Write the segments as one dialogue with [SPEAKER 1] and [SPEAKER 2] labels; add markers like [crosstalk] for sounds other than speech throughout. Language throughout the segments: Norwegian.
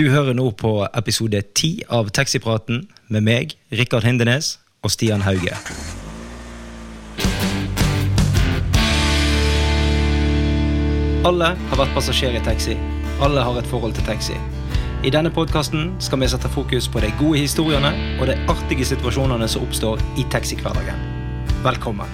[SPEAKER 1] Du hører nå på episode 10 av Taxipraten med meg, Rikard Hindenes og Stian Hauge. Alle har vært passasjer i taxi. Alle har et forhold til taxi. I denne podkasten skal vi sette fokus på de gode historiene og de artige situasjonene som oppstår i taxihverdagen. Velkommen.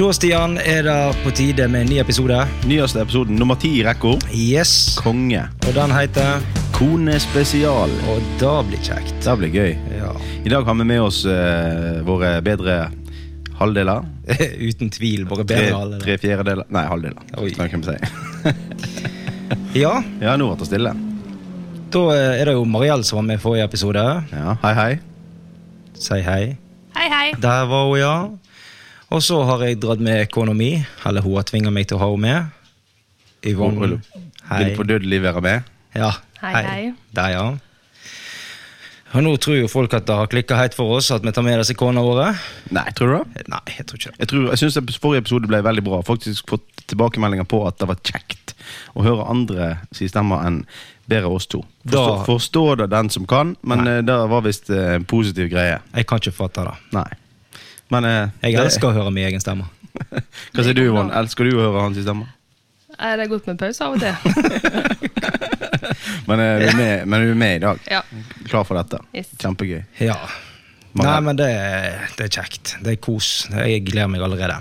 [SPEAKER 1] Da, Stian, er det på tide med en ny episode.
[SPEAKER 2] Nyeste episoden, nummer ti i rekka.
[SPEAKER 1] Yes.
[SPEAKER 2] Konge.
[SPEAKER 1] Og den heter
[SPEAKER 2] Kone spesial.
[SPEAKER 1] Og da blir kjekt.
[SPEAKER 2] Det blir gøy.
[SPEAKER 1] Ja.
[SPEAKER 2] I dag har vi med oss eh, våre bedre halvdeler.
[SPEAKER 1] [laughs] Uten tvil. Bare
[SPEAKER 2] Tre,
[SPEAKER 1] bedre alle.
[SPEAKER 2] tre fjerdedeler Nei, halvdeler.
[SPEAKER 1] Oi.
[SPEAKER 2] Sånn kan vi si.
[SPEAKER 1] Ja,
[SPEAKER 2] Ja, nå ble det stille.
[SPEAKER 1] da eh, er det jo Mariell som var med i forrige episode.
[SPEAKER 2] Ja, Hei, hei.
[SPEAKER 1] Si hei.
[SPEAKER 3] Hei, hei.
[SPEAKER 1] Der var hun, ja. Og så har jeg dratt med kona mi. Eller hun har tvinga meg til å ha henne med. Yvonne.
[SPEAKER 2] Vil på dødelig være med.
[SPEAKER 1] Ja.
[SPEAKER 3] Hei, hei.
[SPEAKER 1] Der, ja. Og nå tror jo folk at det har klikka helt for oss at vi tar med disse konene våre.
[SPEAKER 2] Nei, tror du det?
[SPEAKER 1] Eh, Nei, jeg tror ikke det.
[SPEAKER 2] Jeg, tror- jeg syns ep- forrige episode ble veldig bra. Faktisk fått tilbakemeldinger på at det var kjekt å høre andre si stemmer enn bedre oss to.
[SPEAKER 1] Da-
[SPEAKER 2] Forstår, forstår det den som kan, men eh, det var visst eh, en positiv greie.
[SPEAKER 1] Jeg kan ikke fatte det.
[SPEAKER 2] Nei. Men eh,
[SPEAKER 1] Jeg
[SPEAKER 2] det-
[SPEAKER 1] elsker å høre min egen stemme.
[SPEAKER 2] [laughs] Hva sier du, Yvonne? Elsker du å høre hans stemme?
[SPEAKER 3] Er det godt med pause av og til? [laughs]
[SPEAKER 2] Men eh, du er med, men du er med i dag.
[SPEAKER 3] Ja.
[SPEAKER 2] Klar for dette.
[SPEAKER 3] Yes. [laughs]
[SPEAKER 2] Kjempegøy.
[SPEAKER 1] Ja. Nei,
[SPEAKER 2] Mariell.
[SPEAKER 1] men det, det er kjekt. Det er kos. Jeg gleder meg allerede.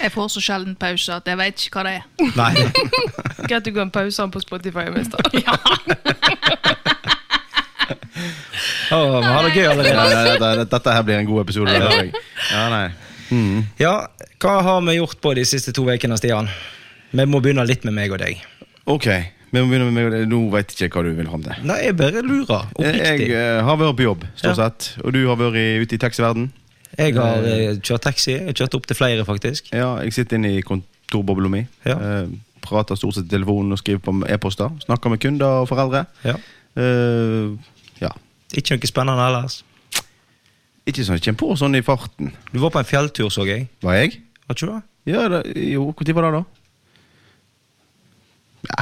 [SPEAKER 4] Jeg får så sjelden pause at jeg vet ikke hva det er.
[SPEAKER 1] Nei,
[SPEAKER 3] Greit du kan pause den på Spotify mens da. [laughs] Ja.
[SPEAKER 1] Å, vi har det gøy
[SPEAKER 2] Eh, Nei,
[SPEAKER 1] allerede.
[SPEAKER 2] nei, dette, dette her blir en god episode. det hører jeg. Ja, nei.
[SPEAKER 1] Ja, hva har vi gjort på de siste to ukene, Stian? Vi må begynne litt med meg og deg.
[SPEAKER 2] Ok, vi må begynne med Nå veit jeg ikke hva du vil fram til.
[SPEAKER 1] Nei, jeg bare lurer.
[SPEAKER 2] Jeg
[SPEAKER 1] Oppriktig.
[SPEAKER 2] eh, har vært på jobb, stort
[SPEAKER 1] Ja.
[SPEAKER 2] sett. Og du har vært i- ute i taxiverden.
[SPEAKER 1] Jeg har eh, kjørt taxi. Jeg har kjørt opp til flere, faktisk.
[SPEAKER 2] Ja, jeg sitter inne i kontorbobla mi.
[SPEAKER 1] Ja.
[SPEAKER 2] eh, Prater stort sett i telefonen og skriver på e-poster. Snakker med kunder og foreldre.
[SPEAKER 1] Ja.
[SPEAKER 2] Eh, ja.
[SPEAKER 1] Ikke noe spennende ellers.
[SPEAKER 2] Ikke sånn jeg kommer på sånn i farten.
[SPEAKER 1] Du var på en fjelltur, så jeg.
[SPEAKER 2] Var jeg?
[SPEAKER 1] Var ikke du det?
[SPEAKER 2] Ja, det, jo, når var det, da?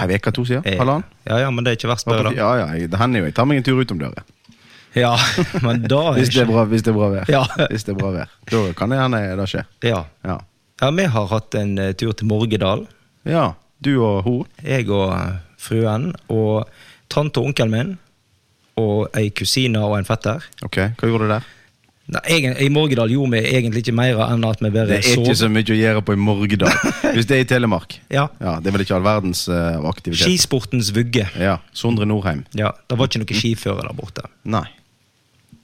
[SPEAKER 2] Ja, En uke, to siden?
[SPEAKER 1] Eh,
[SPEAKER 2] Halvannen?
[SPEAKER 1] Ja, ja, men det er ikke verst, bare, da.
[SPEAKER 2] Ja, ja, jeg- det hender jo jeg tar meg en tur utom døra.
[SPEAKER 1] Ja, [laughs] men da er
[SPEAKER 2] Hvis det er bra, hvis det er bra vær.
[SPEAKER 1] Ja.
[SPEAKER 2] [laughs] Hvis det er bra vær. Da kan det hende det skjer.
[SPEAKER 1] Ja.
[SPEAKER 2] Ja.
[SPEAKER 1] ja, vi har hatt en eh, tur til Morgedal.
[SPEAKER 2] ja. Du og hun.
[SPEAKER 1] jeg og eh, fruen og tante og onkelen min og ei kusine og en fetter.
[SPEAKER 2] Ok, Hva gjorde du der?
[SPEAKER 1] Nei, egen, I Morgedal gjorde vi egentlig ikke mer enn at vi
[SPEAKER 2] Det
[SPEAKER 1] bare
[SPEAKER 2] er
[SPEAKER 1] sov.
[SPEAKER 2] ikke så mye å gjøre på
[SPEAKER 1] [laughs]
[SPEAKER 2] i Morgedal. Hvis det er i Telemark.
[SPEAKER 1] Ja.
[SPEAKER 2] Ja, Det er vel ikke all verdens eh, aktivitet.
[SPEAKER 1] Skisportens vugge.
[SPEAKER 2] Ja, Mm. Sondre Norheim.
[SPEAKER 1] Ja, Det var ikke noe skiføre der borte.
[SPEAKER 2] Nei.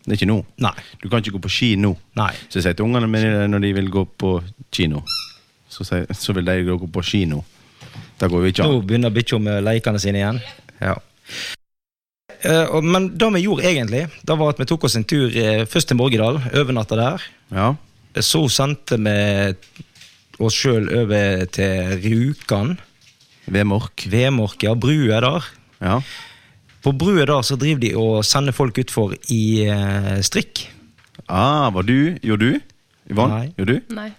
[SPEAKER 2] Det er ikke nå.
[SPEAKER 1] Nei.
[SPEAKER 2] Du kan ikke gå på ski nå.
[SPEAKER 1] Nei.
[SPEAKER 2] Så jeg sier til ungene mine når de vil gå på kino, så, sier, så vil de gå på kino. Det går jo ikke
[SPEAKER 1] Nå
[SPEAKER 2] an.
[SPEAKER 1] begynner bikkja med leikene sine igjen. Ja. Eh, og- men det vi gjorde egentlig, det var at vi tok oss en tur eh, først til Morgedal, overnatta der.
[SPEAKER 2] Ja.
[SPEAKER 1] Så sendte vi oss sjøl over til Rjukan.
[SPEAKER 2] Vemork.
[SPEAKER 1] Vemork, ja. Brua der.
[SPEAKER 2] Ja.
[SPEAKER 1] På brua da så driver de og sender folk utfor i eh, strikk.
[SPEAKER 2] Ah, var du? Gjorde du? Yvonne?
[SPEAKER 1] Nei.
[SPEAKER 2] Gjorde du?
[SPEAKER 3] Nei.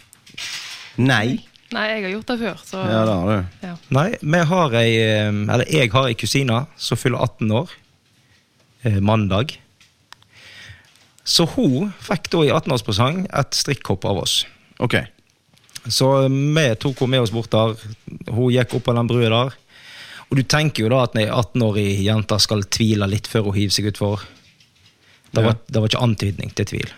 [SPEAKER 2] Nei.
[SPEAKER 3] Nei, jeg har gjort det før, så
[SPEAKER 2] Ja, det har du.
[SPEAKER 3] Ja.
[SPEAKER 1] Nei, vi har ei, eh, eller jeg har ei kusine som fyller 18 år eh, mandag. Så hun fikk da i 18-årspresang et strikkhopp av oss.
[SPEAKER 2] Ok.
[SPEAKER 1] Så eh, vi tok henne med oss bort der. Hun gikk opp på den brua der. Og du tenker jo da at ei 18-årig jente skal tvile litt før hun hiver seg utfor. Det var, det var ikke antydning til tvil.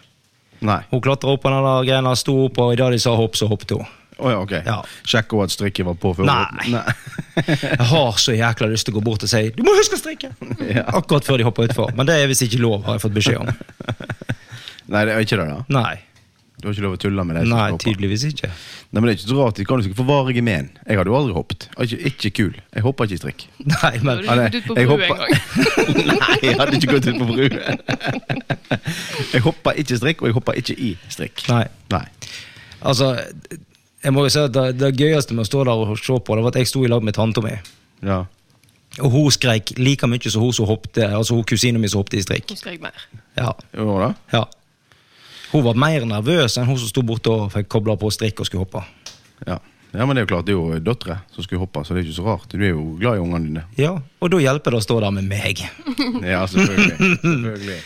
[SPEAKER 2] Nei.
[SPEAKER 1] Hun klatra opp på den der greina, sto opp, og idet de sa hopp, så hoppet hun.
[SPEAKER 2] Å ja, ok.
[SPEAKER 1] Ja.
[SPEAKER 2] Sjekk også at strikket var på før
[SPEAKER 1] Nei.
[SPEAKER 2] Nei.
[SPEAKER 1] [laughs] Jeg har så jækla lyst til å gå bort og si 'du må huske å strikke'!
[SPEAKER 2] [laughs] Ja.
[SPEAKER 1] Akkurat før de hopper utfor. Men det er visst ikke lov, har jeg fått beskjed
[SPEAKER 2] [laughs]
[SPEAKER 1] om.
[SPEAKER 2] Nei, det er ikke det, da.
[SPEAKER 1] Nei,
[SPEAKER 2] Du har ikke lov å tulle med det. som
[SPEAKER 1] Nei
[SPEAKER 2] skal hoppe.
[SPEAKER 1] tydeligvis ikke. [laughs]
[SPEAKER 2] Nei, men det er ikke så rart. De kan jo sikkert få varige men. Jeg hadde jo aldri hoppet. Ikke, ikke kul. Jeg hopper ikke i strikk. [laughs]
[SPEAKER 1] Nei, men
[SPEAKER 3] Du har ikke gått ut på bru en gang.
[SPEAKER 2] Nei, jeg hadde ikke gått ut på bru. [laughs] jeg hopper ikke i strikk, og jeg hopper ikke i strikk.
[SPEAKER 1] Nei.
[SPEAKER 2] Nei.
[SPEAKER 1] Altså, jeg må jo si at det, det gøyeste med å stå der og se på, det var at jeg sto i lag med tanta mi.
[SPEAKER 2] Ja.
[SPEAKER 1] Og hun skreik like mye som hun som hoppte, altså hun kusina mi som hoppte i strikk.
[SPEAKER 3] Nå skal jeg mer.
[SPEAKER 1] Ja,
[SPEAKER 2] Jo da.
[SPEAKER 1] ja. Hun var mer nervøs enn hun som sto borte og fikk kobla på strikk og skulle hoppe.
[SPEAKER 2] Ja. Ja, men det er jo klart, det er jo døtre som skulle hoppe, så det er ikke så rart. Du er jo glad i ungene dine.
[SPEAKER 1] Ja, og da hjelper det å stå der med meg.
[SPEAKER 2] [laughs] Ja, selvfølgelig. selvfølgelig.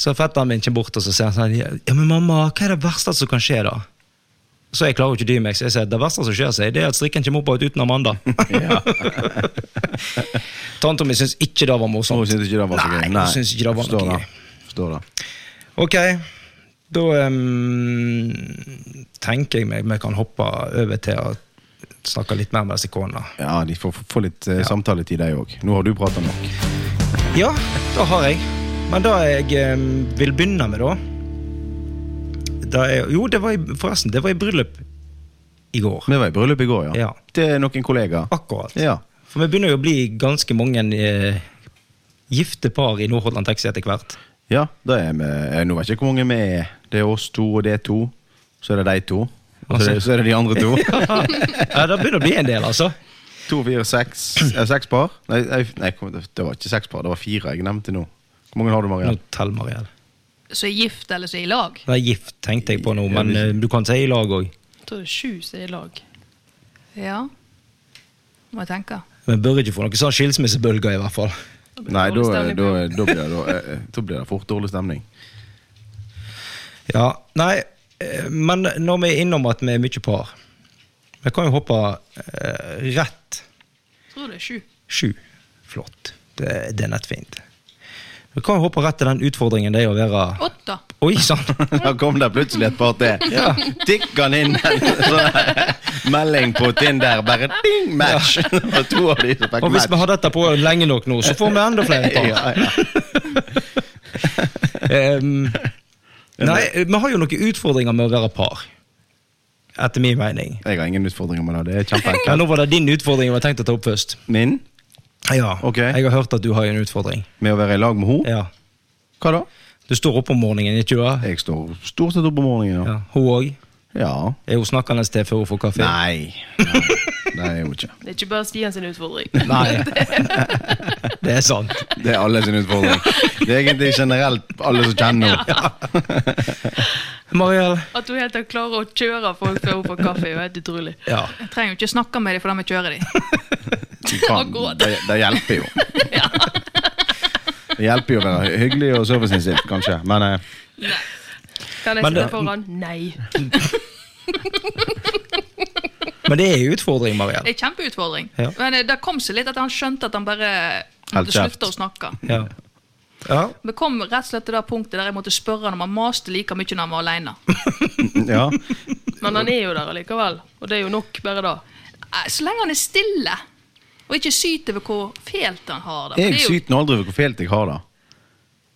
[SPEAKER 1] Så fetteren min kommer bort og så sier han sånn Ja, men mamma, hva er det verste som kan skje, da? Så jeg klarer jo ikke dy meg, så jeg sier det verste som skjer seg, det er at strikken kommer oppover uten Amanda.
[SPEAKER 2] Ja.
[SPEAKER 1] Tanta mi syns ikke det var
[SPEAKER 2] Hun
[SPEAKER 1] morsomt.
[SPEAKER 2] syntes ikke det var så gøy.
[SPEAKER 1] Nei, hun syntes ikke det var
[SPEAKER 2] Forstår
[SPEAKER 1] noe
[SPEAKER 2] det. Forstår det.
[SPEAKER 1] Ok, da ehm, tenker jeg meg vi kan hoppe over til å snakke litt mer med disse konene.
[SPEAKER 2] Ja, de får får- får litt eh, samtaletid, de òg. Nå har du prata nok.
[SPEAKER 1] Ja, det har jeg. Men det jeg ehm, vil begynne med, da da er, Jo, det var i, forresten, det var i bryllup i går.
[SPEAKER 2] Vi var i bryllup i går, ja. Ah.
[SPEAKER 1] Ja.
[SPEAKER 2] Til noen kollegaer.
[SPEAKER 1] Akkurat.
[SPEAKER 2] Ja.
[SPEAKER 1] For vi begynner jo å bli ganske mange eh, gifte par i Nordhordland Taxi etter hvert.
[SPEAKER 2] ja, da er vi eh, Nå vet jeg ikke hvor mange vi er. Det er oss to, og det er to. Så er det de to. Og så er det, så er det de andre [laughs] to.
[SPEAKER 1] ja, det begynner å bli en del, altså.
[SPEAKER 2] To, fire, seks. eh, Seks par? Nei, nei, nei, kom- det var ikke seks par, det var fire jeg nevnte nå. Hvor mange har du,
[SPEAKER 1] Nå
[SPEAKER 2] Mariann?
[SPEAKER 1] teller Mariell.
[SPEAKER 4] Så er gift eller så er i lag?
[SPEAKER 1] Det er gift, tenkte jeg på nå, men eh, du kan si i lag òg.
[SPEAKER 3] Jeg tror det er sju som er i lag.
[SPEAKER 4] Ja. Må jeg tenke.
[SPEAKER 1] Vi bør ikke få noen sånn skilsmissebølger, i hvert fall.
[SPEAKER 2] Nei, da,
[SPEAKER 3] Dårlig stemning på
[SPEAKER 2] da,
[SPEAKER 3] jobb.
[SPEAKER 2] da, blir det, da, eh, eh, da blir det fort dårlig stemning. [laughs]
[SPEAKER 1] Ja, nei, eh, men når vi er innom at vi er mye par Vi kan jo hoppe eh, rett
[SPEAKER 4] Jeg tror det er sju.
[SPEAKER 1] sju. Flott. Det, det er nettfint. Vi kan jo hoppe rett til den utfordringen det er å være
[SPEAKER 4] Åtte.
[SPEAKER 1] Oi sann!
[SPEAKER 2] Da kom det plutselig et par til.
[SPEAKER 1] Ja.
[SPEAKER 2] Tikk han inn [laughs] Så- eh, melding på Tinder. Bare ding, match! [laughs] Det var to av de som fikk
[SPEAKER 1] Og hvis
[SPEAKER 2] match.
[SPEAKER 1] vi har dette på lenge nok nå, så får vi enda
[SPEAKER 2] [laughs]
[SPEAKER 1] flere tall.
[SPEAKER 2] Ja, ja.
[SPEAKER 1] Ehm, nei, vi har jo noen utfordringer med å være par. Etter min mening.
[SPEAKER 2] Jeg har ingen utfordringer med det. Det er
[SPEAKER 1] Ja,
[SPEAKER 2] kjempeenkelt.
[SPEAKER 1] nå var det din utfordring jeg var tenkt å ta opp først.
[SPEAKER 2] Min?
[SPEAKER 1] Ja,
[SPEAKER 2] Ok.
[SPEAKER 1] Jeg har hørt at du har en utfordring.
[SPEAKER 2] Med å være i lag med henne?
[SPEAKER 1] Ja.
[SPEAKER 2] Hva da?
[SPEAKER 1] Du står opp om morgenen, ikke sant?
[SPEAKER 2] Jeg står stort sett opp om morgenen. Ja.
[SPEAKER 1] Ja. Hun òg?
[SPEAKER 2] ja.
[SPEAKER 1] Er hun snakkende til før hun får kaffe?
[SPEAKER 2] Nei. Det er jo ikke.
[SPEAKER 3] Det er ikke bare Stian sin utfordring.
[SPEAKER 1] Nei. Det er sant.
[SPEAKER 2] Det er alle sin utfordring. Det er egentlig generelt alle som kjenner henne.
[SPEAKER 1] Mariell?
[SPEAKER 3] At hun helt klarer å kjøre folk før hun får kaffe, er jo helt utrolig.
[SPEAKER 1] Ja.
[SPEAKER 4] Jeg trenger jo ikke snakke med dem, for da må jeg kjøre [laughs] dem.
[SPEAKER 2] Faen, Det, det hjelper jo. Det hjelper jo å være hyggelig og serviceinnstilt, kanskje. Men eh,
[SPEAKER 3] Kan jeg
[SPEAKER 1] Men
[SPEAKER 3] sitte
[SPEAKER 1] det-
[SPEAKER 3] foran? Nei.
[SPEAKER 1] Men det er en utfordring, Mariell.
[SPEAKER 4] Det er en kjempeutfordring.
[SPEAKER 1] Ja.
[SPEAKER 4] Men eh, det kom seg litt at han skjønte at han bare
[SPEAKER 2] Helt
[SPEAKER 4] måtte
[SPEAKER 2] kjeft.
[SPEAKER 4] slutte å snakke.
[SPEAKER 1] Ja. ja.
[SPEAKER 4] Vi kom rett og slett til det punktet der jeg måtte spørre han om han maste like mye når han var
[SPEAKER 2] [laughs]
[SPEAKER 4] alene.
[SPEAKER 2] ja.
[SPEAKER 3] Men han er jo der allikevel. Og det er jo nok bare da.
[SPEAKER 4] Eh, Så lenge han er stille, og ikke syter over hvor fælt han har det. For
[SPEAKER 2] Jeg
[SPEAKER 4] det er jo-
[SPEAKER 2] syter nå aldri over hvor fælt jeg har det.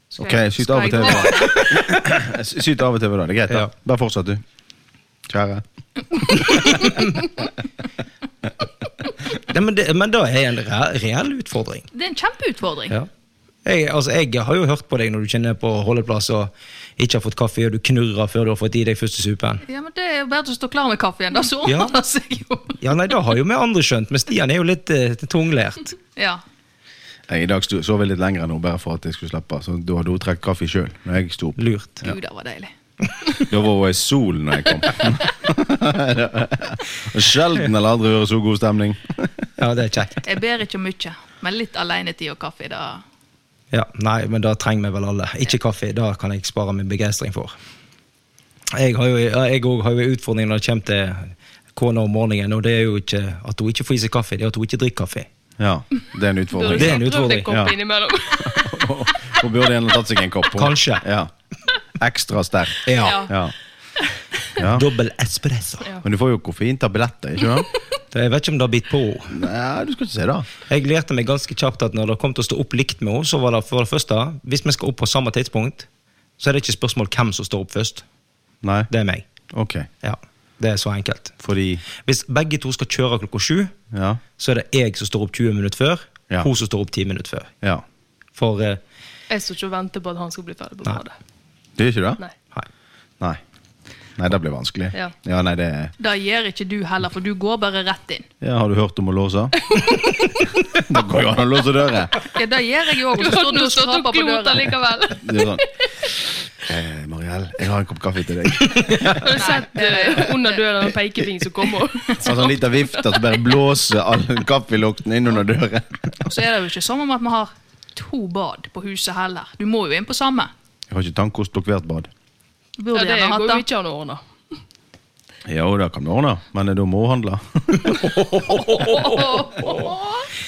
[SPEAKER 4] Skal
[SPEAKER 2] Ok,
[SPEAKER 4] jeg-
[SPEAKER 2] syt
[SPEAKER 4] skal
[SPEAKER 2] av og
[SPEAKER 4] jeg
[SPEAKER 2] til.
[SPEAKER 4] gå?
[SPEAKER 2] med det. [coughs] Jeg sy- Syt av og til med det. Det er greit. da.
[SPEAKER 1] Ja.
[SPEAKER 2] Bare fortsett, du. Kjære.
[SPEAKER 1] Nei, men, det, men det er en re- reell utfordring.
[SPEAKER 4] Det er en kjempeutfordring.
[SPEAKER 1] Ja. Jeg, altså, jeg har jo hørt på deg når du kjenner på holdeplass og ikke har fått kaffe, og du knurrer før du har fått i deg første supen.
[SPEAKER 4] Ja, men Det er jo bare å stå klar med kaffen, da, så
[SPEAKER 1] Ja.
[SPEAKER 4] ordner det seg jo. [laughs]
[SPEAKER 1] Ja, nei, det har jo vi andre skjønt, men Stian er jo litt eh, tunglært.
[SPEAKER 4] Ja.
[SPEAKER 2] Jeg, I dag sto- sov jeg litt lenger nå, bare for at jeg skulle slappe. Så da hadde hun trukket kaffe sjøl når jeg sto opp.
[SPEAKER 1] Lurt.
[SPEAKER 4] Gud, det var deilig.
[SPEAKER 2] Da var hun i solen når jeg [laughs] kom. Og Sjelden eller aldri hører så god stemning.
[SPEAKER 1] Ja, det er kjekt.
[SPEAKER 4] Jeg ber ikke om mye, men litt alenetid og kaffe, da
[SPEAKER 1] Ja, nei, men da trenger vi vel alle. Ikke kaffe, da kan jeg spare min begeistring for. Jeg har jo ja, jeg òg har jo en utfordring når det kommer til kona om morgenen, og det er jo ikke at hun ikke får i seg kaffe, det er at hun ikke drikker kaffe.
[SPEAKER 2] Ja, det er en
[SPEAKER 3] Burde
[SPEAKER 2] utfordring.
[SPEAKER 1] Det er en
[SPEAKER 3] ikke prøvd
[SPEAKER 1] utfordring,
[SPEAKER 3] en kopp
[SPEAKER 2] ja.
[SPEAKER 3] innimellom.
[SPEAKER 2] [laughs]
[SPEAKER 3] [laughs]
[SPEAKER 2] Hun burde gjerne tatt seg en kopp. hun.
[SPEAKER 1] Kanskje.
[SPEAKER 2] Ja. Ekstra sterk.
[SPEAKER 1] Ja.
[SPEAKER 2] Ja. ja.
[SPEAKER 1] Dobbel espresso.
[SPEAKER 3] Ja.
[SPEAKER 2] Men du får jo koffeintabletter, ikke [laughs] sant?
[SPEAKER 1] Det- Jeg vet ikke om det har bitt på henne.
[SPEAKER 2] Nei, du skal ikke si det.
[SPEAKER 1] Jeg lærte meg ganske kjapt at når det kom til å stå opp likt med henne, så var det for det første Hvis vi skal opp på samme tidspunkt, så er det ikke spørsmål hvem som står opp først.
[SPEAKER 2] Nei,
[SPEAKER 1] Det er meg.
[SPEAKER 2] ok.
[SPEAKER 1] Ja, Det er så enkelt.
[SPEAKER 2] Fordi
[SPEAKER 1] Hvis begge to skal kjøre klokka sju,
[SPEAKER 2] Ja.
[SPEAKER 1] så er det jeg som står opp 20 minutter før,
[SPEAKER 2] Ja.
[SPEAKER 1] hun som står opp 10 minutter før.
[SPEAKER 2] ja.
[SPEAKER 1] For eh,
[SPEAKER 3] Jeg står ikke og venter på at han skal bli ferdig på
[SPEAKER 1] Nei.
[SPEAKER 3] badet.
[SPEAKER 2] Det er ikke det?
[SPEAKER 3] Nei.
[SPEAKER 1] Nei.
[SPEAKER 2] Nei. Nei, det blir vanskelig.
[SPEAKER 3] Ja.
[SPEAKER 2] nei, det er
[SPEAKER 4] Da gjør ikke du heller, for du går bare rett inn.
[SPEAKER 2] ja, Har du hørt om å låse? [laughs] det går jo an å låse dører.
[SPEAKER 3] [laughs]
[SPEAKER 4] Ja, Det gjør jeg jo òg.
[SPEAKER 3] Du
[SPEAKER 4] Så står du og
[SPEAKER 3] stått og
[SPEAKER 4] skraper på
[SPEAKER 3] glota
[SPEAKER 4] døren.
[SPEAKER 3] likevel.
[SPEAKER 2] Det er sånn. Eh, Maria, Kjell, jeg har en kopp kaffe til deg.
[SPEAKER 3] Jeg har sett eh, under døren en pekefing som kommer.
[SPEAKER 2] [laughs] Altså en liten vift at du bare blåser all kaffelukten inn under døren.
[SPEAKER 4] Og så er det jo ikke som om at vi har to bad på huset heller. Du må jo inn på samme.
[SPEAKER 2] Jeg har ikke tannkost og hvert bad.
[SPEAKER 4] Du
[SPEAKER 3] Ja,
[SPEAKER 4] Burde
[SPEAKER 3] det
[SPEAKER 4] gjerne
[SPEAKER 3] går
[SPEAKER 4] hatt
[SPEAKER 3] jo
[SPEAKER 4] det.
[SPEAKER 3] ikke an å ordne.
[SPEAKER 2] Jo, det kan du ordne, men da må du handle.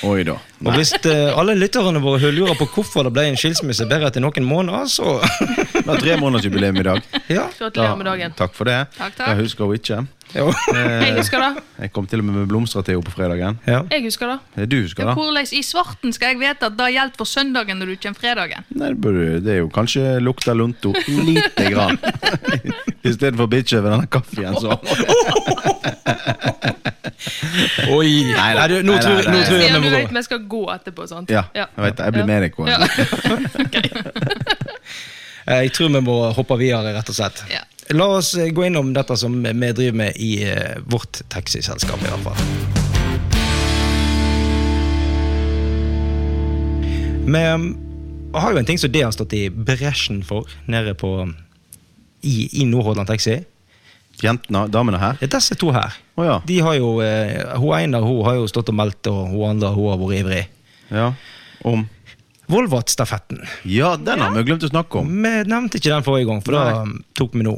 [SPEAKER 2] Oi da.
[SPEAKER 1] Og hvis eh, alle lytterne våre lurer på hvorfor det ble en skilsmisse bare etter noen måneder, så [laughs]
[SPEAKER 2] Vi har tremånedersjubileum i dag.
[SPEAKER 1] Ja.
[SPEAKER 3] Gratulerer med dagen.
[SPEAKER 2] Takk for det.
[SPEAKER 4] Takk, takk.
[SPEAKER 2] Jeg husker hun ikke.
[SPEAKER 1] Jo.
[SPEAKER 3] Jeg husker det.
[SPEAKER 2] Jeg kom til og med med blomsterteo på fredagen.
[SPEAKER 1] ja.
[SPEAKER 3] Jeg husker det.
[SPEAKER 2] Det er du husker
[SPEAKER 4] Ja,
[SPEAKER 2] da?
[SPEAKER 4] Hvordan i svarten skal jeg vite at det gjelder for søndagen når du kommer fredagen?
[SPEAKER 2] Nei, det burde- det er jo kanskje lukta lunto lite grann. [laughs] I stedet for bitch over denne kaffen. Så.
[SPEAKER 1] Oi. Nei, nei, du, nå tror, nå
[SPEAKER 2] Nei, nei, nei.
[SPEAKER 1] tror jeg
[SPEAKER 3] Stian,
[SPEAKER 1] vi
[SPEAKER 3] du
[SPEAKER 1] må
[SPEAKER 3] vet
[SPEAKER 1] gå.
[SPEAKER 3] vi skal gå etterpå, sant?
[SPEAKER 2] Ja, jeg vet det. Jeg blir med deg, Kåre.
[SPEAKER 1] Eh, Jeg tror vi må hoppe videre, rett og slett.
[SPEAKER 4] Ja.
[SPEAKER 1] La oss eh, gå innom dette som vi driver med i eh, vårt taxiselskap, i hvert fall. Vi eh, har jo en ting som det har stått i bresjen for nede på um, i, i Nordhordland Taxi.
[SPEAKER 2] Jentene, damene her.
[SPEAKER 1] Det er disse to her.
[SPEAKER 2] Å ja.
[SPEAKER 1] De har jo, eh, hun ene hun har jo stått og meldt, og hun andre hun har vært ivrig.
[SPEAKER 2] ja. Om
[SPEAKER 1] Volvat-stafetten.
[SPEAKER 2] Ja, den har vi glemt å snakke om.
[SPEAKER 1] Vi nevnte ikke den forrige gang, for da um, tok vi nå.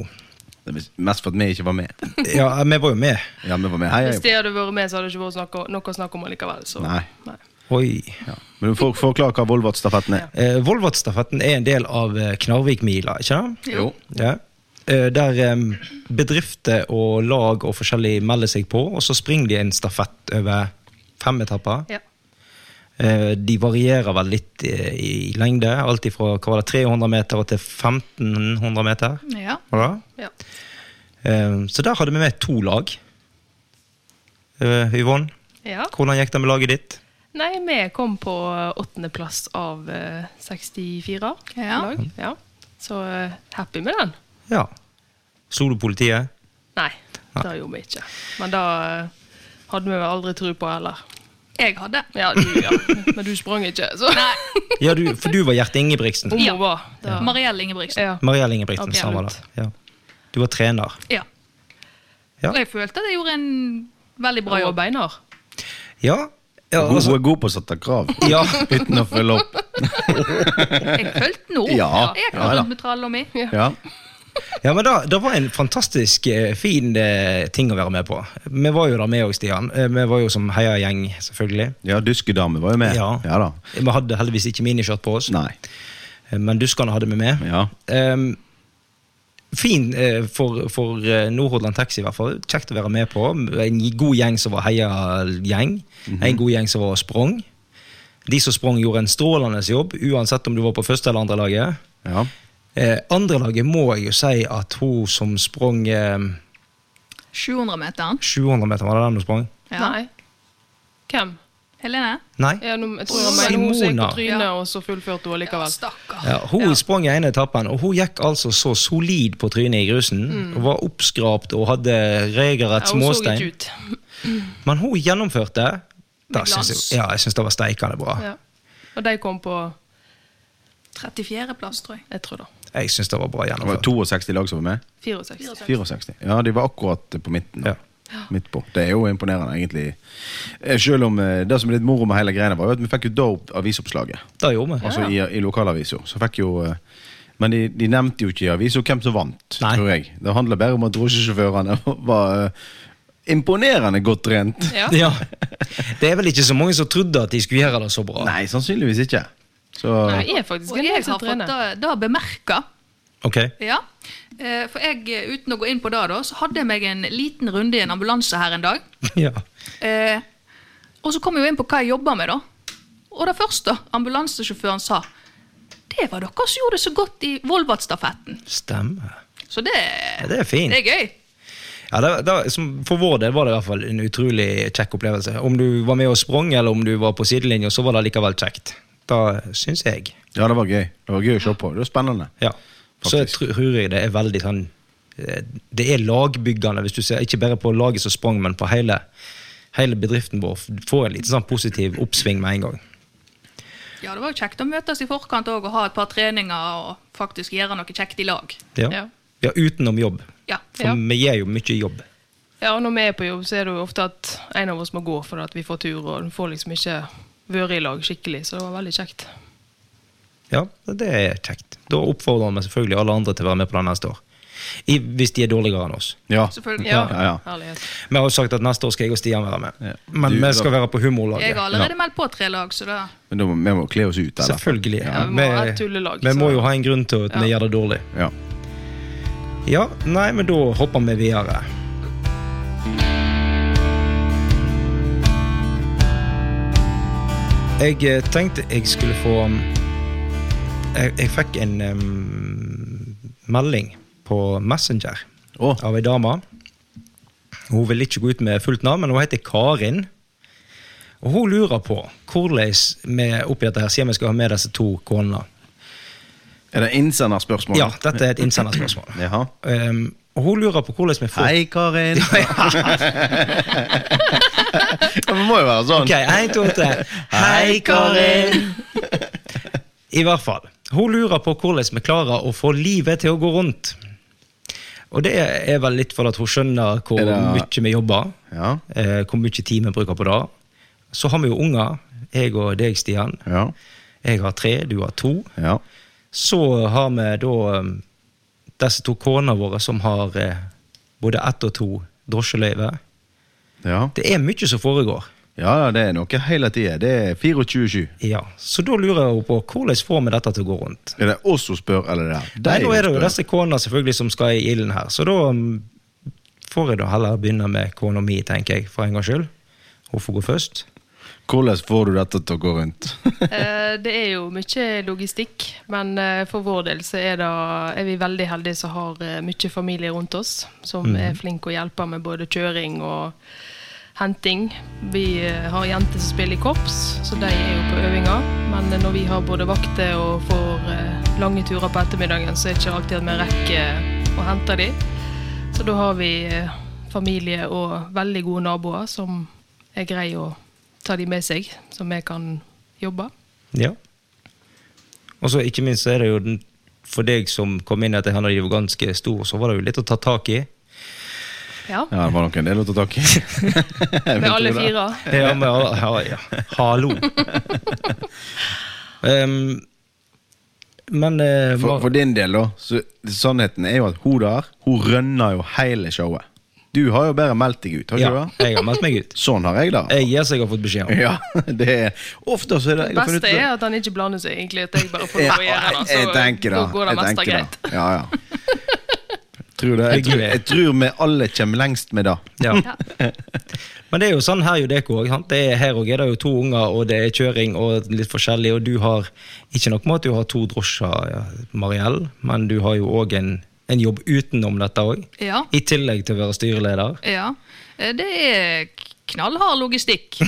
[SPEAKER 2] Det er mest for at vi ikke var med.
[SPEAKER 1] Ja, vi var jo med.
[SPEAKER 2] Ja, vi var med. Hei,
[SPEAKER 3] Hvis
[SPEAKER 2] hei.
[SPEAKER 3] det hadde vært med, så hadde det ikke vært snakk- noe å snakke om allikevel. Så.
[SPEAKER 2] Nei.
[SPEAKER 1] Oi.
[SPEAKER 2] Ja. Men du får forklare hva Volvat-stafetten er.
[SPEAKER 1] Eh, Volvat-stafetten er en del av eh, Knarvikmila, ikke sant?
[SPEAKER 2] Jo.
[SPEAKER 1] Ja. Eh, der em, bedrifter og lag og forskjellig melder seg på, og så springer de en stafett over fem etapper.
[SPEAKER 3] Ja.
[SPEAKER 1] Eh, De varierer vel litt eh, i lengde, alt ifra hva var det, 300 meter og til 1500 meter.
[SPEAKER 4] Ja.
[SPEAKER 1] Var det?
[SPEAKER 3] Ja.
[SPEAKER 1] Eh, Så der hadde vi med to lag. Eh, Yvonne,
[SPEAKER 3] ja.
[SPEAKER 1] hvordan gikk det med laget ditt?
[SPEAKER 3] Nei, vi kom på åttendeplass av eh, 64
[SPEAKER 4] Ja.
[SPEAKER 3] lag. Ja. Så eh, happy med den.
[SPEAKER 1] Ja. Slo du politiet?
[SPEAKER 3] Nei, det gjorde vi ikke. Men da eh, hadde vi vel aldri tro på heller.
[SPEAKER 4] Jeg hadde.
[SPEAKER 3] Ja, du,
[SPEAKER 2] [laughs]
[SPEAKER 3] ja. Men du sprang ikke, så
[SPEAKER 4] Nei.
[SPEAKER 1] Ja, du, for du var Gjert Ingebrigtsen.
[SPEAKER 3] Om
[SPEAKER 4] Ja.
[SPEAKER 3] hun var. Da.
[SPEAKER 4] Mariell Ingebrigtsen.
[SPEAKER 3] Ja.
[SPEAKER 1] Mariell Ingebrigtsen,
[SPEAKER 3] Ok,
[SPEAKER 1] sa han
[SPEAKER 3] lurt.
[SPEAKER 1] da. Ja. Du var trener.
[SPEAKER 4] Ja.
[SPEAKER 1] Ja.
[SPEAKER 4] Og jeg følte at jeg gjorde en veldig bra
[SPEAKER 3] Hun var
[SPEAKER 4] jobb.
[SPEAKER 3] beinhard.
[SPEAKER 1] Ja. ja
[SPEAKER 2] Hun
[SPEAKER 1] altså,
[SPEAKER 2] er god på å sette krav.
[SPEAKER 1] [laughs] Ja.
[SPEAKER 2] Uten å følge opp.
[SPEAKER 4] Jeg fulgte nå.
[SPEAKER 2] Ja, ja
[SPEAKER 4] Jeg kan
[SPEAKER 2] da.
[SPEAKER 4] rundt med tralla mi.
[SPEAKER 2] Ja.
[SPEAKER 1] ja, men da, det var en fantastisk eh, fin eh, ting å være med på. Vi var jo der med òg, Stian. Eh, Vi var jo som heiagjeng, selvfølgelig.
[SPEAKER 2] ja, Duskedame var jo med.
[SPEAKER 1] Ja.
[SPEAKER 2] ja da.
[SPEAKER 1] Vi hadde heldigvis ikke miniskjørt på oss,
[SPEAKER 2] Nei.
[SPEAKER 1] eh, men duskene hadde vi med.
[SPEAKER 2] Ja.
[SPEAKER 1] Ehm, fin eh, for, for eh, Nordhordland Taxi, i hvert fall. Kjekt å være med på. En god gjeng som var heiagjeng. En god gjeng som var sprang. De som sprang, gjorde en strålende jobb, uansett om du var på første eller andre laget.
[SPEAKER 2] Ja.
[SPEAKER 1] Eh, andre laget må jeg jo si at hun som sprang eh,
[SPEAKER 4] 700-meteren.
[SPEAKER 1] 700 meter, var det den hun sprang?
[SPEAKER 4] Ja.
[SPEAKER 3] Nei. Hvem?
[SPEAKER 4] Helene?
[SPEAKER 1] Nei?
[SPEAKER 3] Ja, nå, jeg tror jeg mener hun som gikk på
[SPEAKER 1] Simona.
[SPEAKER 3] trynet,
[SPEAKER 4] Ja.
[SPEAKER 3] og så fullførte hun likevel.
[SPEAKER 4] stakkar.
[SPEAKER 1] Ja, hun sprang i ene etappen, og hun gikk altså så solid på trynet i grusen. og Var oppskrapt og hadde regelrett
[SPEAKER 3] Mm. Ja, hun så
[SPEAKER 1] småstein.
[SPEAKER 3] ikke ut.
[SPEAKER 1] Men hun gjennomførte. Da
[SPEAKER 4] Med
[SPEAKER 1] syns
[SPEAKER 4] glans.
[SPEAKER 1] jeg, ja, jeg syns det var steikende bra.
[SPEAKER 3] Ja. Og de kom på
[SPEAKER 4] 34.-plass, tror jeg.
[SPEAKER 3] Jeg tror da.
[SPEAKER 1] Jeg syns det var bra
[SPEAKER 2] Det var
[SPEAKER 1] gjennomført.
[SPEAKER 2] 62 lag som var med.
[SPEAKER 3] 64.
[SPEAKER 2] 64. Ja, de var akkurat på midten. da.
[SPEAKER 1] Ja.
[SPEAKER 2] Midt på. Det er jo imponerende, egentlig. Eh, Selv om eh, det som er litt moro med hele greiene, var jo at vi fikk jo dope avisoppslaget.
[SPEAKER 1] Det gjorde vi.
[SPEAKER 2] Altså i, i lokalavisa. Så fikk jo eh, Men de, de nevnte jo ikke i avisa hvem som vant,
[SPEAKER 1] Nei.
[SPEAKER 2] tror jeg. Det handla bare om at drosjesjåførene [laughs] var eh, imponerende godt trent.
[SPEAKER 3] Ja.
[SPEAKER 1] Ja. [laughs] Det er vel ikke så mange som trodde at de skulle gjøre det så bra.
[SPEAKER 2] Nei, sannsynligvis ikke. Så
[SPEAKER 3] Nei, jeg er faktisk
[SPEAKER 4] Og
[SPEAKER 3] en
[SPEAKER 4] jeg
[SPEAKER 3] del som
[SPEAKER 4] har fått
[SPEAKER 3] trener.
[SPEAKER 4] det, det bemerka.
[SPEAKER 1] Ok. [laughs]
[SPEAKER 4] Ja. Eh, For jeg, eh, uten å gå inn på det, da, så hadde jeg meg en liten runde i en ambulanse her en dag.
[SPEAKER 1] Ja.
[SPEAKER 4] Eh, og så kom jeg jo inn på hva jeg jobba med, da. Og det første ambulansesjåføren sa, det var dere som gjorde det så godt i Volvat-stafetten.
[SPEAKER 1] Stemmer.
[SPEAKER 4] Så det,
[SPEAKER 1] Ja, det er fint.
[SPEAKER 4] det er gøy.
[SPEAKER 1] Ja, det, det, som for vår del var det i hvert fall en utrolig kjekk opplevelse. Om du var med og sprang, eller om du var på sidelinja, så var det likevel kjekt. Det syns jeg.
[SPEAKER 2] Ja, det var gøy. Det var gøy å se på. Det var spennende.
[SPEAKER 1] Ja. Så jeg
[SPEAKER 2] Faktisk.
[SPEAKER 1] tr- tror jeg det er veldig sånn eh, Det er lagbyggende, hvis du ser, ikke bare på laget som sprang, men på hele, hele bedriften vår. Få en liten sånn positiv oppsving med en gang.
[SPEAKER 4] Ja, det var jo kjekt å møtes i forkant òg og ha et par treninger og faktisk gjøre noe kjekt i lag.
[SPEAKER 1] Ja.
[SPEAKER 3] Ja.
[SPEAKER 1] Ja, utenom jobb.
[SPEAKER 4] Ja.
[SPEAKER 1] For
[SPEAKER 3] Ja.
[SPEAKER 1] vi gjør jo mye jobb.
[SPEAKER 3] Ja, og når vi er på jobb, så er det jo ofte at en av oss må gå for at vi får tur, og får liksom ikke vært i lag skikkelig, så det var veldig kjekt.
[SPEAKER 1] Ja, det er kjekt. Da oppfordrer vi selvfølgelig alle andre til å være med på den neste år. I, hvis de er dårligere enn oss.
[SPEAKER 2] Ja.
[SPEAKER 4] Selvfølgelig.
[SPEAKER 2] Ja, ja, ja.
[SPEAKER 3] Herlighet.
[SPEAKER 1] Vi har jo sagt at neste år skal jeg og Stian være med.
[SPEAKER 2] Ja.
[SPEAKER 1] Men
[SPEAKER 2] Du-
[SPEAKER 1] vi skal være på
[SPEAKER 4] Jeg har
[SPEAKER 1] humorlaget.
[SPEAKER 4] allerede meldt på tre lag, så da
[SPEAKER 2] Men da må, vi må kle oss ut. Eller?
[SPEAKER 1] Selvfølgelig.
[SPEAKER 2] Ja.
[SPEAKER 3] vi må ha et tullelag,
[SPEAKER 1] vi
[SPEAKER 3] så-
[SPEAKER 1] må jo ha en grunn til at vi
[SPEAKER 3] Ja.
[SPEAKER 1] gjør det dårlig.
[SPEAKER 2] Ja.
[SPEAKER 1] Ja, nei, men da hopper vi videre. Jeg eh, tenkte jeg skulle få um, Jeg, jeg fikk en um, melding på Messenger
[SPEAKER 2] Å,
[SPEAKER 1] av ei dame. Hun vil ikke gå ut med fullt navn, men hun heter Karin. Og hun lurer på hvordan vi oppi dette her sier vi skal ha med disse to konene.
[SPEAKER 2] er det innsenderspørsmål?
[SPEAKER 1] Ja, dette er et innsenderspørsmål.
[SPEAKER 2] Jaha.
[SPEAKER 1] Um, og hun lurer på hvordan vi får
[SPEAKER 2] Hei,
[SPEAKER 1] [laughs]
[SPEAKER 2] Karin. [laughs] Ja, det må jo være sånn.
[SPEAKER 1] Ok, en, to, tre. Hei, Karin! I hvert fall. Hun lurer på hvordan vi klarer å få livet til å gå rundt. Og det er vel litt fordi hun skjønner hvor
[SPEAKER 2] Er det-
[SPEAKER 1] mye vi jobber.
[SPEAKER 2] Ja.
[SPEAKER 1] eh, Hvor mye tid vi bruker på det. Så har vi jo unger. Jeg og deg, Stian.
[SPEAKER 2] Ja.
[SPEAKER 1] Jeg har tre, du har to.
[SPEAKER 2] ja.
[SPEAKER 1] Så har vi da eh, disse to konene våre som har eh, både ett og to drosjeløyve.
[SPEAKER 2] Ja.
[SPEAKER 1] Det er mye som foregår.
[SPEAKER 2] ja, ja, det er noe hele tida. Det er 24-7.
[SPEAKER 1] Ja, Så da lurer jeg jo på hvordan får vi dette til å gå rundt?
[SPEAKER 2] Er det oss som spør, eller er det
[SPEAKER 1] Nei,
[SPEAKER 2] deg
[SPEAKER 1] nå er det jo
[SPEAKER 2] som spør?
[SPEAKER 1] disse konene selvfølgelig som skal i ilden her, så da mm, får jeg da heller begynne med kona mi, tenker jeg, for en gangs skyld. Hun får gå først.
[SPEAKER 2] Hvordan får du dette til å gå rundt?
[SPEAKER 3] Eh, Det er jo mye logistikk, men eh, for vår del så er, det, er vi veldig heldige som har eh, mye familie rundt oss, som er flinke å hjelpe med både kjøring og henting. Vi eh, har jenter som spiller i korps, så de er jo på øvinger. Men eh, når vi har både vakter og får eh, lange turer på ettermiddagen, så er det ikke alltid at vi rekker eh, å hente dem. Så da har vi eh, familie og veldig gode naboer som er greie å ta de med seg, så vi kan jobbe.
[SPEAKER 1] Ja. Og så ikke minst så er det jo den, for deg som kom inn etter henne, de var ganske stor, så var det jo litt å ta tak i.
[SPEAKER 3] Ja,
[SPEAKER 2] [laughs] Ja, det var nok en del å ta tak i.
[SPEAKER 3] med alle fire.
[SPEAKER 1] Ja, men ja, ja, ja. [laughs] hallo. Ehm, men eh,
[SPEAKER 2] [laughs] For, for din del, da. Så, sannheten er jo at hun der, hun rønner jo hele showet. Du har jo bare meldt deg ut, har ikke
[SPEAKER 1] ja,
[SPEAKER 2] du det?
[SPEAKER 1] jeg har meldt meg ut.
[SPEAKER 2] Sånn har jeg det.
[SPEAKER 1] Jeg gir seg jeg har fått beskjed om.
[SPEAKER 2] Ja, [laughs] det er Ofte så er det
[SPEAKER 3] Det
[SPEAKER 2] jeg har funnet
[SPEAKER 3] beste
[SPEAKER 2] ut-
[SPEAKER 3] er at han ikke blander seg, egentlig. At jeg bare får lov å gjøre det.
[SPEAKER 2] jeg tenker
[SPEAKER 3] da går det
[SPEAKER 2] jeg
[SPEAKER 3] meste
[SPEAKER 2] tenker
[SPEAKER 3] greit.
[SPEAKER 2] det. Ja, ja. Tror det. Jeg, tror, jeg tror vi alle kommer lengst med det.
[SPEAKER 1] Ja. Men det er jo sånn her jo det ikke også, sant? Det er her òg er det jo to unger, og det er kjøring og litt forskjellig, og du har ikke nok med at du har to drosjer, ja, Mariell, men du har jo òg en, en jobb utenom dette òg.
[SPEAKER 4] Ja.
[SPEAKER 1] I tillegg til å være styreleder.
[SPEAKER 4] ja. Eh, Det er k- knallhard logistikk.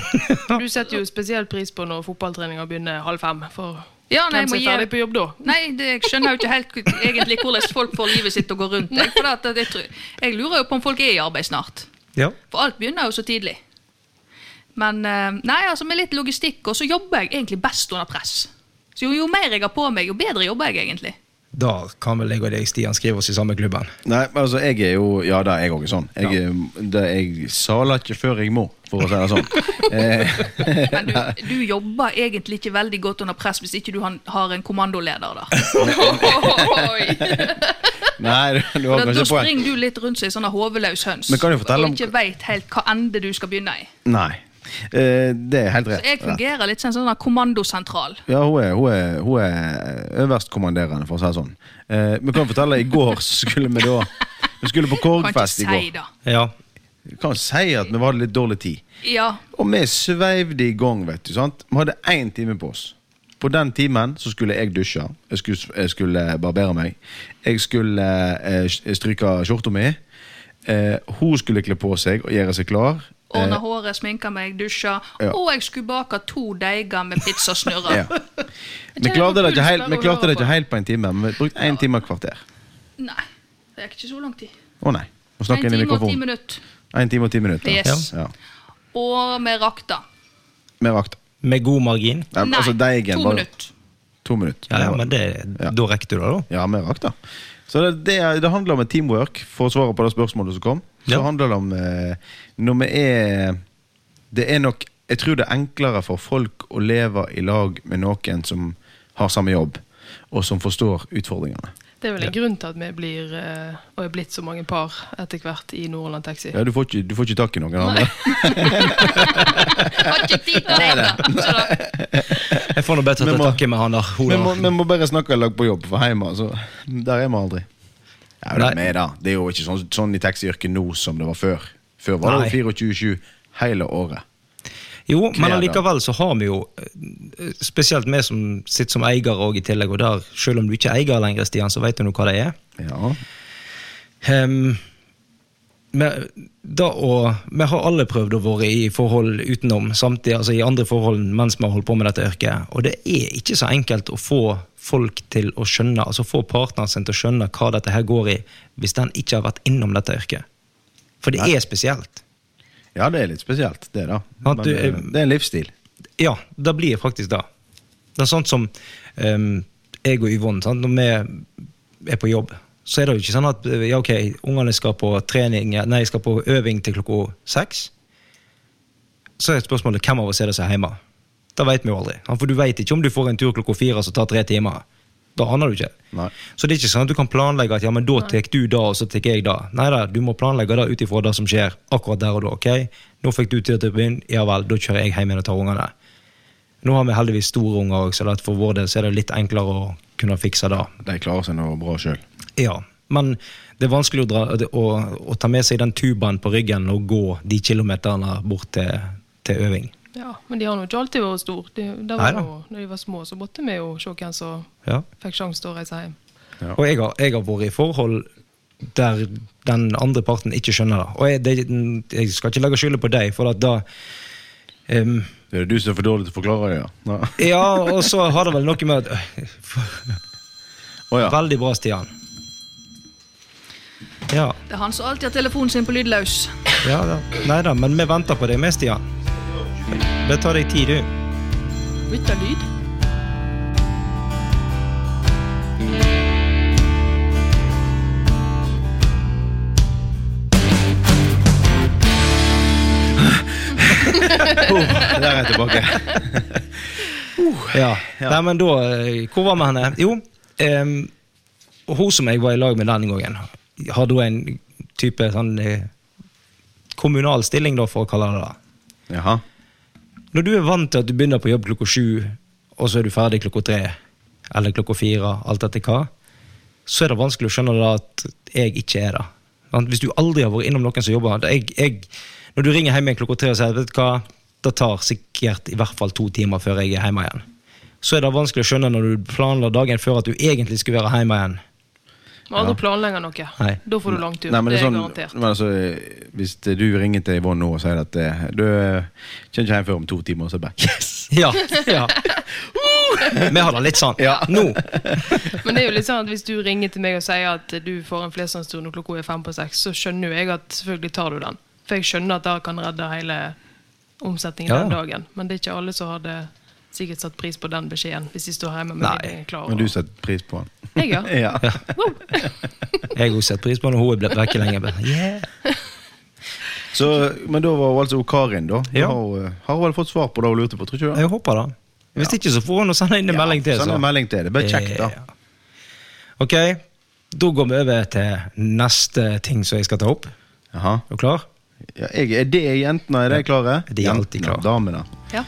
[SPEAKER 3] Du setter jo spesielt pris på når fotballtreninga begynner halv fem. For
[SPEAKER 4] Ja, nei,
[SPEAKER 3] hvem
[SPEAKER 4] må
[SPEAKER 3] som er
[SPEAKER 4] gi-
[SPEAKER 3] ferdig på jobb da?
[SPEAKER 4] Nei, det, jeg skjønner jo ikke helt k- egentlig hvordan folk får livet sitt til å gå rundt. Jeg, for at jeg, tror, jeg lurer jo på om folk er i arbeid snart.
[SPEAKER 1] Ja.
[SPEAKER 4] For alt begynner jo så tidlig. Men eh, nei, altså med litt logistikk, og så jobber jeg egentlig best under press. Så jo, jo mer jeg har på meg, jo bedre jobber jeg egentlig.
[SPEAKER 1] Da kan vel jeg og deg, Stian, skrive oss i samme klubben.
[SPEAKER 2] Nei, men altså, jeg er jo Ja, da er jeg òg sånn. Jeg, er- det, jeg saler ikke før jeg må, for å si det sånn. Eh,
[SPEAKER 4] Men du, du jobber egentlig ikke veldig godt under press hvis ikke du han, har en kommandoleder der.
[SPEAKER 2] nei, du, du har
[SPEAKER 4] Da, da
[SPEAKER 2] kanskje poeng.
[SPEAKER 4] springer du litt rundt som en sånn hoveløs høns
[SPEAKER 2] Men kan jeg fortelle om-
[SPEAKER 4] og ikke veit helt hva ende du skal begynne i.
[SPEAKER 2] Nei. Eh, det er helt rett.
[SPEAKER 4] Jeg fungerer litt som en sånn kommandosentral.
[SPEAKER 2] Ja, hun er, hun er, hun er øverstkommanderende, for å si det sånn. Eh, vi kan fortelle, i går så skulle vi da Vi skulle på
[SPEAKER 4] Kan ikke
[SPEAKER 2] Korgfest i
[SPEAKER 4] si
[SPEAKER 2] går.
[SPEAKER 4] det.
[SPEAKER 1] Ja.
[SPEAKER 2] Vi kan jo si at vi hadde litt dårlig tid.
[SPEAKER 4] Ja,
[SPEAKER 2] Og vi sveivde i gang, vet du. sant? Vi hadde én time på oss. På den timen så skulle jeg dusje, jeg skulle, jeg skulle barbere meg, jeg skulle eh, stryke skjorta mi, eh, hun skulle kle på seg og gjøre seg klar.
[SPEAKER 4] Ordner håret, sminker meg, dusjer.
[SPEAKER 2] Eh. Ja.
[SPEAKER 4] Og jeg skulle bake to deiger med
[SPEAKER 2] [laughs]
[SPEAKER 4] pizzasnurrer.
[SPEAKER 2] Ja.
[SPEAKER 4] [laughs]
[SPEAKER 2] Vi klarte det ikke helt, vi klarte det ikke helt på en time, men vi brukte én time og et kvarter.
[SPEAKER 4] Nei, det er ikke så lang tid.
[SPEAKER 2] Å nei. Må
[SPEAKER 4] En
[SPEAKER 2] snakke inn i
[SPEAKER 4] time og ti
[SPEAKER 2] mikrofonen.
[SPEAKER 4] minutter.
[SPEAKER 2] En time og ti minutter.
[SPEAKER 4] Yes.
[SPEAKER 2] Ja.
[SPEAKER 4] Og med rakta.
[SPEAKER 2] Med vakt.
[SPEAKER 1] Med god margin.
[SPEAKER 2] Nei,
[SPEAKER 4] Nei,
[SPEAKER 2] altså, deigen
[SPEAKER 4] to
[SPEAKER 2] var-
[SPEAKER 4] minutter.
[SPEAKER 2] To minutter.
[SPEAKER 1] Ja, ja, men det,
[SPEAKER 2] Ja.
[SPEAKER 1] da rekker du det, da.
[SPEAKER 2] Ja, med vakt, da. Så det, det, er- det handler om et teamwork, for å svare på det spørsmålet som kom. Så
[SPEAKER 1] Ja.
[SPEAKER 2] handler det om eh, Når vi er Det er nok Jeg tror det er enklere for folk å leve i lag med noen som har samme jobb, og som forstår utfordringene.
[SPEAKER 3] Det er vel en grunn til at vi blir, eh, og er blitt så mange par etter hvert i Nordland Taxi.
[SPEAKER 2] Ja, du, får ikke, du får ikke tak i noen andre.
[SPEAKER 4] Har ikke tid
[SPEAKER 2] [laughs]
[SPEAKER 4] til det. Så da,
[SPEAKER 1] Jeg får nå bedt
[SPEAKER 2] Men
[SPEAKER 1] etter
[SPEAKER 2] må-
[SPEAKER 1] takke med han der.
[SPEAKER 2] Vi må,
[SPEAKER 1] Hola.
[SPEAKER 2] vi må bare snakke i lag på jobb, for hjemme altså, der er vi aldri. Ja, det, er
[SPEAKER 1] Nei.
[SPEAKER 2] vi da. det er jo ikke sånn, sånn i taxiyrket nå som det var før. Før var det jo 24-7 hele året.
[SPEAKER 1] Jo, men
[SPEAKER 2] Knæ,
[SPEAKER 1] allikevel så har vi jo, eh, spesielt vi som sitter som eier òg i tillegg, og der, selv om du ikke er eier lenger, Stian, så vet du nå hva det er.
[SPEAKER 2] Ja.
[SPEAKER 1] Ehm, men da å, vi har alle prøvd å være i forhold utenom, samtidig, altså i andre forhold mens vi har holdt på med dette yrket. Og det er ikke så enkelt å få folk til å skjønne, altså få partneren sin til å skjønne hva dette her går i, hvis den ikke har vært innom dette yrket. For det
[SPEAKER 2] Nei.
[SPEAKER 1] er spesielt.
[SPEAKER 2] ja, det er litt spesielt, det da.
[SPEAKER 1] Ja,
[SPEAKER 2] Men,
[SPEAKER 1] du-
[SPEAKER 2] eh, det er en livsstil.
[SPEAKER 1] Ja, det blir faktisk det. Det er sånn som ehm, jeg og Yvonne, sant? når vi er på jobb, så er det jo ikke sånn at eh, ja, ok, ungene skal på trening, ja, nei, skal på øving til klokka seks. Så er spørsmålet hvem av oss er det som er hjemme. Det vet vi jo aldri. sant? For du vet ikke om du får en tur klokka fire som tar tre timer. Da aner du ikke.
[SPEAKER 2] Nei.
[SPEAKER 1] Så det er ikke sånn at du kan planlegge at ja, men da tar du da, og så tar jeg da. Nei da, du må planlegge det ut ifra det som skjer akkurat der og da. ok? Nå fikk du tid til å begynne, ja vel, da kjører jeg hjem igjen og tar ungene. Nå har vi heldigvis store unger òg, så det at for vår del så er det litt enklere å kunne fikse det.
[SPEAKER 2] De klarer seg nå bra sjøl.
[SPEAKER 1] Ja, Men det er vanskelig å, dra, å, å ta med seg den tubaen på ryggen og gå de kilometerne bort til, til øving.
[SPEAKER 3] Ja, men de har nå ikke alltid vært store. De, det
[SPEAKER 1] Nei
[SPEAKER 3] var
[SPEAKER 1] da.
[SPEAKER 3] nå- når de var små, så måtte vi jo se hvem som
[SPEAKER 1] Ja.
[SPEAKER 3] fikk sjanse til å reise hjem.
[SPEAKER 2] Ja.
[SPEAKER 1] Og jeg har, jeg har vært i forhold der den andre parten ikke skjønner det. Og jeg, det, jeg skal ikke legge skylda på deg, for at da ehm,
[SPEAKER 2] Det er du som er for dårlig til å forklare det, ja. Nei.
[SPEAKER 1] Ja, og så har det vel noe med at [laughs]
[SPEAKER 2] Å ja.
[SPEAKER 1] Veldig bra, Stian. Ja.
[SPEAKER 4] det er han som alltid har telefonen sin på lydløs.
[SPEAKER 1] ja da. Nei da, men vi venter på deg med, Stian. Det tar deg tid, du.
[SPEAKER 3] Bytte lyd.
[SPEAKER 2] Boom, Oh, der er jeg tilbake.
[SPEAKER 1] Ja. Nei, men da eh, Hvor var vi henne? Jo, ehm, og hun som jeg var i lag med denne gangen, har da en type sånn eh, kommunal stilling, da, for å kalle det det.
[SPEAKER 2] [laughs] Jaha.
[SPEAKER 1] Når du er vant til at du begynner på jobb klokka sju, og så er du ferdig klokka tre, eller klokka fire, alt etter hva, så er det vanskelig å skjønne da at jeg ikke er det. Sant? Hvis du aldri har vært innom noen som jobber jeg, jeg, Når du ringer hjem igjen klokka tre og sier vet du hva, det tar sikkert i hvert fall to timer før jeg er hjemme igjen, så er det vanskelig å skjønne når du planla dagen før at du egentlig skulle være hjemme igjen.
[SPEAKER 3] Vi aldri planlegger noe.
[SPEAKER 1] Nei.
[SPEAKER 3] Da får du langtur.
[SPEAKER 2] Nei, men
[SPEAKER 3] det
[SPEAKER 2] det
[SPEAKER 3] er
[SPEAKER 2] er sånn,
[SPEAKER 3] garantert.
[SPEAKER 2] men altså, eh, hvis det- du ringer til Yvonne nå og sier at eh, du eh, kommer ikke hjem før om to timer, så er det bare yes!
[SPEAKER 1] Ja, ja. Vi har det litt sånn.
[SPEAKER 2] Ja.
[SPEAKER 1] Nå.
[SPEAKER 3] Men det er jo litt sånn at hvis du ringer til meg og sier at du får en fleslandstur når klokka er fem på seks, så skjønner jo jeg at selvfølgelig tar du den. For jeg skjønner at det kan redde hele omsetningen
[SPEAKER 1] Ja.
[SPEAKER 3] den dagen. Men det er ikke alle som hadde sikkert satt pris på den beskjeden hvis de står hjemme med
[SPEAKER 1] Nei.
[SPEAKER 3] Nei. klar.
[SPEAKER 2] Men du setter pris på den.
[SPEAKER 3] Jeg, ja.
[SPEAKER 2] [laughs] Ja.
[SPEAKER 1] Jeg har også sett pris på når hun er blitt vekke lenge. Bare, Yeah.
[SPEAKER 2] Så, men da var hun altså hun Karin, da.
[SPEAKER 1] Ja.
[SPEAKER 2] Ja. Har, hun, eh, har hun vel fått svar på det hun lurte på? tror ikke du det?
[SPEAKER 1] Jeg håper det. Hvis ikke, så får hun å sende inn en melding til.
[SPEAKER 2] Send
[SPEAKER 1] så.
[SPEAKER 2] en melding til. Det blir kjekt, da.
[SPEAKER 1] Ja. Ok, da går vi over til neste ting som jeg skal ta opp. Er
[SPEAKER 2] Jaha.
[SPEAKER 1] du klar?
[SPEAKER 2] Ja, jeg, er det jentene? Er de klare?
[SPEAKER 1] De er alltid
[SPEAKER 2] Jentene,
[SPEAKER 1] klare.
[SPEAKER 2] Damene.
[SPEAKER 4] Ja.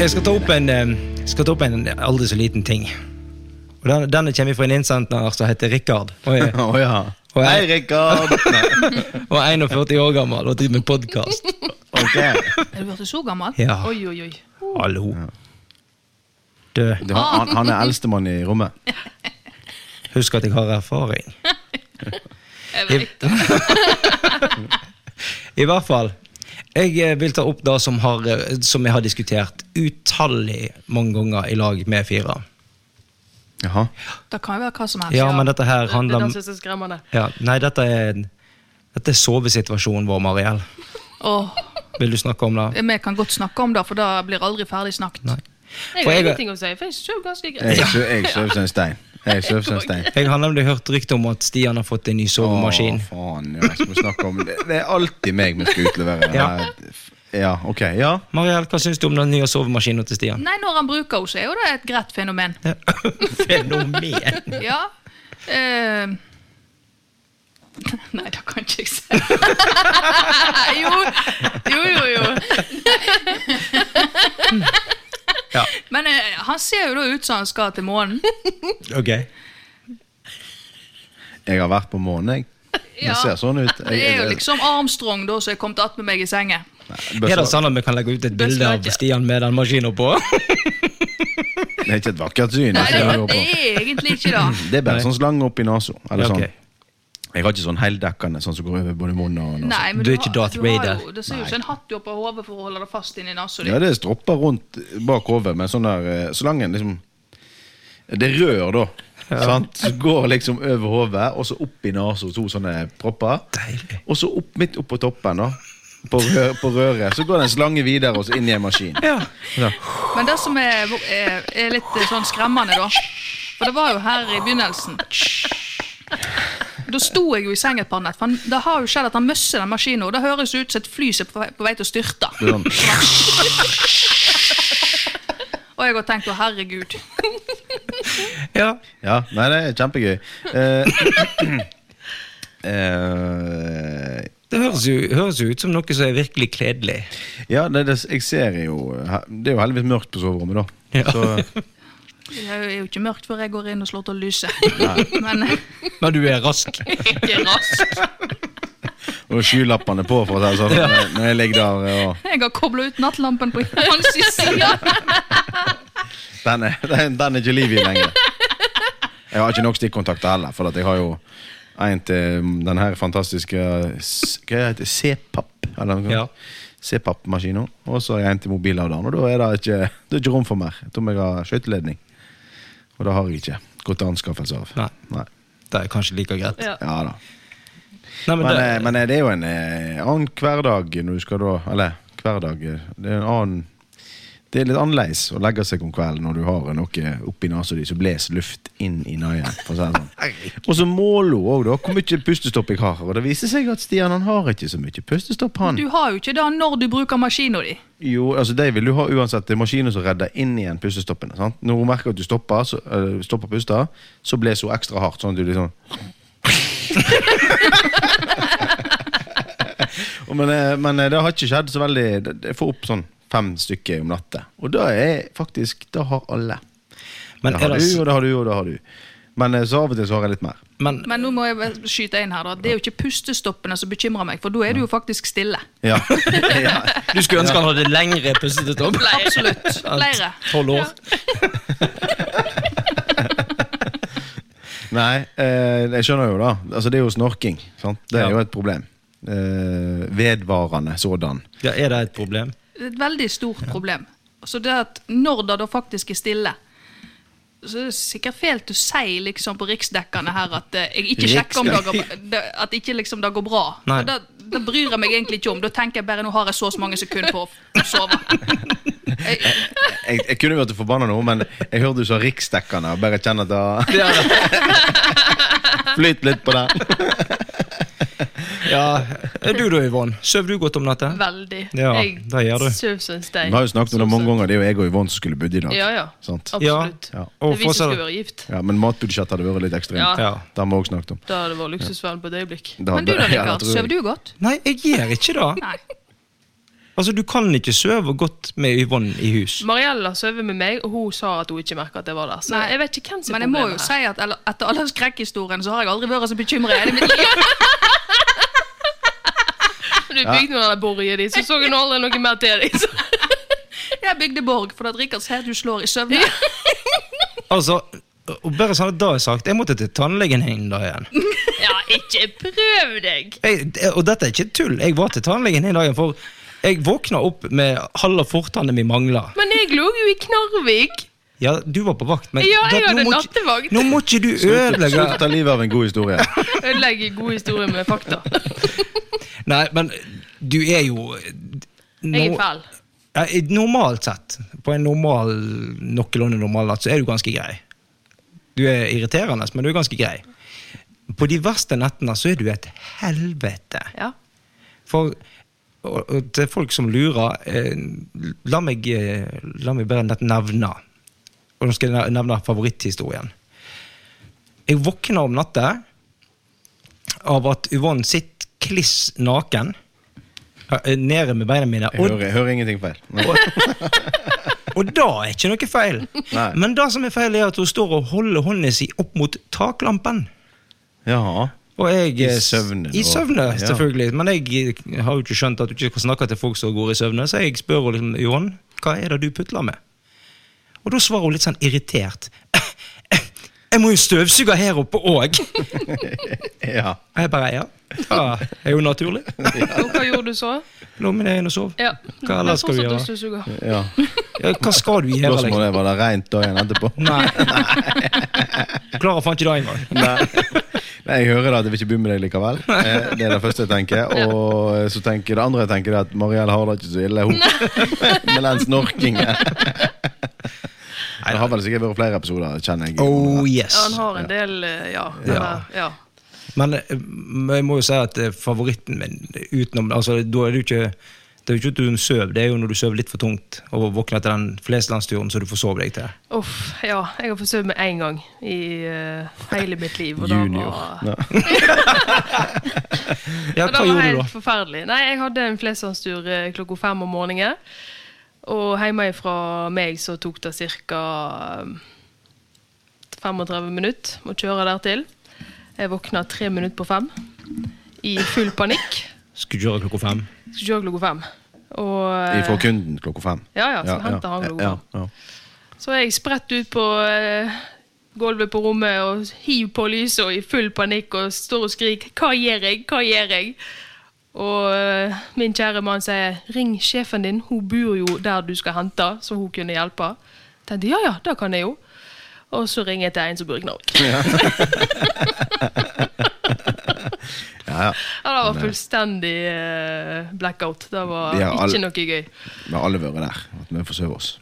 [SPEAKER 1] Jeg skal ta opp en, eh, skal ta opp en aldri så liten ting. Og den, Denne kommer fra en innsender som heter Rikard. Og er,
[SPEAKER 2] Å ja.
[SPEAKER 1] Og jeg-
[SPEAKER 2] Hei, Rikard!
[SPEAKER 1] [laughs]
[SPEAKER 2] Nei,
[SPEAKER 1] og er 41 år gammel og driver med podkast.
[SPEAKER 2] ok.
[SPEAKER 4] Er du blitt så gammel?
[SPEAKER 1] Ja,
[SPEAKER 3] Oi, oi, oi.
[SPEAKER 1] hallo. Du,
[SPEAKER 2] Du, Han, han er eldstemann i rommet.
[SPEAKER 1] husk at jeg har erfaring.
[SPEAKER 4] [laughs] Jeg vet det.
[SPEAKER 1] [laughs] I hvert fall. Jeg eh, vil ta opp det som, har, eh, som jeg har diskutert utallig mange ganger i lag med fire.
[SPEAKER 2] Jaha.
[SPEAKER 4] Det kan jo være hva som helst.
[SPEAKER 1] Ja, men dette her
[SPEAKER 3] Det er
[SPEAKER 1] handler
[SPEAKER 3] det
[SPEAKER 1] om
[SPEAKER 4] altså
[SPEAKER 3] som er så skremmende.
[SPEAKER 1] ja, Nei, dette er, dette er sovesituasjonen vår, Mariell.
[SPEAKER 4] Åh,
[SPEAKER 1] Vil du snakke om det?
[SPEAKER 4] Vi kan godt snakke om det, for da blir aldri ferdig snakket.
[SPEAKER 1] Nei.
[SPEAKER 3] Jeg
[SPEAKER 1] For
[SPEAKER 3] har
[SPEAKER 1] jeg-
[SPEAKER 3] ingenting å si, for jeg sover ganske
[SPEAKER 2] Jeg
[SPEAKER 3] greit.
[SPEAKER 2] sø- jeg sover som en stein. Jeg sover som en stein.
[SPEAKER 1] Jeg har nemlig hørt rykte om at Stian har fått en ny sovemaskin.
[SPEAKER 2] Å, faen, ja, jeg skal snakke om det. Det er alltid meg vi skal utlevere.
[SPEAKER 1] Ja.
[SPEAKER 2] ja, ok. Ja.
[SPEAKER 1] Mariell, hva syns du om den nye sovemaskinen til
[SPEAKER 4] [laughs]
[SPEAKER 1] Stian?
[SPEAKER 4] Nei, når han bruker henne, så er jo det et greit fenomen.
[SPEAKER 1] Ja. Fenomen!
[SPEAKER 4] Ja. Eh, [laughs] Nei, det kan ikke jeg si. [laughs] jo, jo, jo.
[SPEAKER 2] [laughs]
[SPEAKER 4] jo.
[SPEAKER 1] Ja.
[SPEAKER 4] Men eh, han ser jo da ut som han skal til månen.
[SPEAKER 1] Ok.
[SPEAKER 2] Jeg har vært på månen, jeg. Det
[SPEAKER 4] Ja.
[SPEAKER 2] ser sånn ut.
[SPEAKER 4] Det er jo liksom Armstrong da som er kommet attmed meg i sengen.
[SPEAKER 1] Er det sånn at vi kan legge ut et bilde av Stian med den maskinen på?
[SPEAKER 2] Det er ikke et vakkert syn.
[SPEAKER 4] Nei,
[SPEAKER 2] Det,
[SPEAKER 4] det
[SPEAKER 2] er jo
[SPEAKER 4] det
[SPEAKER 2] på.
[SPEAKER 4] er egentlig ikke
[SPEAKER 2] [laughs]
[SPEAKER 4] det.
[SPEAKER 2] det er bare sånn slange opp i nesa. Eller
[SPEAKER 1] Ok.
[SPEAKER 2] sånn. Jeg har ikke sånn heldekkende sånn som går over både munnen og nesa.
[SPEAKER 4] Nei, men
[SPEAKER 1] Du er
[SPEAKER 4] har-
[SPEAKER 1] ikke Darth
[SPEAKER 4] du har
[SPEAKER 1] Vader.
[SPEAKER 4] Jo, det ser jo ut som en hatt du har på hodet for å holde det fast inni nesa di.
[SPEAKER 2] Ja, det er stropper rundt bak hodet med sånn der eh, slangen liksom Det er rør, da. Sant? Så går liksom over hodet, og så opp i nesa, to sånne propper.
[SPEAKER 1] Deilig.
[SPEAKER 2] Og så opp midt oppå toppen, da. På, rø på røret. Så går det en slange videre, og så inn i en maskin.
[SPEAKER 1] Ja.
[SPEAKER 4] Men det som er, er, er litt eh, sånn skremmende, da For det var jo her i begynnelsen. Da sto jeg jo i sengen på Annette, for han, det har jo skjedd at han møsser den maskinen. Og det høres ut som et fly som er på vei, på vei til å styrte.
[SPEAKER 2] Det er sånn.
[SPEAKER 4] Og jeg har tenkt å herregud.
[SPEAKER 1] ja.
[SPEAKER 2] Ja, nei, det er kjempegøy. Eh, [clears throat] eh,
[SPEAKER 1] Det høres jo, høres jo ut som noe som er virkelig kledelig.
[SPEAKER 2] ja, det, det, jeg ser jo Det er jo heldigvis mørkt på soverommet, da.
[SPEAKER 1] Ja.
[SPEAKER 2] Så,
[SPEAKER 4] Det er jo- er jo ikke mørkt før jeg går inn og slår til lyset. Men eh,
[SPEAKER 1] Men du er rask.
[SPEAKER 4] ikke raskt.
[SPEAKER 2] og skylappene på, for å si det sånn. Når jeg- Når jeg ligger der og
[SPEAKER 4] Jeg har kobla ut nattlampen på hans side.
[SPEAKER 2] Den er, [laughs] den, den er ikke liv i
[SPEAKER 1] [laughs]
[SPEAKER 2] lenger. Jeg har ikke nok stikkontakter heller, for at jeg har jo en til mm, den her fantastiske s- Hva heter det? C-papp? Eller noe
[SPEAKER 1] Ja.
[SPEAKER 2] sånt. C-papp-maskinen. Og så har jeg en til mobilladeren, og da er det ikke, det er ikke rom for mer. Jeg tror jeg har skøyteledning. Og det har jeg ikke gått til anskaffelse av.
[SPEAKER 1] Nei. Det er kanskje like greit.
[SPEAKER 3] Ja.
[SPEAKER 2] Ja da.
[SPEAKER 1] Nei, men
[SPEAKER 2] Men, eh,
[SPEAKER 1] det,
[SPEAKER 2] men eh, det er jo en eh, annen hverdag når du skal da Eller hverdag eh, Det er en annen Det er litt annerledes å legge seg om kvelden når du har noe oppi nesa di som blåser luft inn i nøyen. For å si det
[SPEAKER 1] [laughs]
[SPEAKER 2] sånn. Og så måler hun òg, da, hvor mye pustestopp jeg har. Og det viser seg at Stian han har ikke så mye pustestopp, han.
[SPEAKER 4] Du har jo ikke det når du bruker maskina di.
[SPEAKER 2] Jo, altså det vil du ha uansett. Det er maskinen som redder inn igjen pustestoppene. sant? Når hun merker at du stopper, så, eller stopper pusta, så blåser hun ekstra hardt. Sånn at du liksom [laughs] Og men, eh, men eh, det har ikke skjedd så veldig det- det- Jeg får opp sånn fem stykker om natta. Og det er faktisk Det har alle.
[SPEAKER 1] men,
[SPEAKER 2] det
[SPEAKER 1] er
[SPEAKER 2] har
[SPEAKER 1] det,
[SPEAKER 2] du,
[SPEAKER 1] s-
[SPEAKER 2] og det har du, og det har du. Men eh, så av og til så har jeg litt mer.
[SPEAKER 1] men
[SPEAKER 4] Men nå må jeg bare skyte inn her da Det er jo ikke pustestoppene som bekymrer meg, for da er du jo faktisk stille.
[SPEAKER 2] Ja. [laughs] ja.
[SPEAKER 1] du skulle ønske han hadde lengre pustestopp?
[SPEAKER 4] Absolutt. Flere.
[SPEAKER 1] Tolv år?
[SPEAKER 2] Nei, eh, jeg skjønner jo da. Altså, det er jo snorking. Sant? Det er
[SPEAKER 1] Ja.
[SPEAKER 2] jo et problem. Eh, vedvarende sådan.
[SPEAKER 1] Ja, er det et problem?
[SPEAKER 4] Det er et veldig stort problem. Så det at når det da faktisk er stille så er det sikkert feil til å si liksom på riksdekkene her at eh, jeg ikke sjekker om det går, det- at ikke liksom det går bra.
[SPEAKER 1] Nei.
[SPEAKER 4] For Det, det bryr jeg meg egentlig ikke om. Da tenker jeg bare nå har jeg så og så mange sekunder på å
[SPEAKER 2] [laughs]
[SPEAKER 4] sove. Jeg,
[SPEAKER 2] Jeg, jeg kunne vært forbanna nå, men jeg hørte du sa riksdekkende. og Bare kjenner at det Flyt litt på den.
[SPEAKER 1] Ja. Er du da, Yvonne? Sover du godt om natta?
[SPEAKER 3] Veldig.
[SPEAKER 1] Ja, det gjør du.
[SPEAKER 3] jeg sover som en
[SPEAKER 2] Vi
[SPEAKER 3] stein.
[SPEAKER 2] har jo snakket om det mange ganger. Det er jo jeg og Yvonne som skulle budde i dag.
[SPEAKER 3] Ja, ja.
[SPEAKER 2] Sant?
[SPEAKER 3] Absolutt.
[SPEAKER 2] Ja.
[SPEAKER 1] Og
[SPEAKER 3] Det er vi som
[SPEAKER 1] fortsatt-
[SPEAKER 3] skulle være gift.
[SPEAKER 2] ja Men matbudsjettet hadde vært litt ekstremt.
[SPEAKER 1] Ja.
[SPEAKER 2] Det har vi òg snakket om.
[SPEAKER 3] Da hadde det vært luksusverden på et øyeblikk.
[SPEAKER 2] Det
[SPEAKER 4] men du da,
[SPEAKER 2] hadde- [laughs] ja, det
[SPEAKER 4] Rikard.
[SPEAKER 2] tror jeg.
[SPEAKER 4] Sover du godt?
[SPEAKER 1] Nei, jeg gjør ikke det.
[SPEAKER 4] Nei.
[SPEAKER 1] Altså, Du kan ikke sove godt med Yvonne i hus.
[SPEAKER 3] Mariella sover med meg, og hun sa at hun ikke merka at jeg var der. Så
[SPEAKER 4] Nei.
[SPEAKER 3] jeg vet ikke hvem som
[SPEAKER 4] Men
[SPEAKER 3] er
[SPEAKER 4] jeg må jo
[SPEAKER 3] problemet her.
[SPEAKER 4] si at eller, etter alle skrekkhistoriene så har jeg aldri vært så bekymra i hele mitt liv.
[SPEAKER 3] [laughs]
[SPEAKER 4] [laughs]
[SPEAKER 3] Du bygde noen av de borgene di, så så hun aldri noe mer til deg. så- [laughs]
[SPEAKER 4] Jeg bygde borg fordi at Rikard ser at du slår i søvne.
[SPEAKER 1] Altså, og bare sånn at da er sagt, jeg måtte til tannlegen inn da igjen.
[SPEAKER 3] Ja, ikke prøv deg!
[SPEAKER 1] Jeg, og dette er ikke tull, jeg var til tannlegen inn da igjen, for jeg våkna opp med halve fortannet min mangla.
[SPEAKER 3] Men jeg lå jo i Knarvik!
[SPEAKER 1] Ja, du var på vakt, men
[SPEAKER 3] Ja,
[SPEAKER 1] det-
[SPEAKER 3] jeg
[SPEAKER 1] nå
[SPEAKER 3] hadde
[SPEAKER 1] må ikke-
[SPEAKER 3] nattevakt.
[SPEAKER 1] Nå må ikke du ødelegge
[SPEAKER 2] Slutt av livet av en god historie.
[SPEAKER 3] Ødelegger gode historier med fakta.
[SPEAKER 1] Nei, men du er jo
[SPEAKER 3] [laughs] Jeg
[SPEAKER 1] no-
[SPEAKER 3] er fæl.
[SPEAKER 1] Ja, i- normalt sett, på en normal, noenlunde normal natt, så er du ganske grei. Du er irriterende, men du er ganske grei. På de verste nettene så er du et helvete.
[SPEAKER 3] Ja.
[SPEAKER 1] For og, og til folk som lurer, eh, la meg, eh, la meg bare nett nevne Og nå skal jeg ne- nevne favoritthistorien. Jeg våkner om natta av at Yvonne sitter kliss naken eh, nede med beina mine.
[SPEAKER 2] Jeg
[SPEAKER 1] og
[SPEAKER 2] hører, jeg hører ingenting feil. Nei.
[SPEAKER 1] og da er ikke noe feil.
[SPEAKER 2] Nei.
[SPEAKER 1] Men det som er feil, er at hun står og holder hånda si opp mot taklampen.
[SPEAKER 2] Jaha.
[SPEAKER 1] Og jeg,
[SPEAKER 2] I søvne,
[SPEAKER 1] I
[SPEAKER 2] og-
[SPEAKER 1] søvne,
[SPEAKER 2] ja.
[SPEAKER 1] selvfølgelig. Men jeg eh, har jo ikke skjønt at du ikke skal snakke til folk som går i søvne, så jeg spør henne liksom, Johan, hva er det du putler med? Og da svarer hun litt sånn irritert. Jeg må jo støvsuge her oppe òg!
[SPEAKER 2] Ja.
[SPEAKER 1] Og jeg bare ja, det er jo naturlig.
[SPEAKER 3] Og hva gjorde du så?
[SPEAKER 1] Lå med deg inn og sov.
[SPEAKER 3] Ja.
[SPEAKER 1] Hva ellers skal du gjøre?
[SPEAKER 3] Jeg sånn fortsatt dusjsuger.
[SPEAKER 2] ja.
[SPEAKER 1] Ja, Hva skal du gjøre, liksom?
[SPEAKER 2] Spørsmålet er var det rent dagen etterpå.
[SPEAKER 1] Nei. Klarer faen ikke det engang.
[SPEAKER 2] Nei. [laughs] Nei, jeg hører det at jeg vil ikke bo med deg likevel. Eh, Det er det første jeg tenker. Og så tenker det andre jeg tenker det at Marielle har det ikke så ille, hun. [laughs] Med den snorkingen.
[SPEAKER 3] [laughs]
[SPEAKER 2] Det har vel sikkert vært flere episoder, kjenner jeg.
[SPEAKER 1] Oh yes.
[SPEAKER 3] Ja, han har en del eh, Ja. eller- ja.
[SPEAKER 1] Men eh, men jeg må jo si at eh, favoritten min utenom altså, Da er det jo ikke det er jo ikke at du sover, det er jo når du sover litt for tungt og våkner etter den fleslandsturen så du får sove deg til.
[SPEAKER 3] Uff, ja. Jeg har forsøkt meg én gang i eh, hele mitt liv. Og da
[SPEAKER 2] Junior.
[SPEAKER 3] var
[SPEAKER 2] Ja.
[SPEAKER 1] Ja, hva
[SPEAKER 3] Og det var
[SPEAKER 1] gjorde du
[SPEAKER 3] helt
[SPEAKER 1] da?
[SPEAKER 3] forferdelig. Nei, Jeg hadde en fleslandstur eh, klokka fem om morgenen. Og hjemmefra meg så tok det ca. 35 minutter å kjøre dertil. Jeg våkna tre minutter på fem i full panikk.
[SPEAKER 1] Skulle kjøre klokka fem.
[SPEAKER 3] Skulle kjøre klokka fem. Og, eh,
[SPEAKER 2] Fra kunden klokka fem.
[SPEAKER 3] Ja, ja, som henter han klokka
[SPEAKER 2] ja,
[SPEAKER 3] fem.
[SPEAKER 2] ja.
[SPEAKER 3] Så er jeg spredt ut på eh, gulvet på rommet og hiver på lyset og i full panikk og står og skriker 'Hva gjør jeg? Hva gjør jeg?' Og eh, min kjære mann sier 'Ring sjefen din, hun bor jo der du skal hente', så hun kunne hjelpe. Jeg tenkte 'Ja ja, det kan jeg jo'. Og så ringer jeg til en som bor i Knarvik. [laughs]
[SPEAKER 2] Ja, ja.
[SPEAKER 3] Ja, det var fullstendig eh, blackout. Det var
[SPEAKER 2] Vi har all-
[SPEAKER 3] ikke noe gøy.
[SPEAKER 2] Vi har alle vært der. At vi forsøver oss.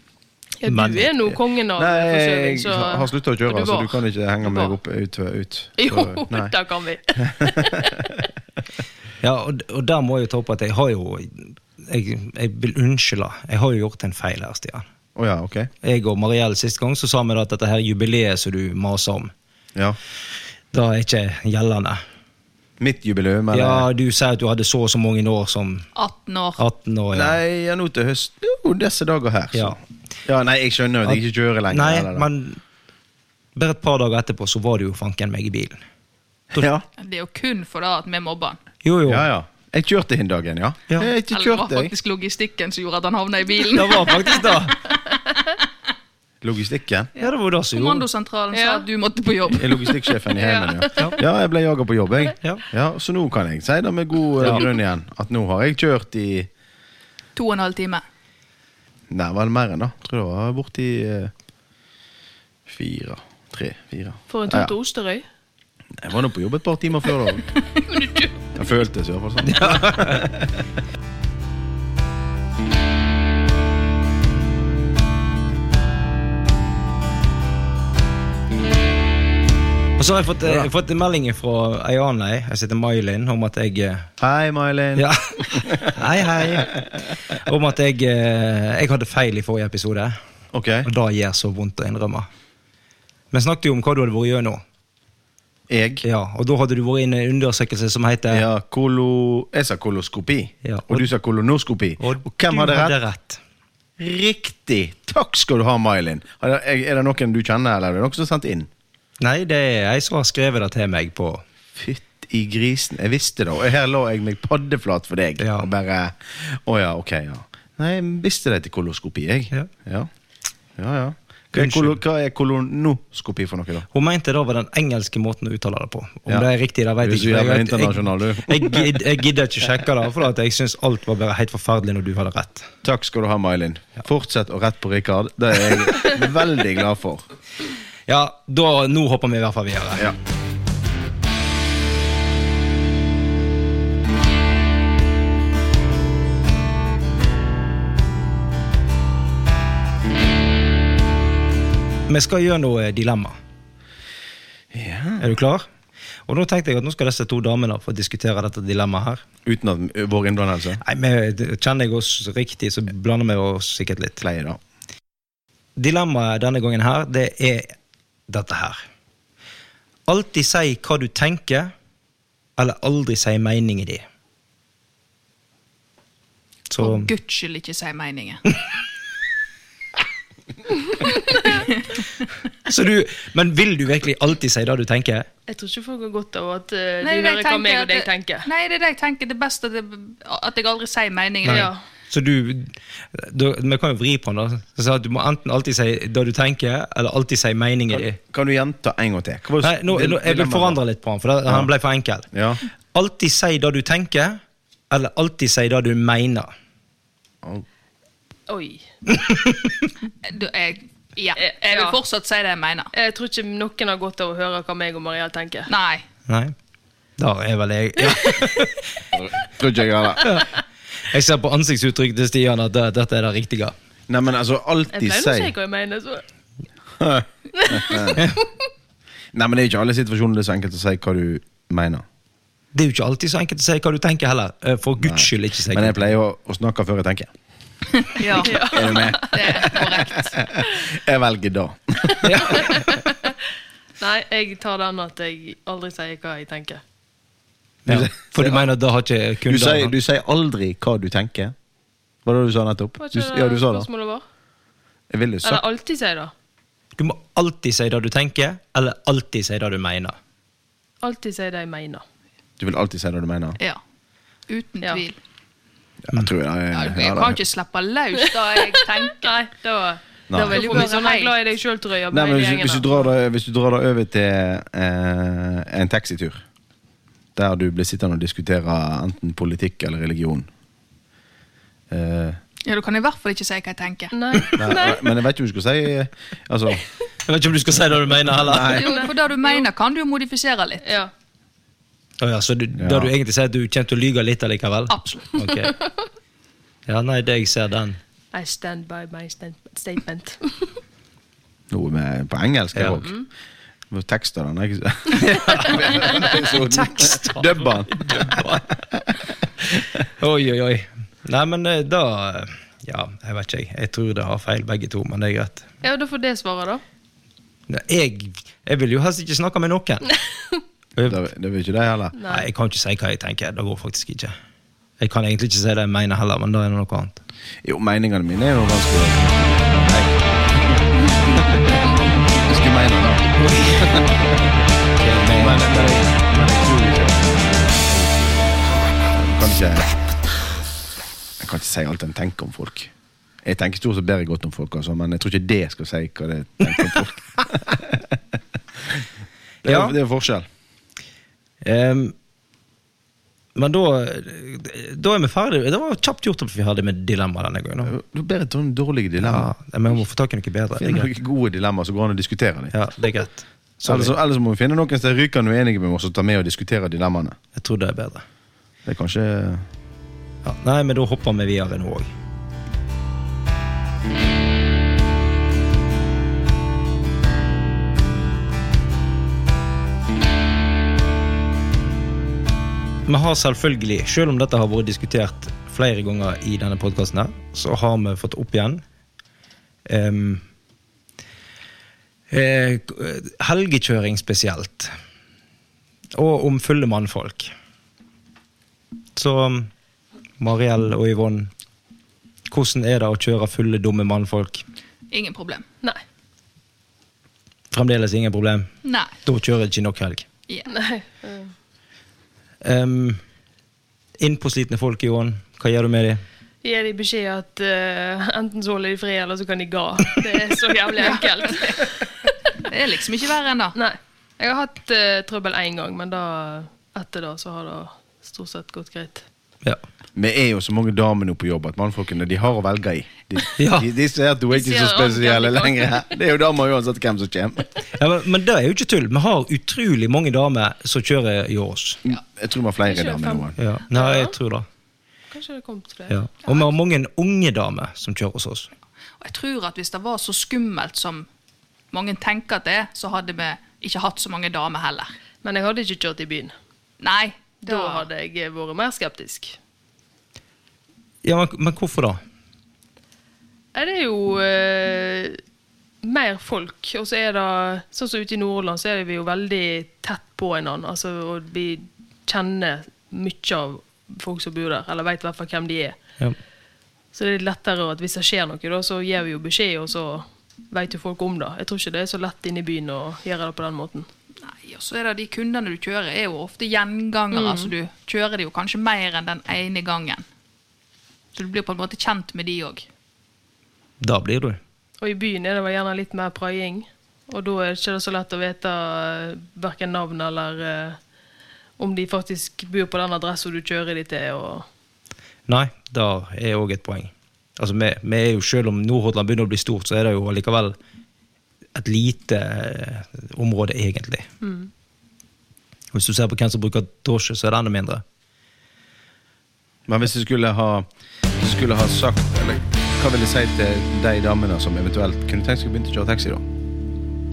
[SPEAKER 3] Ja,
[SPEAKER 1] Men-
[SPEAKER 3] du er nå kongen av
[SPEAKER 2] Nei, jeg
[SPEAKER 3] forsøving, så
[SPEAKER 2] har slutta å
[SPEAKER 3] og
[SPEAKER 2] kjøre, så
[SPEAKER 3] var.
[SPEAKER 2] du kan ikke henge
[SPEAKER 3] Du
[SPEAKER 2] meg
[SPEAKER 3] var.
[SPEAKER 2] opp ut. ut.
[SPEAKER 3] [laughs] Jo,
[SPEAKER 2] Så, nei.
[SPEAKER 3] det kan vi.
[SPEAKER 1] Ja, og, og der må jeg jo ta opp at jeg har jo Jeg, jeg vil unnskylde. Jeg har jo gjort en feil her, Stian.
[SPEAKER 2] Å ja, ok.
[SPEAKER 1] Jeg og Mariell sist gang så sa vi da at dette her jubileet som du maser om,
[SPEAKER 2] Ja.
[SPEAKER 1] det er ikke gjeldende.
[SPEAKER 2] Mitt jubileum, eller?
[SPEAKER 1] Ja, du sier at du hadde så og så mange år som
[SPEAKER 4] 18 år.
[SPEAKER 1] 18 år. Ja.
[SPEAKER 2] Nei, ja, nå til høst. Jo, disse dager her. Så.
[SPEAKER 1] Ja.
[SPEAKER 2] Ja. nei, jeg skjønner at jeg ikke kjører lenger.
[SPEAKER 1] Nei,
[SPEAKER 2] eller da.
[SPEAKER 1] men bare et par dager etterpå så var det jo fanken meg i bilen.
[SPEAKER 2] ja.
[SPEAKER 4] Det er jo kun for da at vi mobber han.
[SPEAKER 1] Jo, jo.
[SPEAKER 2] ja, ja. Jeg kjørte den dagen, ja.
[SPEAKER 1] Ja.
[SPEAKER 2] Jeg har ikke
[SPEAKER 4] Eller det var
[SPEAKER 2] kjørt deg.
[SPEAKER 4] faktisk logistikken som gjorde at han havna i bilen.
[SPEAKER 1] Det var faktisk det.
[SPEAKER 2] Logistikken.
[SPEAKER 1] Ja, det var jo det som gjorde
[SPEAKER 4] Kommandosentralen
[SPEAKER 3] Ja.
[SPEAKER 4] sa at du måtte på jobb.
[SPEAKER 2] Jeg er logistikksjefen i heimen, ja.
[SPEAKER 1] Ja.
[SPEAKER 2] Ja, jeg ble jaga på jobb, jeg.
[SPEAKER 1] Ja.
[SPEAKER 2] Ja, så nå kan jeg si det med god eh,
[SPEAKER 1] Ja.
[SPEAKER 2] grunn igjen, at nå har jeg kjørt i
[SPEAKER 4] To og en halv time.
[SPEAKER 2] Nei, var det mer enn da? Tror det var borti eh, fire. Tre, fire.
[SPEAKER 3] For en
[SPEAKER 2] Ja, ja.
[SPEAKER 3] tur til Osterøy.
[SPEAKER 2] Jeg var nå på jobb et par timer før,
[SPEAKER 4] [laughs]
[SPEAKER 2] da. Det føltes i hvert fall sånn.
[SPEAKER 1] Og så har jeg fått, eh, fått en melding fra ei annen ei, jeg heter May-Linn, om at jeg eh,
[SPEAKER 2] Hei, Mylin.
[SPEAKER 1] Ja.
[SPEAKER 2] [laughs]
[SPEAKER 1] Hei, hei. Om at jeg, eh, jeg hadde feil i forrige episode,
[SPEAKER 2] Ok.
[SPEAKER 1] og det gjør så vondt å innrømme. Vi snakket jo om hva du hadde vært gjennom,
[SPEAKER 2] Jeg.
[SPEAKER 1] ja, og da hadde du vært inne i en undersøkelse som heter
[SPEAKER 2] Ja, kolo... Jeg sa koloskopi,
[SPEAKER 1] Ja,
[SPEAKER 2] og,
[SPEAKER 1] og-
[SPEAKER 2] du sa kolonoskopi. Og, hvem hadde rett?
[SPEAKER 1] rett?
[SPEAKER 2] Riktig! Takk skal du ha, Mylin. Er det- Er det noen du kjenner, eller er det noen som har sendt inn?
[SPEAKER 1] Nei, det er jeg som har skrevet det til meg på
[SPEAKER 2] Fytt i grisen. Jeg visste det, og her lå jeg meg paddeflat for deg.
[SPEAKER 1] Ja.
[SPEAKER 2] Og bare Å ja, ok, ja. Nei, jeg visste det til koloskopi, jeg.
[SPEAKER 1] Ja.
[SPEAKER 2] ja. ja, ja. Hva, er kolo, hva er kolonoskopi for noe, da?
[SPEAKER 1] Hun mente det var den engelske måten å uttale det på. Om
[SPEAKER 2] Ja.
[SPEAKER 1] det er riktig, det vet
[SPEAKER 2] Du er
[SPEAKER 1] jeg
[SPEAKER 2] så
[SPEAKER 1] ikke.
[SPEAKER 2] jævla
[SPEAKER 1] Jeg, vet-
[SPEAKER 2] internasjonal, du.
[SPEAKER 1] jeg, jeg, gidd- jeg gidder ikke sjekke det, for at jeg syns alt var bare helt forferdelig når du hadde rett.
[SPEAKER 2] Takk skal du ha, Mylin. Fortsett å rette på Rikard. Det er jeg veldig
[SPEAKER 1] [laughs]
[SPEAKER 2] glad for.
[SPEAKER 1] Ja, da, Nå hopper vi i hvert fall videre.
[SPEAKER 2] Ja.
[SPEAKER 1] Vi skal gjøre noe dilemma.
[SPEAKER 2] Ja.
[SPEAKER 1] Er du klar? Og nå tenkte jeg at nå skal disse to damene få diskutere dette dilemmaet her.
[SPEAKER 2] Uten at ø, vår innblandelse
[SPEAKER 1] Nei, men eh, Kjenner jeg oss riktig, så blander vi oss sikkert litt.
[SPEAKER 2] pleier, da.
[SPEAKER 1] Dilemmaet denne gangen her, det er dette her. Alltid si hva du tenker, eller aldri si meningen din. Så
[SPEAKER 4] For guds skyld ikke si meningen.
[SPEAKER 1] Så du, men vil du virkelig alltid si det du tenker?
[SPEAKER 3] Jeg tror ikke folk har godt av at eh,
[SPEAKER 4] Nei,
[SPEAKER 3] de
[SPEAKER 4] det er
[SPEAKER 3] hører
[SPEAKER 4] det jeg
[SPEAKER 3] hva meg
[SPEAKER 4] at
[SPEAKER 3] og deg
[SPEAKER 4] det-
[SPEAKER 3] tenker.
[SPEAKER 4] Nei, det er det jeg tenker. Det er best at, det, at jeg aldri sier meningen.
[SPEAKER 1] Nei.
[SPEAKER 4] Ja.
[SPEAKER 1] Så du, du Vi kan jo vri på den. da. Så at Du må enten alltid si det du tenker, eller alltid si meningen din.
[SPEAKER 2] Kan du gjenta en gang til? Hva var det-
[SPEAKER 1] Nei, nå, nå, jeg vil
[SPEAKER 2] dilemmaet
[SPEAKER 1] forandre litt på han, for da, han ble for enkel.
[SPEAKER 2] var? Ja.
[SPEAKER 1] Alltid si det du tenker, eller alltid si det du mener.
[SPEAKER 3] Oi.
[SPEAKER 4] Du, jeg, ja.
[SPEAKER 3] Eh,
[SPEAKER 4] jeg vil
[SPEAKER 3] ja.
[SPEAKER 4] fortsatt si det jeg mener.
[SPEAKER 3] Jeg tror ikke noen har godt av å høre hva meg og Marielle tenker.
[SPEAKER 4] Nei.
[SPEAKER 1] Nei. Da er vel jeg
[SPEAKER 2] [laughs]
[SPEAKER 1] ja.
[SPEAKER 2] Tror ikke jeg heller.
[SPEAKER 1] Jeg ser på ansiktsuttrykket til Stian at det, dette er det riktige.
[SPEAKER 2] Nei, men altså,
[SPEAKER 3] Jeg
[SPEAKER 2] alltid
[SPEAKER 3] pleier nå å si
[SPEAKER 2] si
[SPEAKER 3] hva jeg mener. Så.
[SPEAKER 2] Nei, men det er ikke alle situasjoner det er så enkelt å si hva du mener.
[SPEAKER 1] Det er jo ikke alltid så enkelt å si hva du tenker heller. Eh, For guds skyld, ikke si
[SPEAKER 2] Men jeg pleier å, å snakke før jeg
[SPEAKER 3] [laughs]
[SPEAKER 2] tenker.
[SPEAKER 4] [laughs] Ja.
[SPEAKER 2] [laughs] Er du med?
[SPEAKER 4] Det er korrekt.
[SPEAKER 2] Jeg velger da.
[SPEAKER 3] Nei, jeg tar den at jeg aldri sier hva jeg tenker.
[SPEAKER 1] Ja, for du mener at da har ikke
[SPEAKER 2] Du
[SPEAKER 1] kundene
[SPEAKER 2] sier, du sier aldri hva du tenker. Hva var det du sa nettopp?
[SPEAKER 3] Var
[SPEAKER 2] Du,
[SPEAKER 3] ikke
[SPEAKER 2] ja, du sa det.
[SPEAKER 3] spørsmålet vår?
[SPEAKER 2] Jeg ville sagt
[SPEAKER 3] Eller alltid sier det.
[SPEAKER 1] Du må alltid si det du tenker, eller alltid si det du mener.
[SPEAKER 3] Alltid sier det jeg mener.
[SPEAKER 2] Du vil alltid si det du mener.
[SPEAKER 4] Ja. Uten
[SPEAKER 3] Ja.
[SPEAKER 4] tvil.
[SPEAKER 2] Jeg tror jeg,
[SPEAKER 4] Ja,
[SPEAKER 2] jeg,
[SPEAKER 4] Jeg kan ikke slippe løs da jeg tenker.
[SPEAKER 3] Nei, da
[SPEAKER 2] Nei.
[SPEAKER 3] da vil
[SPEAKER 4] Du
[SPEAKER 3] du
[SPEAKER 4] får
[SPEAKER 3] bli
[SPEAKER 4] være
[SPEAKER 3] sånn «Jeg er
[SPEAKER 4] helt-
[SPEAKER 3] glad i deg sjøl-trøya.
[SPEAKER 2] Nei, men hvis, du- hvis, du drar det, hvis du drar det over til eh, en taxitur, der du blir sittende og diskutere enten politikk eller religion eh,
[SPEAKER 4] Ja, Du kan i hvert fall ikke si hva jeg tenker.
[SPEAKER 3] Nei.
[SPEAKER 2] [laughs] nei, Men jeg vet ikke hva du skal si. eh, Altså,
[SPEAKER 1] Jeg vet ikke om du skal si det du mener heller.
[SPEAKER 2] Nei.
[SPEAKER 4] Jo, For det du mener, kan du jo modifisere litt.
[SPEAKER 3] Ja.
[SPEAKER 1] Å ja, så du, da du egentlig sier at du kommer til å lyge litt allikevel?
[SPEAKER 4] Absolutt.
[SPEAKER 1] Ok. Ja, nei, det jeg ser den.
[SPEAKER 3] I stand by my stand statement.
[SPEAKER 2] noe med, på engelsk
[SPEAKER 1] Ja.
[SPEAKER 2] her òg. Tekster den, [laughs] ikke Tekst! Dubber den.
[SPEAKER 1] Oi, oi, oi. Nei, men eh, da Ja, jeg vet ikke, jeg. Jeg tror det har feil begge to, men det er greit.
[SPEAKER 3] Ja, da får det svaret, da.
[SPEAKER 1] Nei, Jeg, jeg vil jo helst ikke snakke
[SPEAKER 2] [laughs]
[SPEAKER 1] med noen.
[SPEAKER 2] Det, det vil ikke det heller.
[SPEAKER 1] Nei, jeg kan ikke si hva jeg tenker. Det går faktisk ikke. Jeg kan egentlig ikke si det jeg mener heller, men da er det noe annet.
[SPEAKER 2] Jo, meningene mine er jo ganske Nei. Jeg skulle mene det. Men, men, men jeg tror ikke Jeg kan ikke Jeg kan ikke si alt en tenker om folk. Jeg tenker stort sett bedre godt om folk, altså, men jeg tror ikke det skal si hva det tenker om [laughs] folk. Det er,
[SPEAKER 1] Ja.
[SPEAKER 2] det er forskjell.
[SPEAKER 1] Ehm, men da, da er vi ferdige. Det var kjapt gjort at vi hadde med dilemma denne gangen. da.
[SPEAKER 2] Du bedre ta noen dårlige
[SPEAKER 1] Ja,
[SPEAKER 2] dilemmaer.
[SPEAKER 1] men vi må få tak i noe bedre. Det er
[SPEAKER 2] Finn
[SPEAKER 1] greit.
[SPEAKER 2] noen gode dilemmaer som går an å diskutere. Litt.
[SPEAKER 1] Ja, det er greit. Sorry.
[SPEAKER 2] Ellers, ellers må vi finne noen som er rykende uenige med oss og ta med og diskutere dilemmaene.
[SPEAKER 1] Jeg tror det er bedre.
[SPEAKER 2] Det er kanskje
[SPEAKER 1] Ja, nei, men da hopper vi videre nå òg. Vi har selvfølgelig, selv om dette har vært diskutert flere ganger i denne podkasten, så har vi fått opp igjen em, eh, helgekjøring spesielt. Og om fulle mannfolk. Så Mariell og Yvonne, hvordan er det å kjøre fulle, dumme mannfolk?
[SPEAKER 4] Ingen problem.
[SPEAKER 3] Nei.
[SPEAKER 1] Fremdeles ingen problem.
[SPEAKER 4] Nei.
[SPEAKER 1] Da kjører det ikke nok helg.
[SPEAKER 4] Ja.
[SPEAKER 3] Nei.
[SPEAKER 1] Um, innpåslitne folk, Yvonne. Hva gjør du med dem?
[SPEAKER 3] Gi de beskjed at eh, enten så holder de fred, eller så kan de ga. Det er så jævlig enkelt. [laughs]
[SPEAKER 4] Det er liksom ikke verre enn det.
[SPEAKER 3] Nei. Jeg har hatt eh, trøbbel én gang, men da, etter det så har det stort sett gått greit.
[SPEAKER 1] Ja.
[SPEAKER 2] Vi er jo så mange damer nå på jobb at mannfolkene de har å velge i. [laughs] De,
[SPEAKER 1] Ja.
[SPEAKER 2] de, de ser at du er ikke
[SPEAKER 3] De
[SPEAKER 2] så
[SPEAKER 3] ser alt
[SPEAKER 2] spesiell
[SPEAKER 3] jævlig godt.
[SPEAKER 2] lenger.
[SPEAKER 3] [laughs]
[SPEAKER 2] Det er jo damer uansett hvem som kommer.
[SPEAKER 1] Ja, men, men det er jo ikke tull. Vi har utrolig mange damer som kjører i oss.
[SPEAKER 2] Jeg tror vi har flere
[SPEAKER 3] Ikke
[SPEAKER 2] damer nå.
[SPEAKER 1] Ja. Nei, jeg tror det.
[SPEAKER 3] Kanskje det har kommet flere.
[SPEAKER 1] Ja. Og vi har mange unge damer som kjører hos oss.
[SPEAKER 4] Og jeg tror at hvis det var så skummelt som mange tenker at det er, så hadde vi ikke hatt så mange damer heller.
[SPEAKER 3] Men jeg hadde ikke kjørt i byen.
[SPEAKER 4] Nei,
[SPEAKER 3] Da
[SPEAKER 4] da
[SPEAKER 3] hadde jeg eh, vært mer skeptisk.
[SPEAKER 1] Ja, men, men hvorfor da?
[SPEAKER 3] Nei, det er jo eh, mer folk. Og så er det, sånn som ute i Nordland, så er vi jo veldig tett på hverandre. Altså, og vi kjenner mye av folk som bor der, eller veit i hvert fall hvem de er.
[SPEAKER 1] Ja.
[SPEAKER 3] Så det er litt lettere at hvis det skjer noe, da, så gir vi jo beskjed, og så veit jo folk om det. Jeg tror ikke det er så lett inne i byen å gjøre det på den måten.
[SPEAKER 4] Nei, og så er det de kundene du kjører, er jo ofte
[SPEAKER 3] Mm.
[SPEAKER 4] gjengangere. Altså du kjører de jo kanskje mer enn den ene gangen. Så du blir på en måte kjent med de òg.
[SPEAKER 1] Da blir du.
[SPEAKER 3] Og i byen er det vel gjerne litt mer praiing, og da er det ikke så lett å vite eh, hverken navn eller eh, om de faktisk bor på den adressen du kjører de til. og...
[SPEAKER 1] Nei, da er òg et poeng. Altså, vi, vi er jo, Selv om Nordhordland begynner å bli stort, så er det jo allikevel et lite eh, område, egentlig. Og Hvis du ser på hvem som bruker drosje, så er det enda mindre.
[SPEAKER 2] Men hvis jeg skulle ha, hvis jeg skulle ha sagt Eller hva vil jeg si til de damene som eventuelt kunne tenkt seg å begynne å kjøre taxi, da?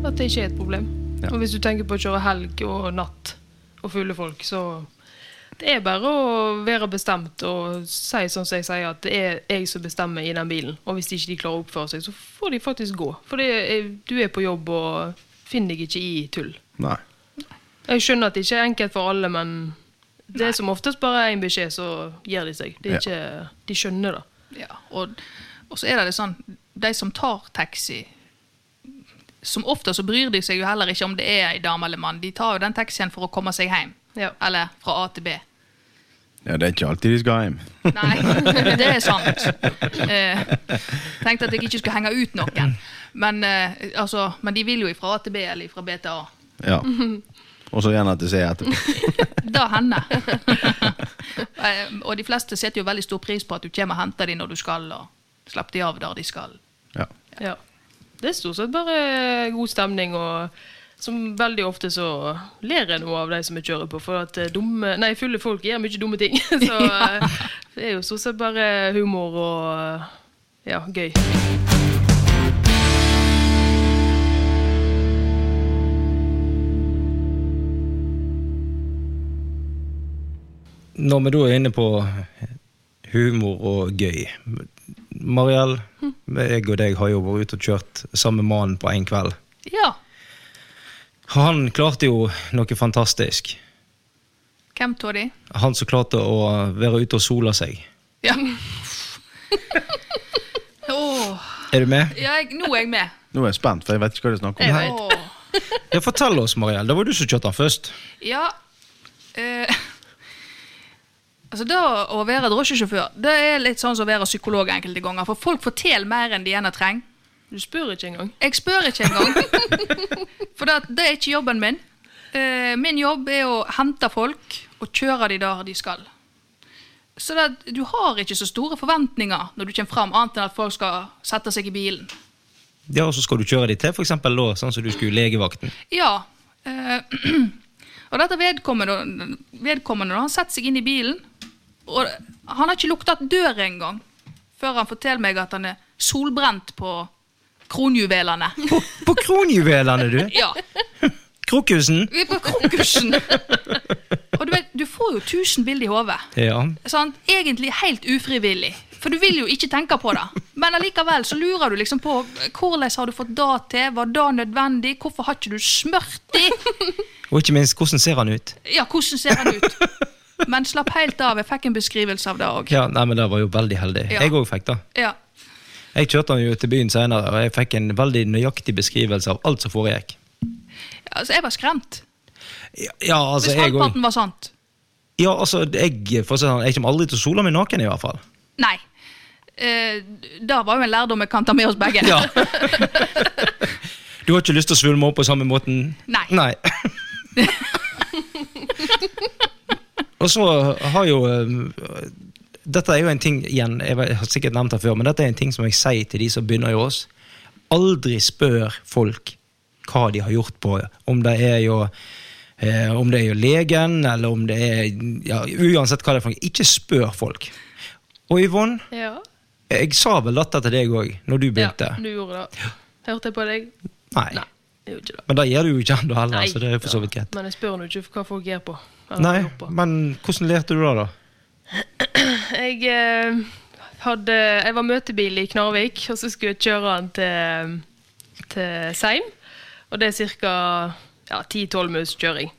[SPEAKER 3] At det ikke er et problem.
[SPEAKER 2] Ja.
[SPEAKER 3] Og hvis du tenker på å kjøre helg og natt og fulle folk, så Det er bare å være bestemt og si sånn som jeg sier, at det er jeg som bestemmer i den bilen. Og hvis ikke de klarer å oppføre seg, så får de faktisk gå. For det er, du er på jobb og finner deg ikke i tull.
[SPEAKER 2] Nei.
[SPEAKER 3] Jeg skjønner at det ikke er enkelt for alle, men det er som oftest bare én beskjed, så gir de seg. Det er ikke, de skjønner det.
[SPEAKER 4] Ja, og, og så er det litt sånn De som tar taxi Som ofte så bryr de seg jo heller ikke om det er ei dame eller mann. De tar jo den taxien for å komme seg hjem.
[SPEAKER 3] Ja.
[SPEAKER 4] Eller fra A til B.
[SPEAKER 2] Ja, det er ikke alltid de skal hjem.
[SPEAKER 4] Nei, [laughs] det er sant. Eh, tenkte at jeg ikke skulle henge ut noen. Men, eh, altså, men de vil jo fra A til B eller fra B til A.
[SPEAKER 2] Ja. Og så gjerne at de sier etterpå.
[SPEAKER 4] Det hender. [laughs] Eh, og de fleste setter jo veldig stor pris på at du kommer og henter dem når du skal, og slipper de av der de skal.
[SPEAKER 2] Ja.
[SPEAKER 3] Ja. Det er stort sett bare god stemning, og som veldig ofte så ler jeg noe av de som jeg kjører på, for at eh, dumme, nei, fulle folk gjør mye dumme ting. [laughs] Så eh, det er jo stort sett bare humor og eh, ja, gøy.
[SPEAKER 1] Når vi da er inne på humor og gøy Mariell, jeg og deg har jo vært ute og kjørt samme mann på én kveld.
[SPEAKER 4] Ja,
[SPEAKER 1] Han klarte jo noe fantastisk.
[SPEAKER 4] hvem av de?
[SPEAKER 1] Han som klarte å være ute og sola seg.
[SPEAKER 4] Ja. Åh,
[SPEAKER 1] Er du med?
[SPEAKER 4] ja, jeg, nå er jeg med.
[SPEAKER 2] Nå er jeg spent, for jeg vet ikke hva de snakker om.
[SPEAKER 1] Nei.
[SPEAKER 4] Åh.
[SPEAKER 1] Ja, Fortell oss, Mariell. Det var du som kjørte han først.
[SPEAKER 4] Ja eh, [laughs] Altså Det å være drosjesjåfør Det er litt sånn som å være psykolog enkelte ganger. For folk forteller mer enn de gjerne trenger.
[SPEAKER 3] Du spør ikke engang.
[SPEAKER 4] Jeg spør ikke engang. [laughs] For det, det er ikke jobben min. Eh, min jobb er å hente folk og kjøre de der de skal. Så det, du har ikke så store forventninger når du kommer fram, annet enn at folk skal sette seg i bilen.
[SPEAKER 1] Ja, og så skal du kjøre de til, for eksempel, da, sånn som du skulle i legevakten.
[SPEAKER 4] Ja. eh, [clears throat] og dette vedkommende, vedkommende han setter seg inn i bilen, og han har ikke lukta dør engang før han forteller meg at han er solbrent på kronjuvelene.
[SPEAKER 1] På, på kronjuvelene, du!
[SPEAKER 4] Ja.
[SPEAKER 1] Krokusen!
[SPEAKER 4] Vi er på konkursen. Og du vet, du får jo 1000 bilder i hodet.
[SPEAKER 1] Ja.
[SPEAKER 4] Sant? Egentlig helt ufrivillig. For du vil jo ikke tenke på det. Men allikevel så lurer du liksom på hvordan har du fått det til, var det nødvendig, hvorfor har ikke du smurt de?
[SPEAKER 1] Og ikke minst, hvordan ser han ut?
[SPEAKER 4] Ja, hvordan ser han ut? Men slapp helt av, jeg fikk en beskrivelse av det òg.
[SPEAKER 1] Ja, nei, men Det var jo veldig heldig.
[SPEAKER 4] Ja.
[SPEAKER 1] Jeg òg fikk det.
[SPEAKER 4] Ja.
[SPEAKER 1] Jeg kjørte han jo til byen senere, og jeg fikk en veldig nøyaktig beskrivelse av alt som foregikk.
[SPEAKER 4] Altså, jeg var skremt.
[SPEAKER 1] Ja, Ja, altså,
[SPEAKER 4] Hvis
[SPEAKER 1] jeg òg.
[SPEAKER 4] halvparten var sant.
[SPEAKER 1] Ja, altså, jeg, for å si det sånn, jeg kommer aldri til å sole meg naken, i hvert fall.
[SPEAKER 4] Nei. Eh, det var jo en lærdom jeg kan ta med oss begge.
[SPEAKER 1] Ja. Du har ikke lyst til å svulme opp på samme måten?
[SPEAKER 4] Nei.
[SPEAKER 1] Nei. Og så har jo um, Dette er jo en ting igjen, jeg vet- jeg har sikkert nevnt det før, men dette er en ting som jeg sier til de som begynner i oss. Aldri spør folk hva de har gjort på, om det er jo eh, om det er jo legen, eller om det er ja, Uansett hva det er. for noe. Ikke spør folk. Og Yvonne,
[SPEAKER 3] Ja.
[SPEAKER 1] jeg sa vel dette til deg òg, når du begynte.
[SPEAKER 3] du gjorde det. Hørte jeg på deg?
[SPEAKER 1] Nei.
[SPEAKER 3] Nei, det er jo ikke det.
[SPEAKER 1] Men da gir du jo ikke han da heller,
[SPEAKER 3] Nei.
[SPEAKER 1] så det er for så vidt greit.
[SPEAKER 3] Men jeg spør nå ikke hva folk gjør på. eller
[SPEAKER 1] Nei,
[SPEAKER 3] gjør på.
[SPEAKER 1] men hvordan lærte du det, da?
[SPEAKER 3] Jeg, eh, hadde, jeg var møtebil i Knarvik, og så skulle jeg kjøre han til, til Seim. Og det er ca. Ja, 10-12 minutts kjøring.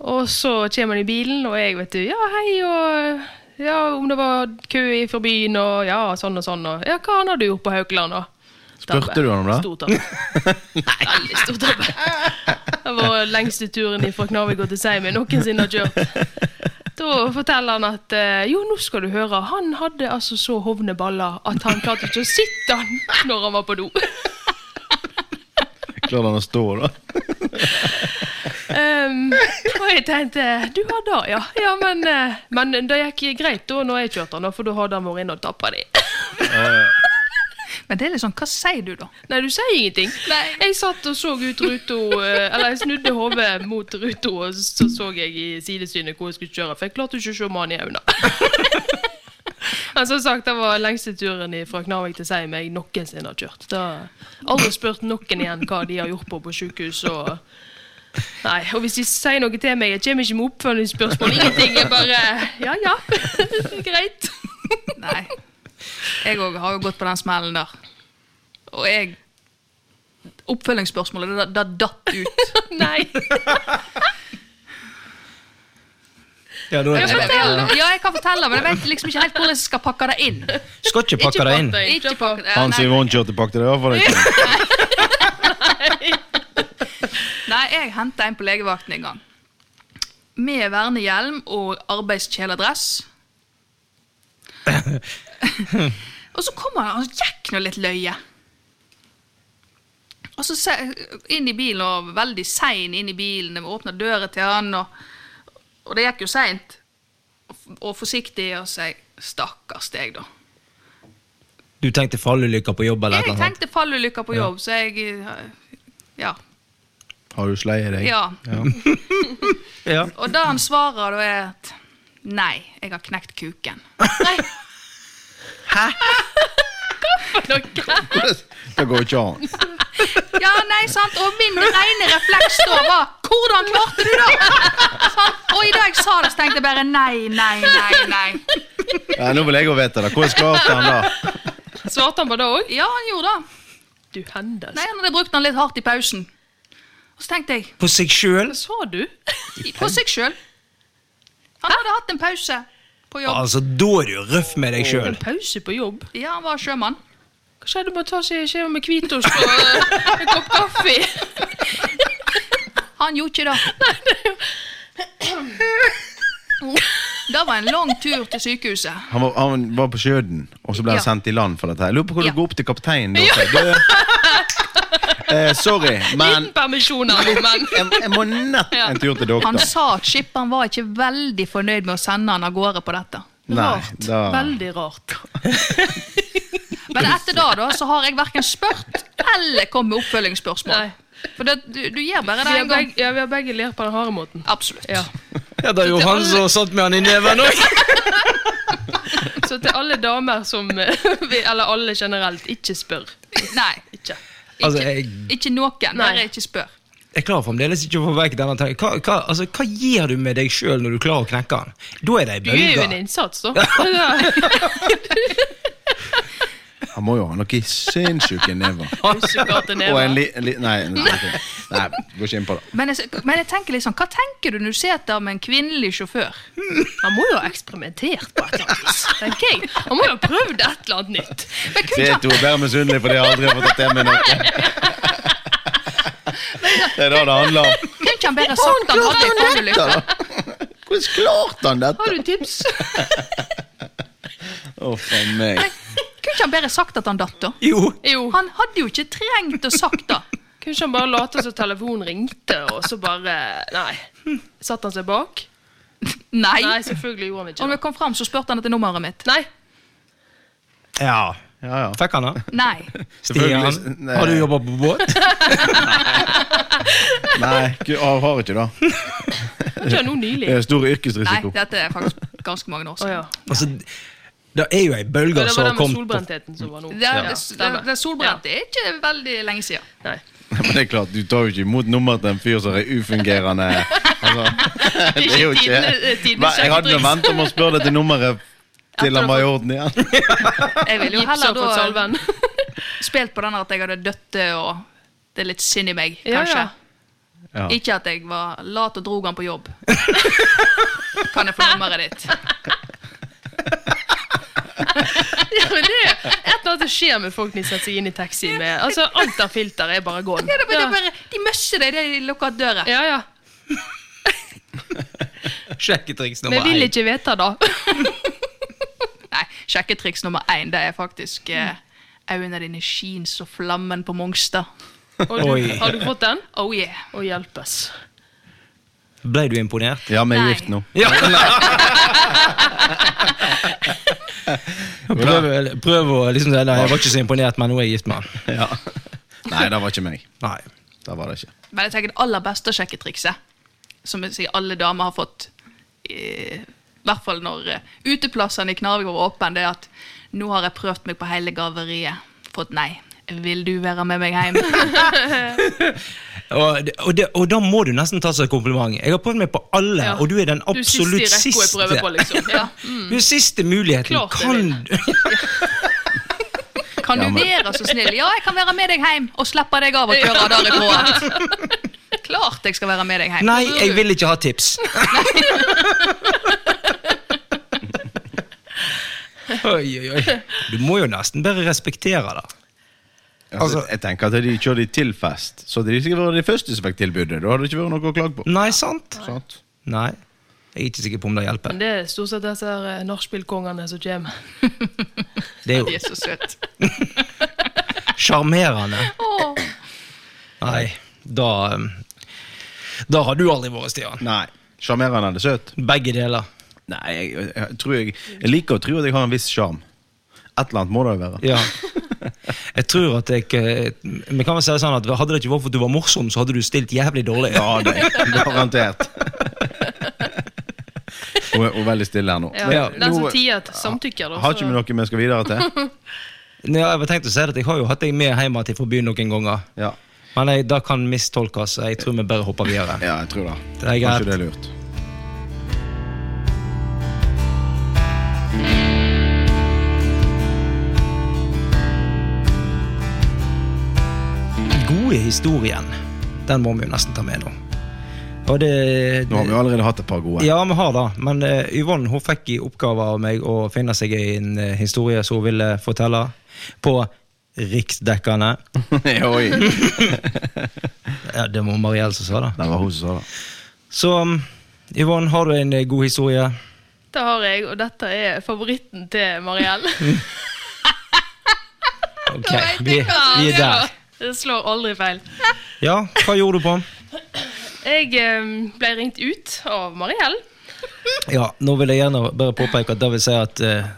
[SPEAKER 3] Og så kommer han i bilen, og jeg vet du, ja, hei, og ja, om det var kø i fra byen, og ja, sånn og sånn, og ja, hva annet har du gjort på Haukeland, da?
[SPEAKER 2] Spurte
[SPEAKER 3] Tabbe.
[SPEAKER 2] du han om det?
[SPEAKER 3] Stor tabbe.
[SPEAKER 2] [laughs]
[SPEAKER 3] Veldig stor tabbe. Det var lengste turen fra Knarvik til Seim jeg noensinne har kjørt. Da forteller han at eh, jo, nå skal du høre, han hadde altså så hovne baller at han klarte ikke å sitte han når han var på do.
[SPEAKER 2] Klarte han å stå, da?
[SPEAKER 3] Ehm, og jeg tenkte du har det, ja. ja men, eh, men det gikk greit da når jeg kjørte han, da, for da hadde han vært inne og tappa de.
[SPEAKER 4] Men det er litt sånn, hva sier du da?
[SPEAKER 3] Nei, du sier ingenting.
[SPEAKER 4] Nei.
[SPEAKER 3] Jeg satt og så ut ruta, eh, eller jeg snudde hodet mot ruta, og så så jeg i sidesynet hvor jeg skulle kjøre, for jeg klarte ikke å se mannen i øynene. Men som sagt, det var lengste turen i- fra Knarvik til Seim jeg noensinne har kjørt. Da aldri spurt noen igjen hva de har gjort på på sykehus og Nei, og hvis de sier noe til meg, jeg kommer ikke med oppfølgingsspørsmål, ingenting. Jeg bare Ja, ja. [laughs] Greit. [laughs]
[SPEAKER 4] Nei. Jeg òg har jo gått på den smellen der. Og jeg Oppfølgingsspørsmålet, det, det datt ut.
[SPEAKER 3] Nei.
[SPEAKER 1] Ja, da
[SPEAKER 4] Jeg
[SPEAKER 1] er det.
[SPEAKER 4] forteller, ja, jeg kan fortelle, men jeg vet liksom ikke helt hvordan jeg skal pakke det inn.
[SPEAKER 1] Skal ikke pakke deg inn.
[SPEAKER 4] Ikke pakke det
[SPEAKER 2] Han
[SPEAKER 4] nei.
[SPEAKER 2] Simon kjørte pakk til deg, i hvert fall ikke.
[SPEAKER 4] Nei, jeg henta en på legevakten en gang. Med vernehjelm og arbeidskjeledress. og så kommer han, han gikk nå litt løye. Og så se- inn i bilen, og veldig sein inn i bilen. Vi åpna døra til han, og, og det gikk jo seint. Og- Og forsiktig, og så jeg Stakkars deg, da.
[SPEAKER 1] Du tenkte fallulykker på jobb eller et
[SPEAKER 4] Jeg
[SPEAKER 1] eller annet?
[SPEAKER 4] tenkte fallulykker på jobb, så jeg Ja.
[SPEAKER 2] Har du sleie deg?
[SPEAKER 4] ja.
[SPEAKER 1] Ja.
[SPEAKER 4] Og det han svarer da er at Nei, jeg har knekt kuken.
[SPEAKER 3] Nei.
[SPEAKER 2] [laughs] Det går ikke an.
[SPEAKER 4] Ja, nei, sant? Og min rene refleks da var Hvordan klarte du det?! Sant? Og i dag jeg sa det, så tenkte jeg bare nei, nei, nei. nei.
[SPEAKER 2] Ja, nå vil jeg jo vite det. Hvordan klarte han det?
[SPEAKER 3] Svarte han på det òg?
[SPEAKER 4] Ja, han gjorde det.
[SPEAKER 3] Du hendes.
[SPEAKER 4] Nei, Han hadde brukt den litt hardt i pausen. Og så tenkte jeg
[SPEAKER 1] På seg sjøl?
[SPEAKER 3] Hva sa du?
[SPEAKER 4] på seg sjøl. Han hadde hatt en pause på jobb.
[SPEAKER 1] Altså, da er du røff med deg sjøl.
[SPEAKER 3] En pause på jobb?
[SPEAKER 4] Ja, han var sjømann.
[SPEAKER 3] Hva skjedde med å ta seg en skjeve med hvitost og eh, en kopp kaffe?
[SPEAKER 4] Han gjorde ikke det. Det var en lang tur til sykehuset.
[SPEAKER 2] Han var, han var på sjøen, og så ble han
[SPEAKER 4] Ja.
[SPEAKER 2] sendt i land for dette. her. Lurer på hvor
[SPEAKER 4] Ja.
[SPEAKER 2] du går opp til kapteinen da. og sier, «Du,
[SPEAKER 4] [laughs]
[SPEAKER 2] Eh, sorry, [laughs] men
[SPEAKER 3] Liten permisjon her nå, men
[SPEAKER 2] jeg, jeg må nett en tur til
[SPEAKER 4] Han
[SPEAKER 2] doktor.
[SPEAKER 4] sa at skipperen var ikke veldig fornøyd med å sende han av gårde på dette.
[SPEAKER 2] [laughs] Nei,
[SPEAKER 3] rart.
[SPEAKER 2] da
[SPEAKER 3] Veldig rart.
[SPEAKER 4] Men etter da, da så har jeg verken spurt eller kommet med oppfølgingsspørsmål.
[SPEAKER 3] Nei.
[SPEAKER 4] For det, du, du gjør
[SPEAKER 3] Vi
[SPEAKER 4] bare det
[SPEAKER 3] har
[SPEAKER 4] en gang.
[SPEAKER 3] begge, ja, vi har begge lært på den harde måten.
[SPEAKER 4] Absolutt.
[SPEAKER 3] Ja.
[SPEAKER 1] Ja, det er jo han som satt med han i neven òg.
[SPEAKER 3] Så til alle damer som eh, [laughs] vi- Eller alle generelt, ikke spør.
[SPEAKER 4] Nei.
[SPEAKER 3] Ikke.
[SPEAKER 1] Altså, jeg,
[SPEAKER 4] Ikke noen.
[SPEAKER 3] Nei.
[SPEAKER 4] Bare ikke spør.
[SPEAKER 1] jeg klarer fremdeles ikke å få vekk denne tanken. Hva, hva, altså, hva gir du med deg sjøl når du klarer å knekke den? Da er det ei
[SPEAKER 3] Du er jo en
[SPEAKER 1] bølge.
[SPEAKER 3] innsats,
[SPEAKER 2] [laughs]
[SPEAKER 3] da. [laughs] Ja.
[SPEAKER 2] Han må jo ha noe sinnssyke
[SPEAKER 4] [laughs]
[SPEAKER 2] never.
[SPEAKER 3] Usikkert en
[SPEAKER 2] Og en li...
[SPEAKER 3] neve.
[SPEAKER 2] En li nei, nei, ok. nei, går ikke inn på det.
[SPEAKER 4] Men jeg, men jeg tenker litt sånn, hva tenker du når du sitter med en kvinnelig sjåfør?
[SPEAKER 3] Han må jo ha eksperimentert på et eller annet vis, tenker jeg. Han må jo ha prøvd et eller annet nytt.
[SPEAKER 4] Men
[SPEAKER 2] Det
[SPEAKER 4] kunne
[SPEAKER 2] er to bare misunnelig fordi jeg aldri har fått tatt det med noe. [laughs] Det er det det handler om.
[SPEAKER 4] kunne ikke han bare sagt han hadde en fallulykke?
[SPEAKER 2] Hvordan klarte han dette?
[SPEAKER 3] Har du tips?
[SPEAKER 2] Å, for meg.
[SPEAKER 4] Kunne ikke han bare sagt at han datt, da?
[SPEAKER 1] Jo,
[SPEAKER 3] Jo.
[SPEAKER 4] Han hadde jo ikke trengt å sagt det.
[SPEAKER 3] Kunne ikke han bare late som telefonen ringte, og så bare Nei. Satt han seg bak?
[SPEAKER 4] Nei.
[SPEAKER 3] Nei, selvfølgelig gjorde han
[SPEAKER 4] Og
[SPEAKER 3] ikke
[SPEAKER 4] når
[SPEAKER 3] det.
[SPEAKER 4] jeg kom fram, så spurte han etter nummeret mitt.
[SPEAKER 3] Nei.
[SPEAKER 1] Ja.
[SPEAKER 2] Ja, ja.
[SPEAKER 1] Fikk han det?
[SPEAKER 4] Nei.
[SPEAKER 2] Selvfølgelig-
[SPEAKER 1] Stian, har du jobba på
[SPEAKER 3] [laughs]
[SPEAKER 1] båt?
[SPEAKER 2] Nei, gud, jeg har ikke det.
[SPEAKER 3] Ikke nå nylig.
[SPEAKER 2] Det er stor
[SPEAKER 4] Nei,
[SPEAKER 2] yrkesrisiko.
[SPEAKER 4] dette er faktisk ganske mange
[SPEAKER 3] Å
[SPEAKER 4] år siden.
[SPEAKER 3] ja.
[SPEAKER 1] Altså, det er jo ei
[SPEAKER 3] Men
[SPEAKER 1] bølge
[SPEAKER 3] Det var
[SPEAKER 1] som
[SPEAKER 3] den med
[SPEAKER 1] kom på
[SPEAKER 3] solbrentheten som var nå.
[SPEAKER 4] Det, er-
[SPEAKER 3] Ja,
[SPEAKER 4] det, det,
[SPEAKER 3] stemmer.
[SPEAKER 4] det er solbrent. Det er ikke veldig lenge siden.
[SPEAKER 3] Nei.
[SPEAKER 2] [laughs] Men det er klart, du tar jo ikke imot nummeret til en fyr som er ufungerende. Altså,
[SPEAKER 3] [laughs] Det er ikke tidene- tidene
[SPEAKER 2] Hva, Jeg hadde jo
[SPEAKER 3] sjekketriks.
[SPEAKER 2] vent om å spørre deg til nummeret til han var i orden
[SPEAKER 3] [laughs]
[SPEAKER 2] igjen.
[SPEAKER 4] Jeg ville jo
[SPEAKER 3] Gips
[SPEAKER 4] heller
[SPEAKER 3] og fått
[SPEAKER 4] da
[SPEAKER 3] salven.
[SPEAKER 4] spilt på den at jeg hadde dødd det, og det er litt synd i meg,
[SPEAKER 3] Ja,
[SPEAKER 4] kanskje.
[SPEAKER 3] ja.
[SPEAKER 2] Ja.
[SPEAKER 4] Ikke at jeg var lat og drog han på [laughs] jobb. kan jeg få nummeret ditt?
[SPEAKER 3] [laughs] Ja, men det er et eller annet som skjer med folk de setter seg inn i taxi med. Altså, Alt av filter er bare gone.
[SPEAKER 4] Ja, det, er bare- det, er
[SPEAKER 3] Ja.
[SPEAKER 4] bare, de møsser deg idet de lukker døra.
[SPEAKER 3] Ja, ja.
[SPEAKER 1] Sjekketriks
[SPEAKER 3] Men
[SPEAKER 1] nummer
[SPEAKER 3] jeg vil
[SPEAKER 1] én.
[SPEAKER 3] ikke vite, da.
[SPEAKER 4] [laughs] Nei, sjekketriks nummer én det er faktisk eh, Øynene dine skins og flammen på Mongstad.
[SPEAKER 3] Og du,
[SPEAKER 1] Oi.
[SPEAKER 3] har du fått den?
[SPEAKER 4] Oh yeah.
[SPEAKER 3] Å hjelpes.
[SPEAKER 1] Ble du imponert?
[SPEAKER 2] Ja, vi er
[SPEAKER 4] Nei.
[SPEAKER 2] gift nå. [laughs]
[SPEAKER 1] Ja! [laughs] Prøv, prøv å liksom si, Nei, jeg var ikke så imponert, men nå er jeg gift med han.
[SPEAKER 2] Ja. Nei, det var ikke meg.
[SPEAKER 1] Nei.
[SPEAKER 2] Det var det ikke.
[SPEAKER 4] Men jeg tenker det aller beste sjekketrikset, som jeg sier alle damer har fått, eh, i hvert fall når eh, uteplassene i Knarvik var åpne, det er at nå har jeg prøvd meg på hele gaveriet. Fått nei. Vil du være med
[SPEAKER 1] [laughs]
[SPEAKER 4] meg hjem?
[SPEAKER 1] Og, det- og, det, og da må du nesten ta seg et kompliment. Jeg har prøvd meg på alle,
[SPEAKER 3] Ja.
[SPEAKER 1] og du er den
[SPEAKER 3] Du siste i
[SPEAKER 1] absolutt
[SPEAKER 3] rekka jeg prøver på,
[SPEAKER 1] siste.
[SPEAKER 3] liksom. Ja.
[SPEAKER 1] Du er siste muligheten.
[SPEAKER 3] Klart jeg
[SPEAKER 1] Kan du
[SPEAKER 4] Kan
[SPEAKER 2] Ja,
[SPEAKER 4] du
[SPEAKER 2] men-
[SPEAKER 4] være så snill? Ja, jeg kan være med deg hjem! Og slippe deg av og køre radar i kroen.
[SPEAKER 1] [laughs]
[SPEAKER 4] Klart jeg skal være med deg hjem.
[SPEAKER 1] Nei, jeg vil ikke ha
[SPEAKER 3] [laughs]
[SPEAKER 1] tips. oi, oi, oi. Du må jo nesten bare respektere det.
[SPEAKER 2] Altså, jeg tenker at de kjører de til fest, så de sikkert vært de første som fikk tilbudet. Da hadde det ikke vært noe å klage på.
[SPEAKER 1] Nei, sant?
[SPEAKER 2] Sant?
[SPEAKER 1] Nei. Jeg er ikke sikker på om det hjelper. [laughs]
[SPEAKER 3] Men det er stort sett disse her, eh, nachspielkongene som kommer.
[SPEAKER 1] Det er
[SPEAKER 4] De
[SPEAKER 1] jo
[SPEAKER 4] er så søte.
[SPEAKER 1] sjarmerende.
[SPEAKER 4] Åh.
[SPEAKER 1] Nei, da um, Da har du aldri vært Stian.
[SPEAKER 2] Nei. Sjarmerende er det søt.
[SPEAKER 1] Begge deler.
[SPEAKER 2] Nei, jeg, jeg, jeg, tror jeg, jeg liker å tro at jeg har en viss sjarm. Et eller annet må det jo være.
[SPEAKER 1] Ja. Jeg tror at jeg eh, Vi kan vel si det sånn at Hadde det ikke vært for at du var morsom, så hadde du stilt jævlig dårlig.
[SPEAKER 2] Ja, det er garantert. Hun er hun er veldig stille her nå.
[SPEAKER 3] Ja.
[SPEAKER 1] Ja,
[SPEAKER 3] Den som
[SPEAKER 2] nå-
[SPEAKER 3] tier, samtykker, da.
[SPEAKER 2] Har ikke vi
[SPEAKER 3] så-
[SPEAKER 2] noe vi skal videre
[SPEAKER 3] [laughs]
[SPEAKER 2] til?
[SPEAKER 1] Nei, jeg har tenkt å si det at jeg har jo hatt deg med hjem til fra byen noen ganger.
[SPEAKER 2] Ja,
[SPEAKER 1] Men jeg, det kan mistolkes. Jeg tror vi bare hopper videre.
[SPEAKER 2] ja jeg tror det.
[SPEAKER 1] Det er greit.
[SPEAKER 2] Kanskje det er lurt.
[SPEAKER 1] Gode historien, den må vi jo nesten ta med nå. Og det,
[SPEAKER 2] Nå har vi jo allerede hatt et par [laughs] gode.
[SPEAKER 1] Ja, vi har det. Men eh, Yvonne hun fikk i oppgave av meg å finne seg en eh, historie som hun ville fortelle på riksdekkende.
[SPEAKER 2] Oi.
[SPEAKER 1] Ja, det var Mariell som sa det.
[SPEAKER 2] Det var hun som sa det.
[SPEAKER 1] Så um, Yvonne, har du en eh, god historie?
[SPEAKER 3] Dette har jeg, og dette er favoritten til Mariell.
[SPEAKER 1] Ok, vi, vi er der.
[SPEAKER 3] Det slår aldri feil.
[SPEAKER 1] Ja, hva gjorde du på?
[SPEAKER 3] Jeg eh, ble ringt ut av Mariell.
[SPEAKER 1] Ja, nå vil jeg gjerne bare påpeke at det vil si at eh,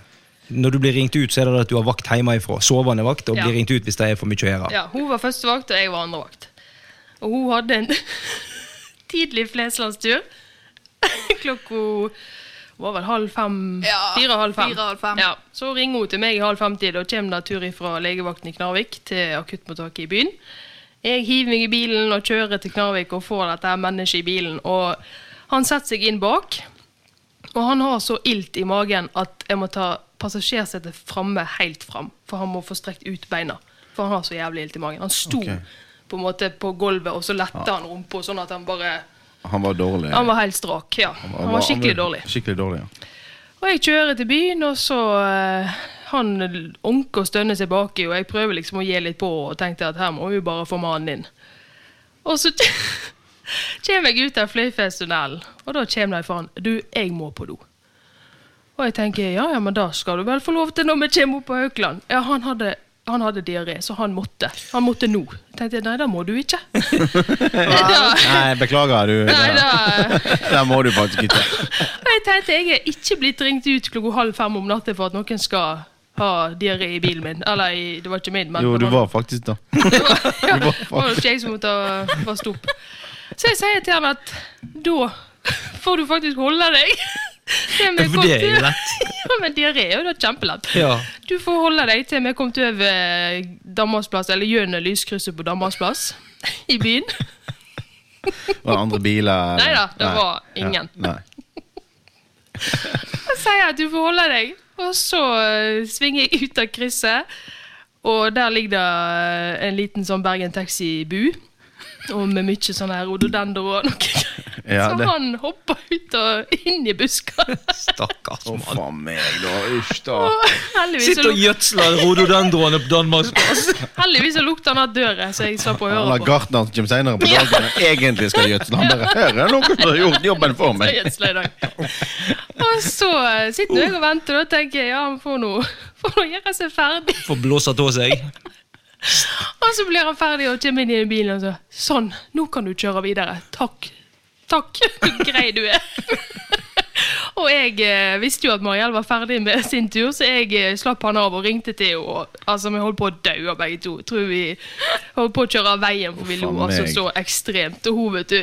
[SPEAKER 1] når du blir ringt ut, så er det at du har vakt hjemmefra. Sovende vakt, og
[SPEAKER 3] Ja.
[SPEAKER 1] blir ringt ut hvis det er for mye å gjøre.
[SPEAKER 3] Ja, hun var førstevakt, og jeg var andrevakt. Og hun hadde en [laughs] tidlig Fleslandstur. [laughs] Klokka var vel halv fem?
[SPEAKER 4] Ja,
[SPEAKER 3] fire-halv fem.
[SPEAKER 4] fire, halv fem.
[SPEAKER 3] Ja, så ringer hun til meg i halv fem-tid, og kommer da tur fra legevakten i Knarvik til akuttmottaket i byen. Jeg hiver meg i bilen og kjører til Knarvik og får dette her mennesket i bilen. Og han setter seg inn bak, og han har så ilt i magen at jeg må ta passasjersetet framme helt fram. For han må få strekt ut beina. For han har så jævlig ilt i magen. Han sto
[SPEAKER 2] Ok.
[SPEAKER 3] på en måte på gulvet, og så letta han rumpa sånn at han bare
[SPEAKER 2] Han var dårlig.
[SPEAKER 3] Han var helt strak. Ja. Han var skikkelig dårlig.
[SPEAKER 2] Skikkelig dårlig,
[SPEAKER 3] [laughs]
[SPEAKER 2] ja.
[SPEAKER 3] Og jeg kjører til byen, og så eh, Han onker og stønner seg baki, og jeg prøver liksom å gi litt på og tenkte at her må vi bare få mannen inn. Og så [laughs] kommer jeg ut av Fløyfjellstunnelen, og da kommer de faen Du, jeg må på do. Og jeg tenker ja, ja, men da skal du vel få lov til når vi kommer opp på Haukeland. Ja, han hadde, han hadde diaré, så han måtte. Han måtte nå. Jeg tenkte nei, det må du [laughs] ikke. da,
[SPEAKER 2] Nei, beklager, du.
[SPEAKER 3] nei,
[SPEAKER 2] Det [laughs]
[SPEAKER 3] da. eh,
[SPEAKER 2] der må du faktisk ikke.
[SPEAKER 3] Og jeg tenkte jeg er ikke blitt ringt ut klokka halv fem om natten for at noen skal ha diaré i bilen min. Eller i, det var ikke min, men
[SPEAKER 2] Jo, du
[SPEAKER 3] det
[SPEAKER 2] var faktisk da.
[SPEAKER 3] [laughs] ja,
[SPEAKER 2] du var
[SPEAKER 3] det var ikke jeg som måtte ha- vaske opp. Så jeg sier til han at da får du faktisk holde deg. [laughs] Det
[SPEAKER 1] Ja,
[SPEAKER 3] [laughs]
[SPEAKER 1] for det er jo lett.
[SPEAKER 3] Ja, men diaré er jo da kjempelett.
[SPEAKER 1] Ja.
[SPEAKER 3] Du får holde deg til vi kom til over Danmarksplass, eller gjennom lyskrysset på Danmarksplass [laughs] i byen.
[SPEAKER 2] Var det andre biler?
[SPEAKER 3] Neida, det
[SPEAKER 2] Nei.
[SPEAKER 3] var ingen.
[SPEAKER 2] Ja, nei.
[SPEAKER 3] Og sier at du får holde deg. Og så eh, svinger jeg ut av krysset, og der ligger det eh, en liten sånn Bergen Taxi-bu. Og med mye sånn her ododender og noe greier.
[SPEAKER 2] Ja,
[SPEAKER 3] så
[SPEAKER 2] det-
[SPEAKER 3] han hopper ut og inn i
[SPEAKER 2] [laughs]
[SPEAKER 3] buskene.
[SPEAKER 1] Stakkars
[SPEAKER 2] Å,
[SPEAKER 1] mann.
[SPEAKER 2] faen meg, da. Uff, da.
[SPEAKER 3] Heldigvis så
[SPEAKER 1] Sitter og
[SPEAKER 3] luk- [laughs]
[SPEAKER 1] gjødsler rododendroene på Danmarksplass.
[SPEAKER 3] heldigvis så lukter han av døra, så jeg slapp å
[SPEAKER 2] Han
[SPEAKER 3] høre
[SPEAKER 2] har
[SPEAKER 3] på.
[SPEAKER 2] gartneren som kommer senere på dagen, og egentlig skal gjødsle. Han bare Her er noen som har gjort jobben for
[SPEAKER 3] Så
[SPEAKER 2] meg.
[SPEAKER 3] gjødsler jeg i dag. Og så eh, sitter jeg og venter, og da tenker jeg ja, han får nå [laughs] får nå gjøre seg ferdig.
[SPEAKER 1] Får blåser av seg.
[SPEAKER 3] Og så blir han ferdig og kommer inn i bilen og så Sånn, nå kan du kjøre videre. Takk. Takk. [laughs] Grei du er. [laughs] og jeg eh, visste jo at Mariell var ferdig med sin tur, så jeg eh, slapp han av og ringte til henne. og, Altså, vi holdt på å dø begge to. Tror vi holdt på å kjøre av veien, for vi
[SPEAKER 2] Uff,
[SPEAKER 3] lo
[SPEAKER 2] faen
[SPEAKER 3] altså
[SPEAKER 2] meg.
[SPEAKER 3] så ekstremt. Og hun, vet du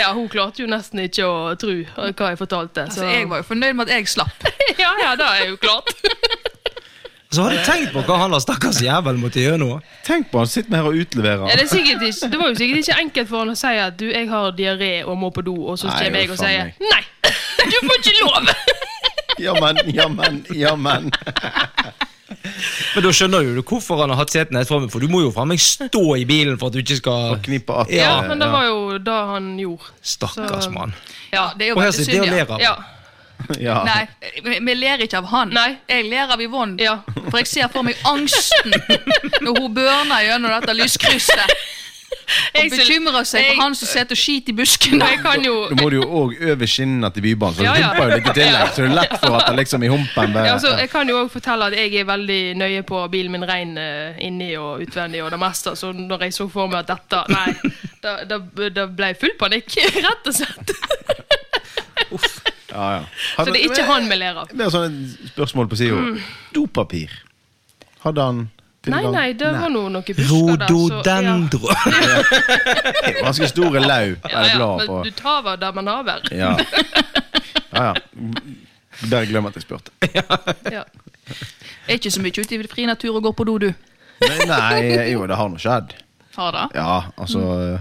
[SPEAKER 3] Ja, hun klarte jo nesten ikke å tro hva jeg fortalte.
[SPEAKER 4] Så Altså, jeg var jo fornøyd med at jeg slapp.
[SPEAKER 3] [laughs] Ja, ja, det er jo klart.
[SPEAKER 1] Så har du tenkt på hva han der stakkars jævel måtte gjøre nå?
[SPEAKER 2] Tenk på han sitter her og
[SPEAKER 3] Ja,
[SPEAKER 2] utleverer.
[SPEAKER 3] det, er sikkert ikke, det var jo sikkert ikke enkelt for han å si at du, jeg har diaré og må på do, og så
[SPEAKER 2] Nei,
[SPEAKER 3] kommer jeg
[SPEAKER 2] jo,
[SPEAKER 3] og
[SPEAKER 2] faen
[SPEAKER 3] sier
[SPEAKER 2] meg.
[SPEAKER 3] nei, [laughs] du får ikke lov!
[SPEAKER 2] Jammen, jammen, jammen.
[SPEAKER 1] Men da skjønner jo du hvorfor han har hatt seten helt framme, for du må jo faen meg stå i bilen for at du ikke skal
[SPEAKER 2] Og eh, knipe att.
[SPEAKER 1] Ja,
[SPEAKER 3] [laughs] Ja, men det var jo det han gjorde.
[SPEAKER 1] Stakkars
[SPEAKER 3] Så-
[SPEAKER 1] mann.
[SPEAKER 4] Ja, det er jo
[SPEAKER 1] Og her
[SPEAKER 4] veldig
[SPEAKER 1] sitter jeg og
[SPEAKER 4] synd, ja.
[SPEAKER 1] ler av.
[SPEAKER 3] Ja,
[SPEAKER 2] Ja.
[SPEAKER 4] Nei, vi- vi ler ikke av han.
[SPEAKER 3] Nei.
[SPEAKER 4] Jeg ler av Yvonne.
[SPEAKER 3] ja.
[SPEAKER 4] For jeg ser for meg
[SPEAKER 3] [laughs]
[SPEAKER 4] angsten når hun børner gjennom dette lyskrysset. Og
[SPEAKER 3] Jeg, synes-
[SPEAKER 4] bekymrer seg
[SPEAKER 3] jeg-
[SPEAKER 4] for han som sitter og skiter i buskene.
[SPEAKER 3] jeg kan jo
[SPEAKER 2] Da må du jo òg over skinnene til Bybanen, så det
[SPEAKER 3] Ja, ja.
[SPEAKER 2] humper jo litt i tillegg. Så det er lett for at det liksom i humpen
[SPEAKER 3] ja,
[SPEAKER 2] bare
[SPEAKER 3] altså, jeg kan jo også fortelle at jeg er veldig nøye på bilen min ren eh, inni og utvendig og det meste, så når jeg så for meg at dette Nei, da, da, da ble jeg full panikk, [laughs] rett og slett.
[SPEAKER 2] ja, ja.
[SPEAKER 3] Så det er ikke han vi ler av.
[SPEAKER 2] Det er sånn et spørsmål på sida. Dopapir. Hadde han
[SPEAKER 3] Nei,
[SPEAKER 2] tilgang?
[SPEAKER 3] nei, det var nå noe busker der, så- altså, ja.
[SPEAKER 1] Rododendro.
[SPEAKER 2] Det er Ganske store lau.
[SPEAKER 3] Ja,
[SPEAKER 2] eller
[SPEAKER 3] ja,
[SPEAKER 2] blad
[SPEAKER 3] men
[SPEAKER 2] på.
[SPEAKER 3] du tar hva der man har hver.
[SPEAKER 2] Ja. ja, ja. Bare glem at jeg spurte.
[SPEAKER 3] Ja.
[SPEAKER 4] Er ikke så mye ute i fri natur og går på do, du.
[SPEAKER 2] Nei, nei, jo, det har nå skjedd.
[SPEAKER 4] Har det?
[SPEAKER 2] Ja, altså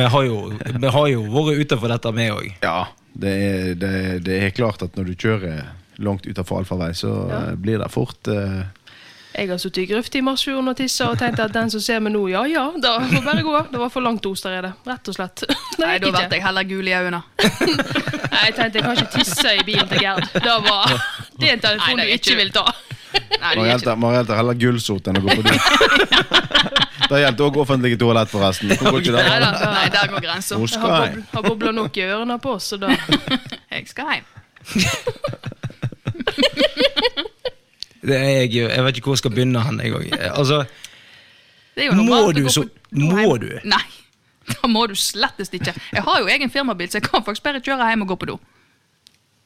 [SPEAKER 1] Vi har jo, vi har jo vært utenfor dette, vi òg.
[SPEAKER 2] Ja. Det er, det, det er klart at når du kjører langt utenfor allfarvei, så eh, blir det fort eh,
[SPEAKER 3] Jeg har sittet i grøft i marsjfjorden og tissa og tenkt at den som ser meg nå, ja ja, da får bare gå. Det var for langt os der er det, rett og slett.
[SPEAKER 4] [laughs] Nei,
[SPEAKER 3] gikk
[SPEAKER 4] da
[SPEAKER 3] ikke.
[SPEAKER 4] ble jeg heller gul i øynene.
[SPEAKER 3] Nei, jeg tenkte jeg kan ikke tisse i bilen til Gerd. Det var [laughs] Det er en telefon
[SPEAKER 4] Nei, det
[SPEAKER 3] du
[SPEAKER 4] er
[SPEAKER 3] ikke
[SPEAKER 4] ikke-
[SPEAKER 3] vil ta.
[SPEAKER 4] Nei, det er ikke
[SPEAKER 2] Marielta Marielta heller gulsot enn å gå på do. det gjelder òg offentlige toalett, forresten. Hvorfor går ikke
[SPEAKER 4] Nei,
[SPEAKER 2] det?
[SPEAKER 4] da, nei, der går grensa.
[SPEAKER 2] Hvor
[SPEAKER 3] Jeg
[SPEAKER 2] skal
[SPEAKER 3] har,
[SPEAKER 2] jeg?
[SPEAKER 3] bob har bobler nok i ørene på oss, så da
[SPEAKER 4] Jeg skal hjem.
[SPEAKER 1] Det er Jeg, jo- jeg vet ikke hvor jeg skal begynne hen, jeg òg. Altså,
[SPEAKER 4] Det er jo
[SPEAKER 1] må
[SPEAKER 4] normalt å
[SPEAKER 1] du
[SPEAKER 4] gå
[SPEAKER 1] så
[SPEAKER 4] på do
[SPEAKER 1] Må
[SPEAKER 4] hjem.
[SPEAKER 1] du?
[SPEAKER 4] Nei. Da må du slettest ikke. Jeg har jo egen firmabil, så jeg kan faktisk bare kjøre hjem og gå på do.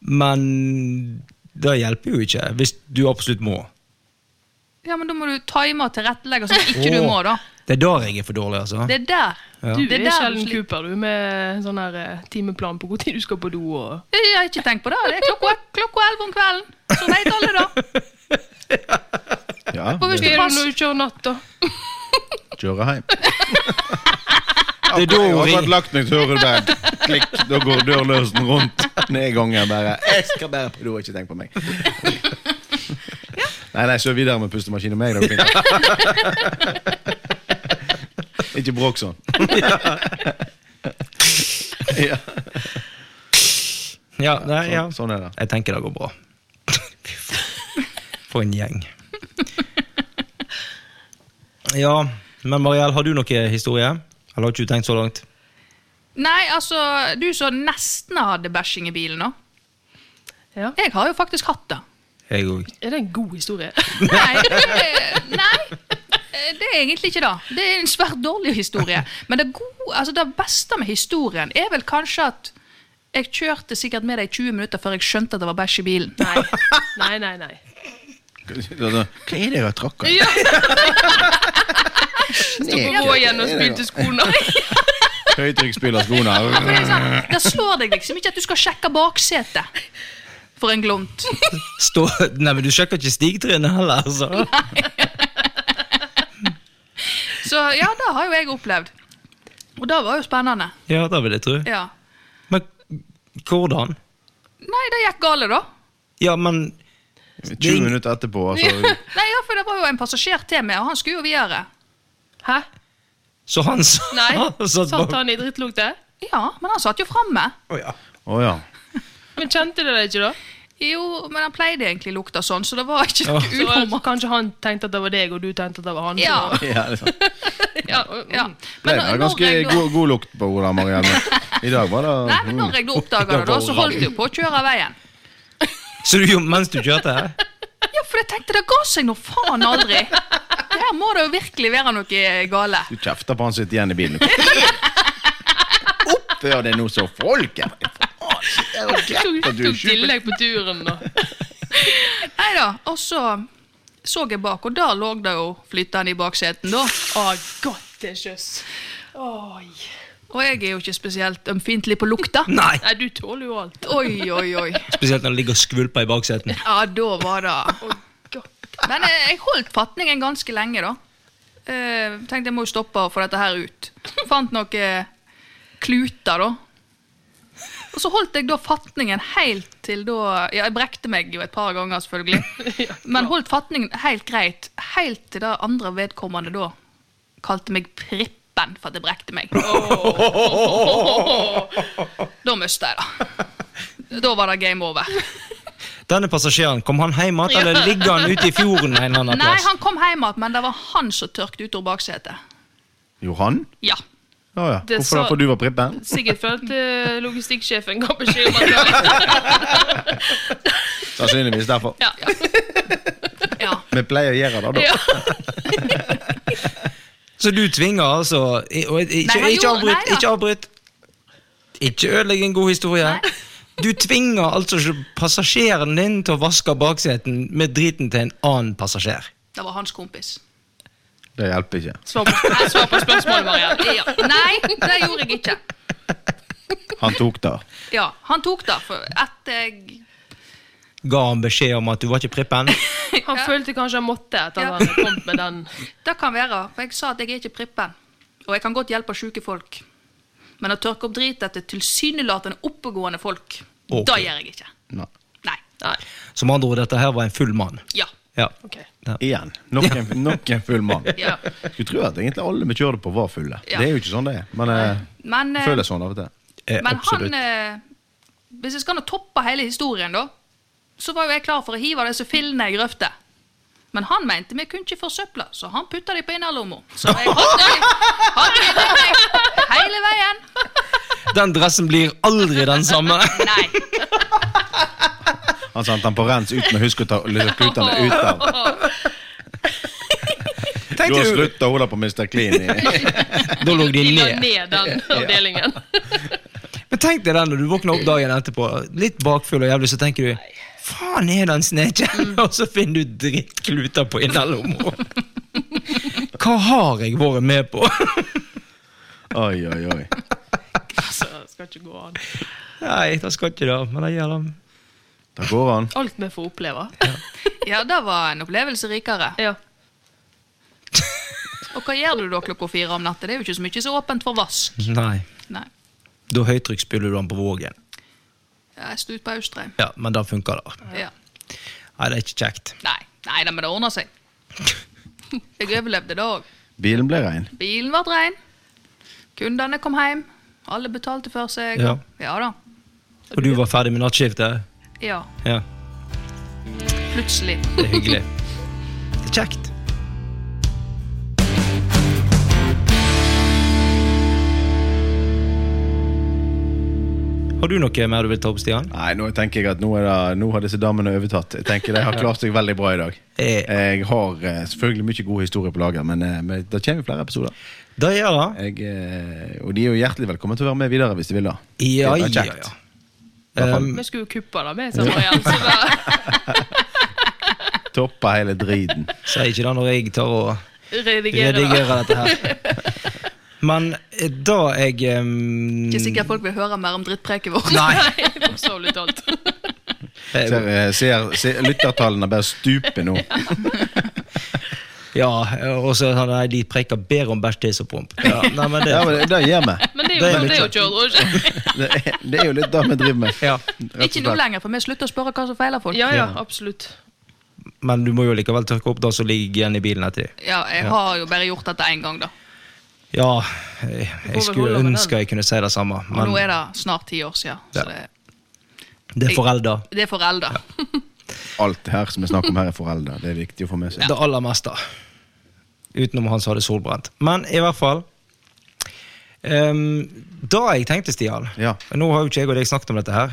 [SPEAKER 1] Men det hjelper jo ikke hvis du absolutt må.
[SPEAKER 4] Ja, men da må du time og tilrettelegge sånn at ikke du
[SPEAKER 1] Åh,
[SPEAKER 4] må, da.
[SPEAKER 1] Det er der jeg er for dårlig, altså.
[SPEAKER 4] Det er der.
[SPEAKER 1] Ja.
[SPEAKER 3] Du
[SPEAKER 4] Det
[SPEAKER 3] er
[SPEAKER 4] der
[SPEAKER 3] sjelden
[SPEAKER 4] sliter.
[SPEAKER 3] Cooper, du, med sånn her eh, timeplan på hvor tid du skal på do og
[SPEAKER 4] Jeg har ikke tenkt på det. Det er klokka, klokka 11 om kvelden. Så vet alle det.
[SPEAKER 2] Ja,
[SPEAKER 4] For hvis
[SPEAKER 3] Hva
[SPEAKER 4] du
[SPEAKER 3] gjør du
[SPEAKER 4] passer
[SPEAKER 3] når du kjører natt, da?
[SPEAKER 2] kjøre hjem.
[SPEAKER 1] Det er da
[SPEAKER 2] Jeg har
[SPEAKER 1] vi-
[SPEAKER 2] akkurat lagt meg til hørebag. Klikk, da går dørløsen rundt. Ned gangen bare. Jeg skal bare på do, ikke tenk på meg. Nei, nei, kjør videre med pustemaskin og meg. Det går fint. Ikke bråk sånn. Ja,
[SPEAKER 1] Ja, nei, ja.
[SPEAKER 2] sånn, sånn er det.
[SPEAKER 1] Jeg tenker det går bra. Fy faen. For en gjeng. Ja, men Mariell, har du noe historie? Eller har ikke du tenkt så langt?
[SPEAKER 4] Nei, altså, du som nesten hadde bæsjing i bilen nå.
[SPEAKER 3] Ja.
[SPEAKER 4] Jeg har jo faktisk hatt det.
[SPEAKER 1] Jeg òg.
[SPEAKER 3] Er det en god
[SPEAKER 4] [laughs]
[SPEAKER 3] historie?
[SPEAKER 4] Nei, det- nei, Eh, det er egentlig ikke det. Det er en svært dårlig historie. Men det, gode, altså det beste med historien er vel kanskje at jeg kjørte sikkert med deg 20 minutter før jeg skjønte at det var bæsj i bilen.
[SPEAKER 3] Nei. Nei, nei, nei.
[SPEAKER 2] Hva er det jeg har tråkka i?
[SPEAKER 3] Ja,
[SPEAKER 2] Snek.
[SPEAKER 3] gå gjennom spylte skoene.
[SPEAKER 4] [laughs]
[SPEAKER 2] Høytrykksspyler skoene.
[SPEAKER 4] Det er sånn, Der slår deg liksom ikke at du skal sjekke baksetet. for en glomt.
[SPEAKER 1] Stå, nei, men du sjekker ikke stigtrinnet heller, altså.
[SPEAKER 4] Så ja, det har jo jeg opplevd. Og det var jo spennende.
[SPEAKER 1] Ja, det vil jeg tro.
[SPEAKER 4] Ja.
[SPEAKER 1] Men hvordan?
[SPEAKER 4] Nei, det gikk gale, da.
[SPEAKER 1] Ja, men
[SPEAKER 2] 20 minutter etterpå, altså.
[SPEAKER 4] Nei, ja, for det var jo en passasjer til meg, og han skulle jo videre.
[SPEAKER 3] Hæ?
[SPEAKER 1] Så han s-
[SPEAKER 3] Nei?
[SPEAKER 1] [laughs] satt
[SPEAKER 3] Satt
[SPEAKER 1] bak
[SPEAKER 3] han i drittlukte?
[SPEAKER 4] Ja, men han satt jo framme.
[SPEAKER 1] Å, ja.
[SPEAKER 2] Å ja.
[SPEAKER 3] Men kjente du det ikke, da?
[SPEAKER 4] Jo, men han pleide egentlig lukta sånn, så det var ikke
[SPEAKER 1] Ja.
[SPEAKER 4] noe
[SPEAKER 3] Så var-
[SPEAKER 4] unormalt.
[SPEAKER 3] kanskje han tenkte at det var deg, og du tenkte at det var han.
[SPEAKER 4] Ja,
[SPEAKER 2] [laughs] ja det sånn. er sant.
[SPEAKER 3] ja,
[SPEAKER 4] ja.
[SPEAKER 2] Det
[SPEAKER 4] når-
[SPEAKER 2] var
[SPEAKER 4] når
[SPEAKER 2] ganske
[SPEAKER 4] jeg da-
[SPEAKER 2] god, god lukt på Ola Marianne. I dag var det
[SPEAKER 4] [laughs] Nei, men når jeg da oppdaga det, da, så holdt jeg jo på å kjøre av veien.
[SPEAKER 1] Så du gjorde mens du kjørte? hæ?
[SPEAKER 4] Ja, for jeg tenkte det ga seg nå faen aldri. Her må det jo virkelig være noe gale.
[SPEAKER 2] Du kjefter på han som sitter igjen i bilen. [laughs] Oppfør deg nå som folk her! Faen, det er jo greit at
[SPEAKER 3] Tok
[SPEAKER 2] du er
[SPEAKER 3] tok
[SPEAKER 2] tjuv.
[SPEAKER 3] tillegg på turen, da.
[SPEAKER 4] Nei da, og så så jeg bak, og der lå det jo flytende i bakseten, da.
[SPEAKER 3] [laughs] Å, godt til sjøs. Oi.
[SPEAKER 4] Og jeg er jo ikke spesielt ømfintlig på lukta.
[SPEAKER 1] Nei!
[SPEAKER 3] Nei, du tåler jo alt.
[SPEAKER 4] Oi, oi, oi.
[SPEAKER 1] Spesielt når han ligger og skvulper i baksetet.
[SPEAKER 4] Ja, da var det
[SPEAKER 3] Å, godt.
[SPEAKER 4] Men eh, jeg holdt fatningen ganske lenge, da. Eh, tenkte jeg må jo stoppe og få dette her ut. Fant noen kluter, da. Og så holdt jeg da fatningen helt til da Ja, jeg brekte meg jo et par ganger, selvfølgelig. Men holdt fatningen helt greit helt til det andre vedkommende da kalte meg Prippen for at jeg brekte meg. [laughs] Da mista jeg det. Da var det game over.
[SPEAKER 1] Denne passasjeren, kom han hjem igjen, eller ligger han ute i fjorden en eller annen
[SPEAKER 4] Nei,
[SPEAKER 1] plass?
[SPEAKER 4] han kom hjem igjen, men det var han som tørket ut over baksetet.
[SPEAKER 2] Johan?
[SPEAKER 4] Ja.
[SPEAKER 2] Ja, ja.
[SPEAKER 3] Det
[SPEAKER 2] Hvorfor
[SPEAKER 3] sa-
[SPEAKER 2] det? For du var prippen?
[SPEAKER 3] Sikkert for at eh, logistikksjefen ga beskjed om at
[SPEAKER 2] Sannsynligvis derfor.
[SPEAKER 3] ja.
[SPEAKER 4] ja.
[SPEAKER 2] Vi pleier å gjøre det, da.
[SPEAKER 3] ja.
[SPEAKER 1] Så du tvinger altså i- og i- Ikke,
[SPEAKER 4] Nei, han
[SPEAKER 1] ikke
[SPEAKER 4] gjorde-
[SPEAKER 1] avbryt!
[SPEAKER 4] nei da.
[SPEAKER 1] Ikke avbryt! Ikke ødelegg en god historie. Du tvinger altså ikke passasjeren din til å vaske bakseten med driten til en annen passasjer.
[SPEAKER 4] Det var hans kompis.
[SPEAKER 2] Det hjelper ikke.
[SPEAKER 3] Svar på, svar på spørsmålet, Marianne.
[SPEAKER 4] Ja. Nei, det gjorde jeg ikke.
[SPEAKER 2] Han tok det.
[SPEAKER 4] Ja, Han tok det for etter jeg
[SPEAKER 1] Ga han beskjed om at du var ikke prippen?
[SPEAKER 3] Han følte kanskje han måtte etter
[SPEAKER 4] Ja.
[SPEAKER 3] at han kom med den.
[SPEAKER 4] Det kan være, for jeg sa at jeg er ikke prippen. Og jeg kan godt hjelpe sjuke folk. Men å tørke opp drit etter tilsynelatende oppegående folk,
[SPEAKER 1] Ok.
[SPEAKER 4] det gjør jeg ikke.
[SPEAKER 2] Nei.
[SPEAKER 4] Nei.
[SPEAKER 3] Nei.
[SPEAKER 1] Som andre ord, dette her var en full mann.
[SPEAKER 4] Ja.
[SPEAKER 1] Ja.
[SPEAKER 3] ok.
[SPEAKER 2] Igjen. Nok en, nok en full mann.
[SPEAKER 4] ja.
[SPEAKER 2] Skulle tro at egentlig alle vi kjørte på, var fulle.
[SPEAKER 4] Ja.
[SPEAKER 2] Det er jo ikke sånn det er. Men eh,
[SPEAKER 4] Men, eh,
[SPEAKER 2] det føles sånn av og til.
[SPEAKER 1] Eh,
[SPEAKER 4] men
[SPEAKER 1] absolutt.
[SPEAKER 4] han eh, Hvis jeg skal nå toppe hele historien, da, så var jo jeg klar for å hive disse fillene i grøfta. Men han mente vi kunne ikke forsøple, så han putta de på innerlomma. Så jeg hadde hadde de med meg hele veien. eh,
[SPEAKER 1] Den dressen blir aldri den samme.
[SPEAKER 4] Nei.
[SPEAKER 2] Han sendte han på rens uten å huske å ta liksom, klutene ut av.
[SPEAKER 1] Tenk
[SPEAKER 2] Da
[SPEAKER 1] du,
[SPEAKER 2] slutta Ola på Mr. Clean. i-
[SPEAKER 1] da lå de
[SPEAKER 3] De la
[SPEAKER 1] ned.
[SPEAKER 3] ned den avdelingen.
[SPEAKER 1] Men tenk deg den når du våkner opp dagen etterpå, litt bakfull og jævlig, så tenker du Faen, er det en snekjell? [laughs] Og så finner du drittkluter på innerlomma. [laughs] Hva har jeg vært med på? [laughs]
[SPEAKER 2] Oi, oi, oi.
[SPEAKER 3] [laughs] Så skal ikke gå an.
[SPEAKER 1] Nei, det skal ikke det, men det gjør det.
[SPEAKER 2] Da går han.
[SPEAKER 3] Alt vi får oppleve.
[SPEAKER 4] Ja, det var en opplevelse rikere.
[SPEAKER 3] Ja.
[SPEAKER 4] Og hva gjør du da klokka fire om natta? Det er jo ikke så mye så åpent for vask.
[SPEAKER 1] Nei.
[SPEAKER 4] Nei.
[SPEAKER 1] Da høytrykksspyler du den på Vågen.
[SPEAKER 4] Jeg sto ut på Austrheim.
[SPEAKER 1] Ja, men det funker, da.
[SPEAKER 4] Ja.
[SPEAKER 1] Nei, det er ikke kjekt.
[SPEAKER 4] Nei, nei da, men det ordner seg. Jeg overlevde det òg.
[SPEAKER 2] Bilen ble rein.
[SPEAKER 4] Bilen ble rein. Kundene kom hjem. Alle betalte for seg.
[SPEAKER 1] Ja.
[SPEAKER 4] ja da.
[SPEAKER 1] Og du var ferdig med nattskiftet?
[SPEAKER 4] Ja,
[SPEAKER 1] Ja.
[SPEAKER 4] plutselig.
[SPEAKER 1] Det er hyggelig. Det er kjekt. Har du noe mer du vil ta opp, Stian?
[SPEAKER 2] Nei, nå tenker jeg at nå, er det, nå har disse damene overtatt. Jeg tenker De har klart seg veldig bra i dag.
[SPEAKER 1] Eh,
[SPEAKER 2] Jeg har eh, selvfølgelig mye gode historier på lager, men eh, men det kommer flere episoder.
[SPEAKER 1] det gjør det.
[SPEAKER 2] Jeg, eh, og de er jo hjertelig velkommen til å være med videre hvis de vil. da
[SPEAKER 1] Ja,
[SPEAKER 2] Det
[SPEAKER 1] ja,
[SPEAKER 2] var kjekt.
[SPEAKER 1] ja.
[SPEAKER 2] I hvert fall.
[SPEAKER 1] Um,
[SPEAKER 3] Vi skulle jo kuppe det med sammen igjen. Så da
[SPEAKER 2] Toppa hele driten.
[SPEAKER 1] Sier ikke det når jeg tar og
[SPEAKER 3] redigerer det.
[SPEAKER 1] redigerer dette her. Men eh, da jeg um,
[SPEAKER 4] [laughs] Ikke sikkert folk vil høre mer om drittpreket vårt.
[SPEAKER 1] Nei. [laughs]
[SPEAKER 3] Nei, bokstavelig talt.
[SPEAKER 2] Ser, eh, ser, ser, lyttertallene bare stuper nå.
[SPEAKER 1] Ja, og så er det sånn Nei, de preker bedre om bæsj, tiss og promp. [laughs] Ja, nei, men det,
[SPEAKER 2] Ja, men det, det gjør vi.
[SPEAKER 3] Men det
[SPEAKER 1] Det er
[SPEAKER 3] er jo, det er jo
[SPEAKER 1] litt-
[SPEAKER 3] ikke Roger.
[SPEAKER 2] Det, er- det er jo litt det vi driver med.
[SPEAKER 1] ja.
[SPEAKER 2] Rett og
[SPEAKER 4] Ikke nå
[SPEAKER 2] slett.
[SPEAKER 4] lenger, for vi slutter å spørre hva som feiler folk.
[SPEAKER 3] Ja, ja, absolutt.
[SPEAKER 1] Men du må jo likevel tørke opp det som ligger igjen i bilen etter dem.
[SPEAKER 4] Ja, jeg har jo bare gjort dette én gang, da.
[SPEAKER 1] Ja, jeg, jeg
[SPEAKER 3] Får vi
[SPEAKER 1] skulle
[SPEAKER 3] holde med
[SPEAKER 1] ønske jeg kunne si det samme,
[SPEAKER 4] Og nå
[SPEAKER 1] men
[SPEAKER 4] er det snart ti år siden.
[SPEAKER 1] Ja.
[SPEAKER 4] Så det,
[SPEAKER 1] det er forelda.
[SPEAKER 4] det er forelda.
[SPEAKER 2] Alt her som vi snakker om her, er foreldre. Det er viktig å få med seg.
[SPEAKER 1] Det aller meste. Utenom han som hadde solbrent. Men i hvert fall ehm, Da jeg tenkte, Stian
[SPEAKER 2] Ja.
[SPEAKER 1] Nå har jo ikke jeg og deg snakket om dette her.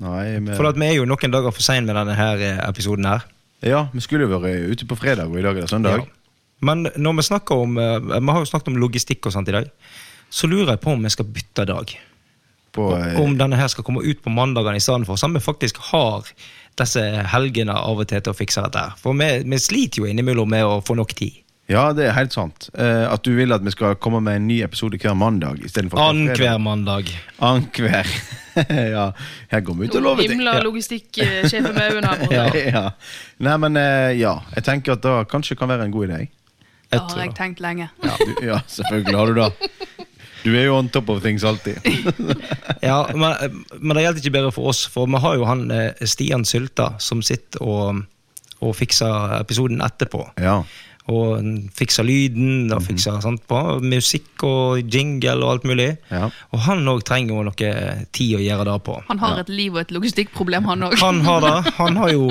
[SPEAKER 2] Nei,
[SPEAKER 1] For
[SPEAKER 2] vi,
[SPEAKER 1] at vi er jo noen dager for sein med denne her eh, episoden her.
[SPEAKER 2] ja, vi skulle jo vært ute på fredag, og i dag er det søndag.
[SPEAKER 1] Ja. Men når vi snakker om eh, Vi har jo snakket om logistikk og sånt i dag. Så lurer jeg på om vi skal bytte dag.
[SPEAKER 2] På, eh,
[SPEAKER 1] Om denne her skal komme ut på mandagene i stedet for. Sånn at vi faktisk har disse helgene av og til til å fikse dette her. For vi, vi sliter jo innimellom med å få nok tid.
[SPEAKER 2] ja, det er helt sant. Eh, at du vil at vi skal komme med en ny episode hver mandag. istedenfor hver fredag.
[SPEAKER 1] Annenhver mandag.
[SPEAKER 2] Ankver. [laughs] ja, her går vi ut og lover ting.
[SPEAKER 3] Himla logistikksjefen med øynene her
[SPEAKER 1] Ja.
[SPEAKER 3] borte.
[SPEAKER 2] [laughs] Ja. Nei, men eh, ja. Jeg tenker at det kanskje kan være en god idé.
[SPEAKER 1] Jeg
[SPEAKER 4] Det har
[SPEAKER 1] tror
[SPEAKER 4] jeg
[SPEAKER 1] det.
[SPEAKER 4] tenkt lenge.
[SPEAKER 2] Ja, [laughs] du, ja selvfølgelig har du det. Du er jo on top of things alltid.
[SPEAKER 1] [laughs] Ja, men, men det gjelder ikke bedre for oss, for vi har jo han eh, Stian Sylta som sitter og, og fikser episoden etterpå.
[SPEAKER 2] Ja.
[SPEAKER 1] Og fikser lyden
[SPEAKER 2] Mhm.
[SPEAKER 1] og fikser sant, på, musikk og jingle og alt mulig.
[SPEAKER 2] Ja.
[SPEAKER 1] Og han òg trenger jo noe tid å gjøre det på.
[SPEAKER 4] Han har et liv og et logistikkproblem, han òg.
[SPEAKER 1] Han har det. Han har jo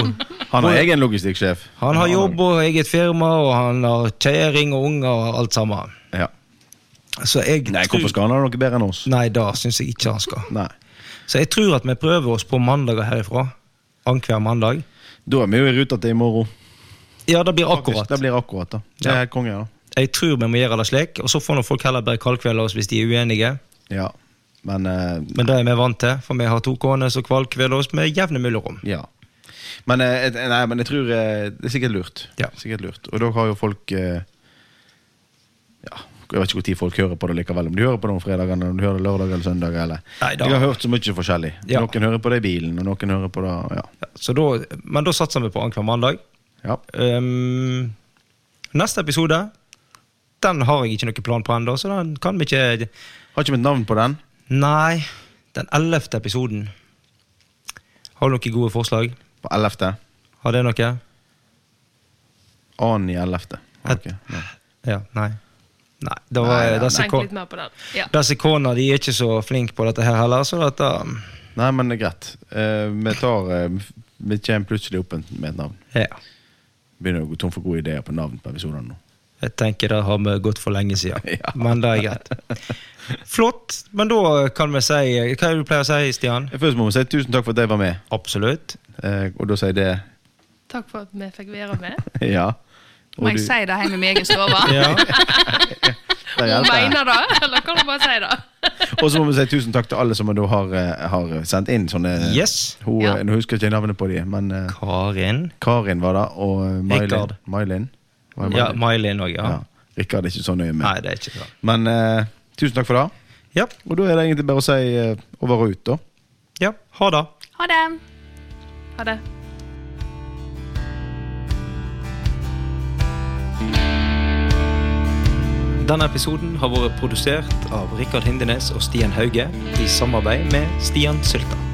[SPEAKER 2] Han er egen logistikksjef.
[SPEAKER 1] han har jobb og eget firma, og han har kjæring og unger og alt sammen.
[SPEAKER 2] Ja.
[SPEAKER 1] Så jeg
[SPEAKER 2] Nei, hvorfor skal han ha noe bedre enn oss?
[SPEAKER 1] Nei, da syns jeg ikke han skal.
[SPEAKER 2] Nei.
[SPEAKER 1] Så jeg tror at vi prøver oss på mandager herifra. Annenhver mandag.
[SPEAKER 2] Da er vi jo i ruta til i morgen.
[SPEAKER 1] Ja, det blir akkurat.
[SPEAKER 2] Det blir akkurat, da. Det er konge, da.
[SPEAKER 1] Jeg tror vi må gjøre det slik, og så får nå folk heller bare kaldkvelde oss hvis de er uenige.
[SPEAKER 2] Ja. Men eh,
[SPEAKER 1] Men det er vi vant til, for vi har to koner som kaldkveler oss med jevne mellomrom.
[SPEAKER 2] Ja. Men, eh, et- nei, men jeg tror eh, det er sikkert lurt.
[SPEAKER 1] Ja.
[SPEAKER 2] Sikkert lurt. Og da har jo folk eh, Ja, jeg vet ikke når folk hører på det likevel. Om de hører på det om fredagene, om de hører det lørdag eller søndag. Eller.
[SPEAKER 1] Nei, da-
[SPEAKER 2] Jeg har hørt så mye forskjellig.
[SPEAKER 1] Ja.
[SPEAKER 2] Noen hører på det i bilen, og noen hører på det Ja.
[SPEAKER 1] Ja, så da, men da satser vi på annenhver mandag.
[SPEAKER 2] ja.
[SPEAKER 1] Ehm, neste episode den har jeg ikke noen plan på ennå, så den kan vi ikke
[SPEAKER 2] Har ikke mitt navn på den.
[SPEAKER 1] Nei, den ellevte episoden. Har du noen gode forslag?
[SPEAKER 2] På 11.
[SPEAKER 1] Har det noe?
[SPEAKER 2] Annen i 11. Ok,
[SPEAKER 1] Et-
[SPEAKER 2] ja.
[SPEAKER 1] Ja, nei. Nei, det var
[SPEAKER 2] Nei, nei,
[SPEAKER 1] disse
[SPEAKER 3] Tenk
[SPEAKER 1] ko-
[SPEAKER 3] litt mer på den.
[SPEAKER 4] Ja.
[SPEAKER 1] Disse kona de er ikke så flinke på dette her heller, så um, dette
[SPEAKER 2] Nei, men det er greit. Eh, vi tar eh, Vi kommer plutselig opp en- med et navn.
[SPEAKER 1] Ja.
[SPEAKER 2] Begynner å gå tom for gode ideer på navn på episodene nå.
[SPEAKER 1] Jeg tenker det har vi gått for lenge siden.
[SPEAKER 2] [laughs] Ja.
[SPEAKER 1] Men det er greit. Flott. Men da kan vi si Hva er det du pleier å si, Stian?
[SPEAKER 2] Først må vi si tusen takk for at de var med,
[SPEAKER 1] Absolutt.
[SPEAKER 2] eh, og da sier det
[SPEAKER 3] Takk for at vi fikk være med.
[SPEAKER 2] [laughs] Ja. Og
[SPEAKER 4] Må jeg
[SPEAKER 2] du-
[SPEAKER 4] si det hjemme i min egen stue?
[SPEAKER 1] [laughs] Ja.
[SPEAKER 2] det
[SPEAKER 3] Hun
[SPEAKER 2] hjelper.
[SPEAKER 3] mener det, eller kan du bare si det?
[SPEAKER 2] Og så må vi si tusen takk til alle som da har, eh, har sendt inn sånne
[SPEAKER 1] Yes.
[SPEAKER 2] Hun,
[SPEAKER 4] Ja.
[SPEAKER 2] eh, Nå husker jeg ikke navnet på dem, men eh,
[SPEAKER 1] Karin.
[SPEAKER 2] Karin var det, og eh, Mailin.
[SPEAKER 1] Rikard.
[SPEAKER 2] Mailin. Var det
[SPEAKER 1] Ja,
[SPEAKER 2] Mailin?
[SPEAKER 1] May-Linn òg, ja.
[SPEAKER 2] Ja. Rikard er ikke så nøye med.
[SPEAKER 1] Nei, det er ikke sånn.
[SPEAKER 2] Men eh, tusen takk for det.
[SPEAKER 1] Ja.
[SPEAKER 2] Og da er det egentlig bare å si eh, over og ut, da.
[SPEAKER 1] ja. Ha det.
[SPEAKER 4] Ha det!
[SPEAKER 3] Ha det.
[SPEAKER 1] Denne episoden har vært produsert av Rikard Hindenes og Stian Hauge i samarbeid med Stian Sylta.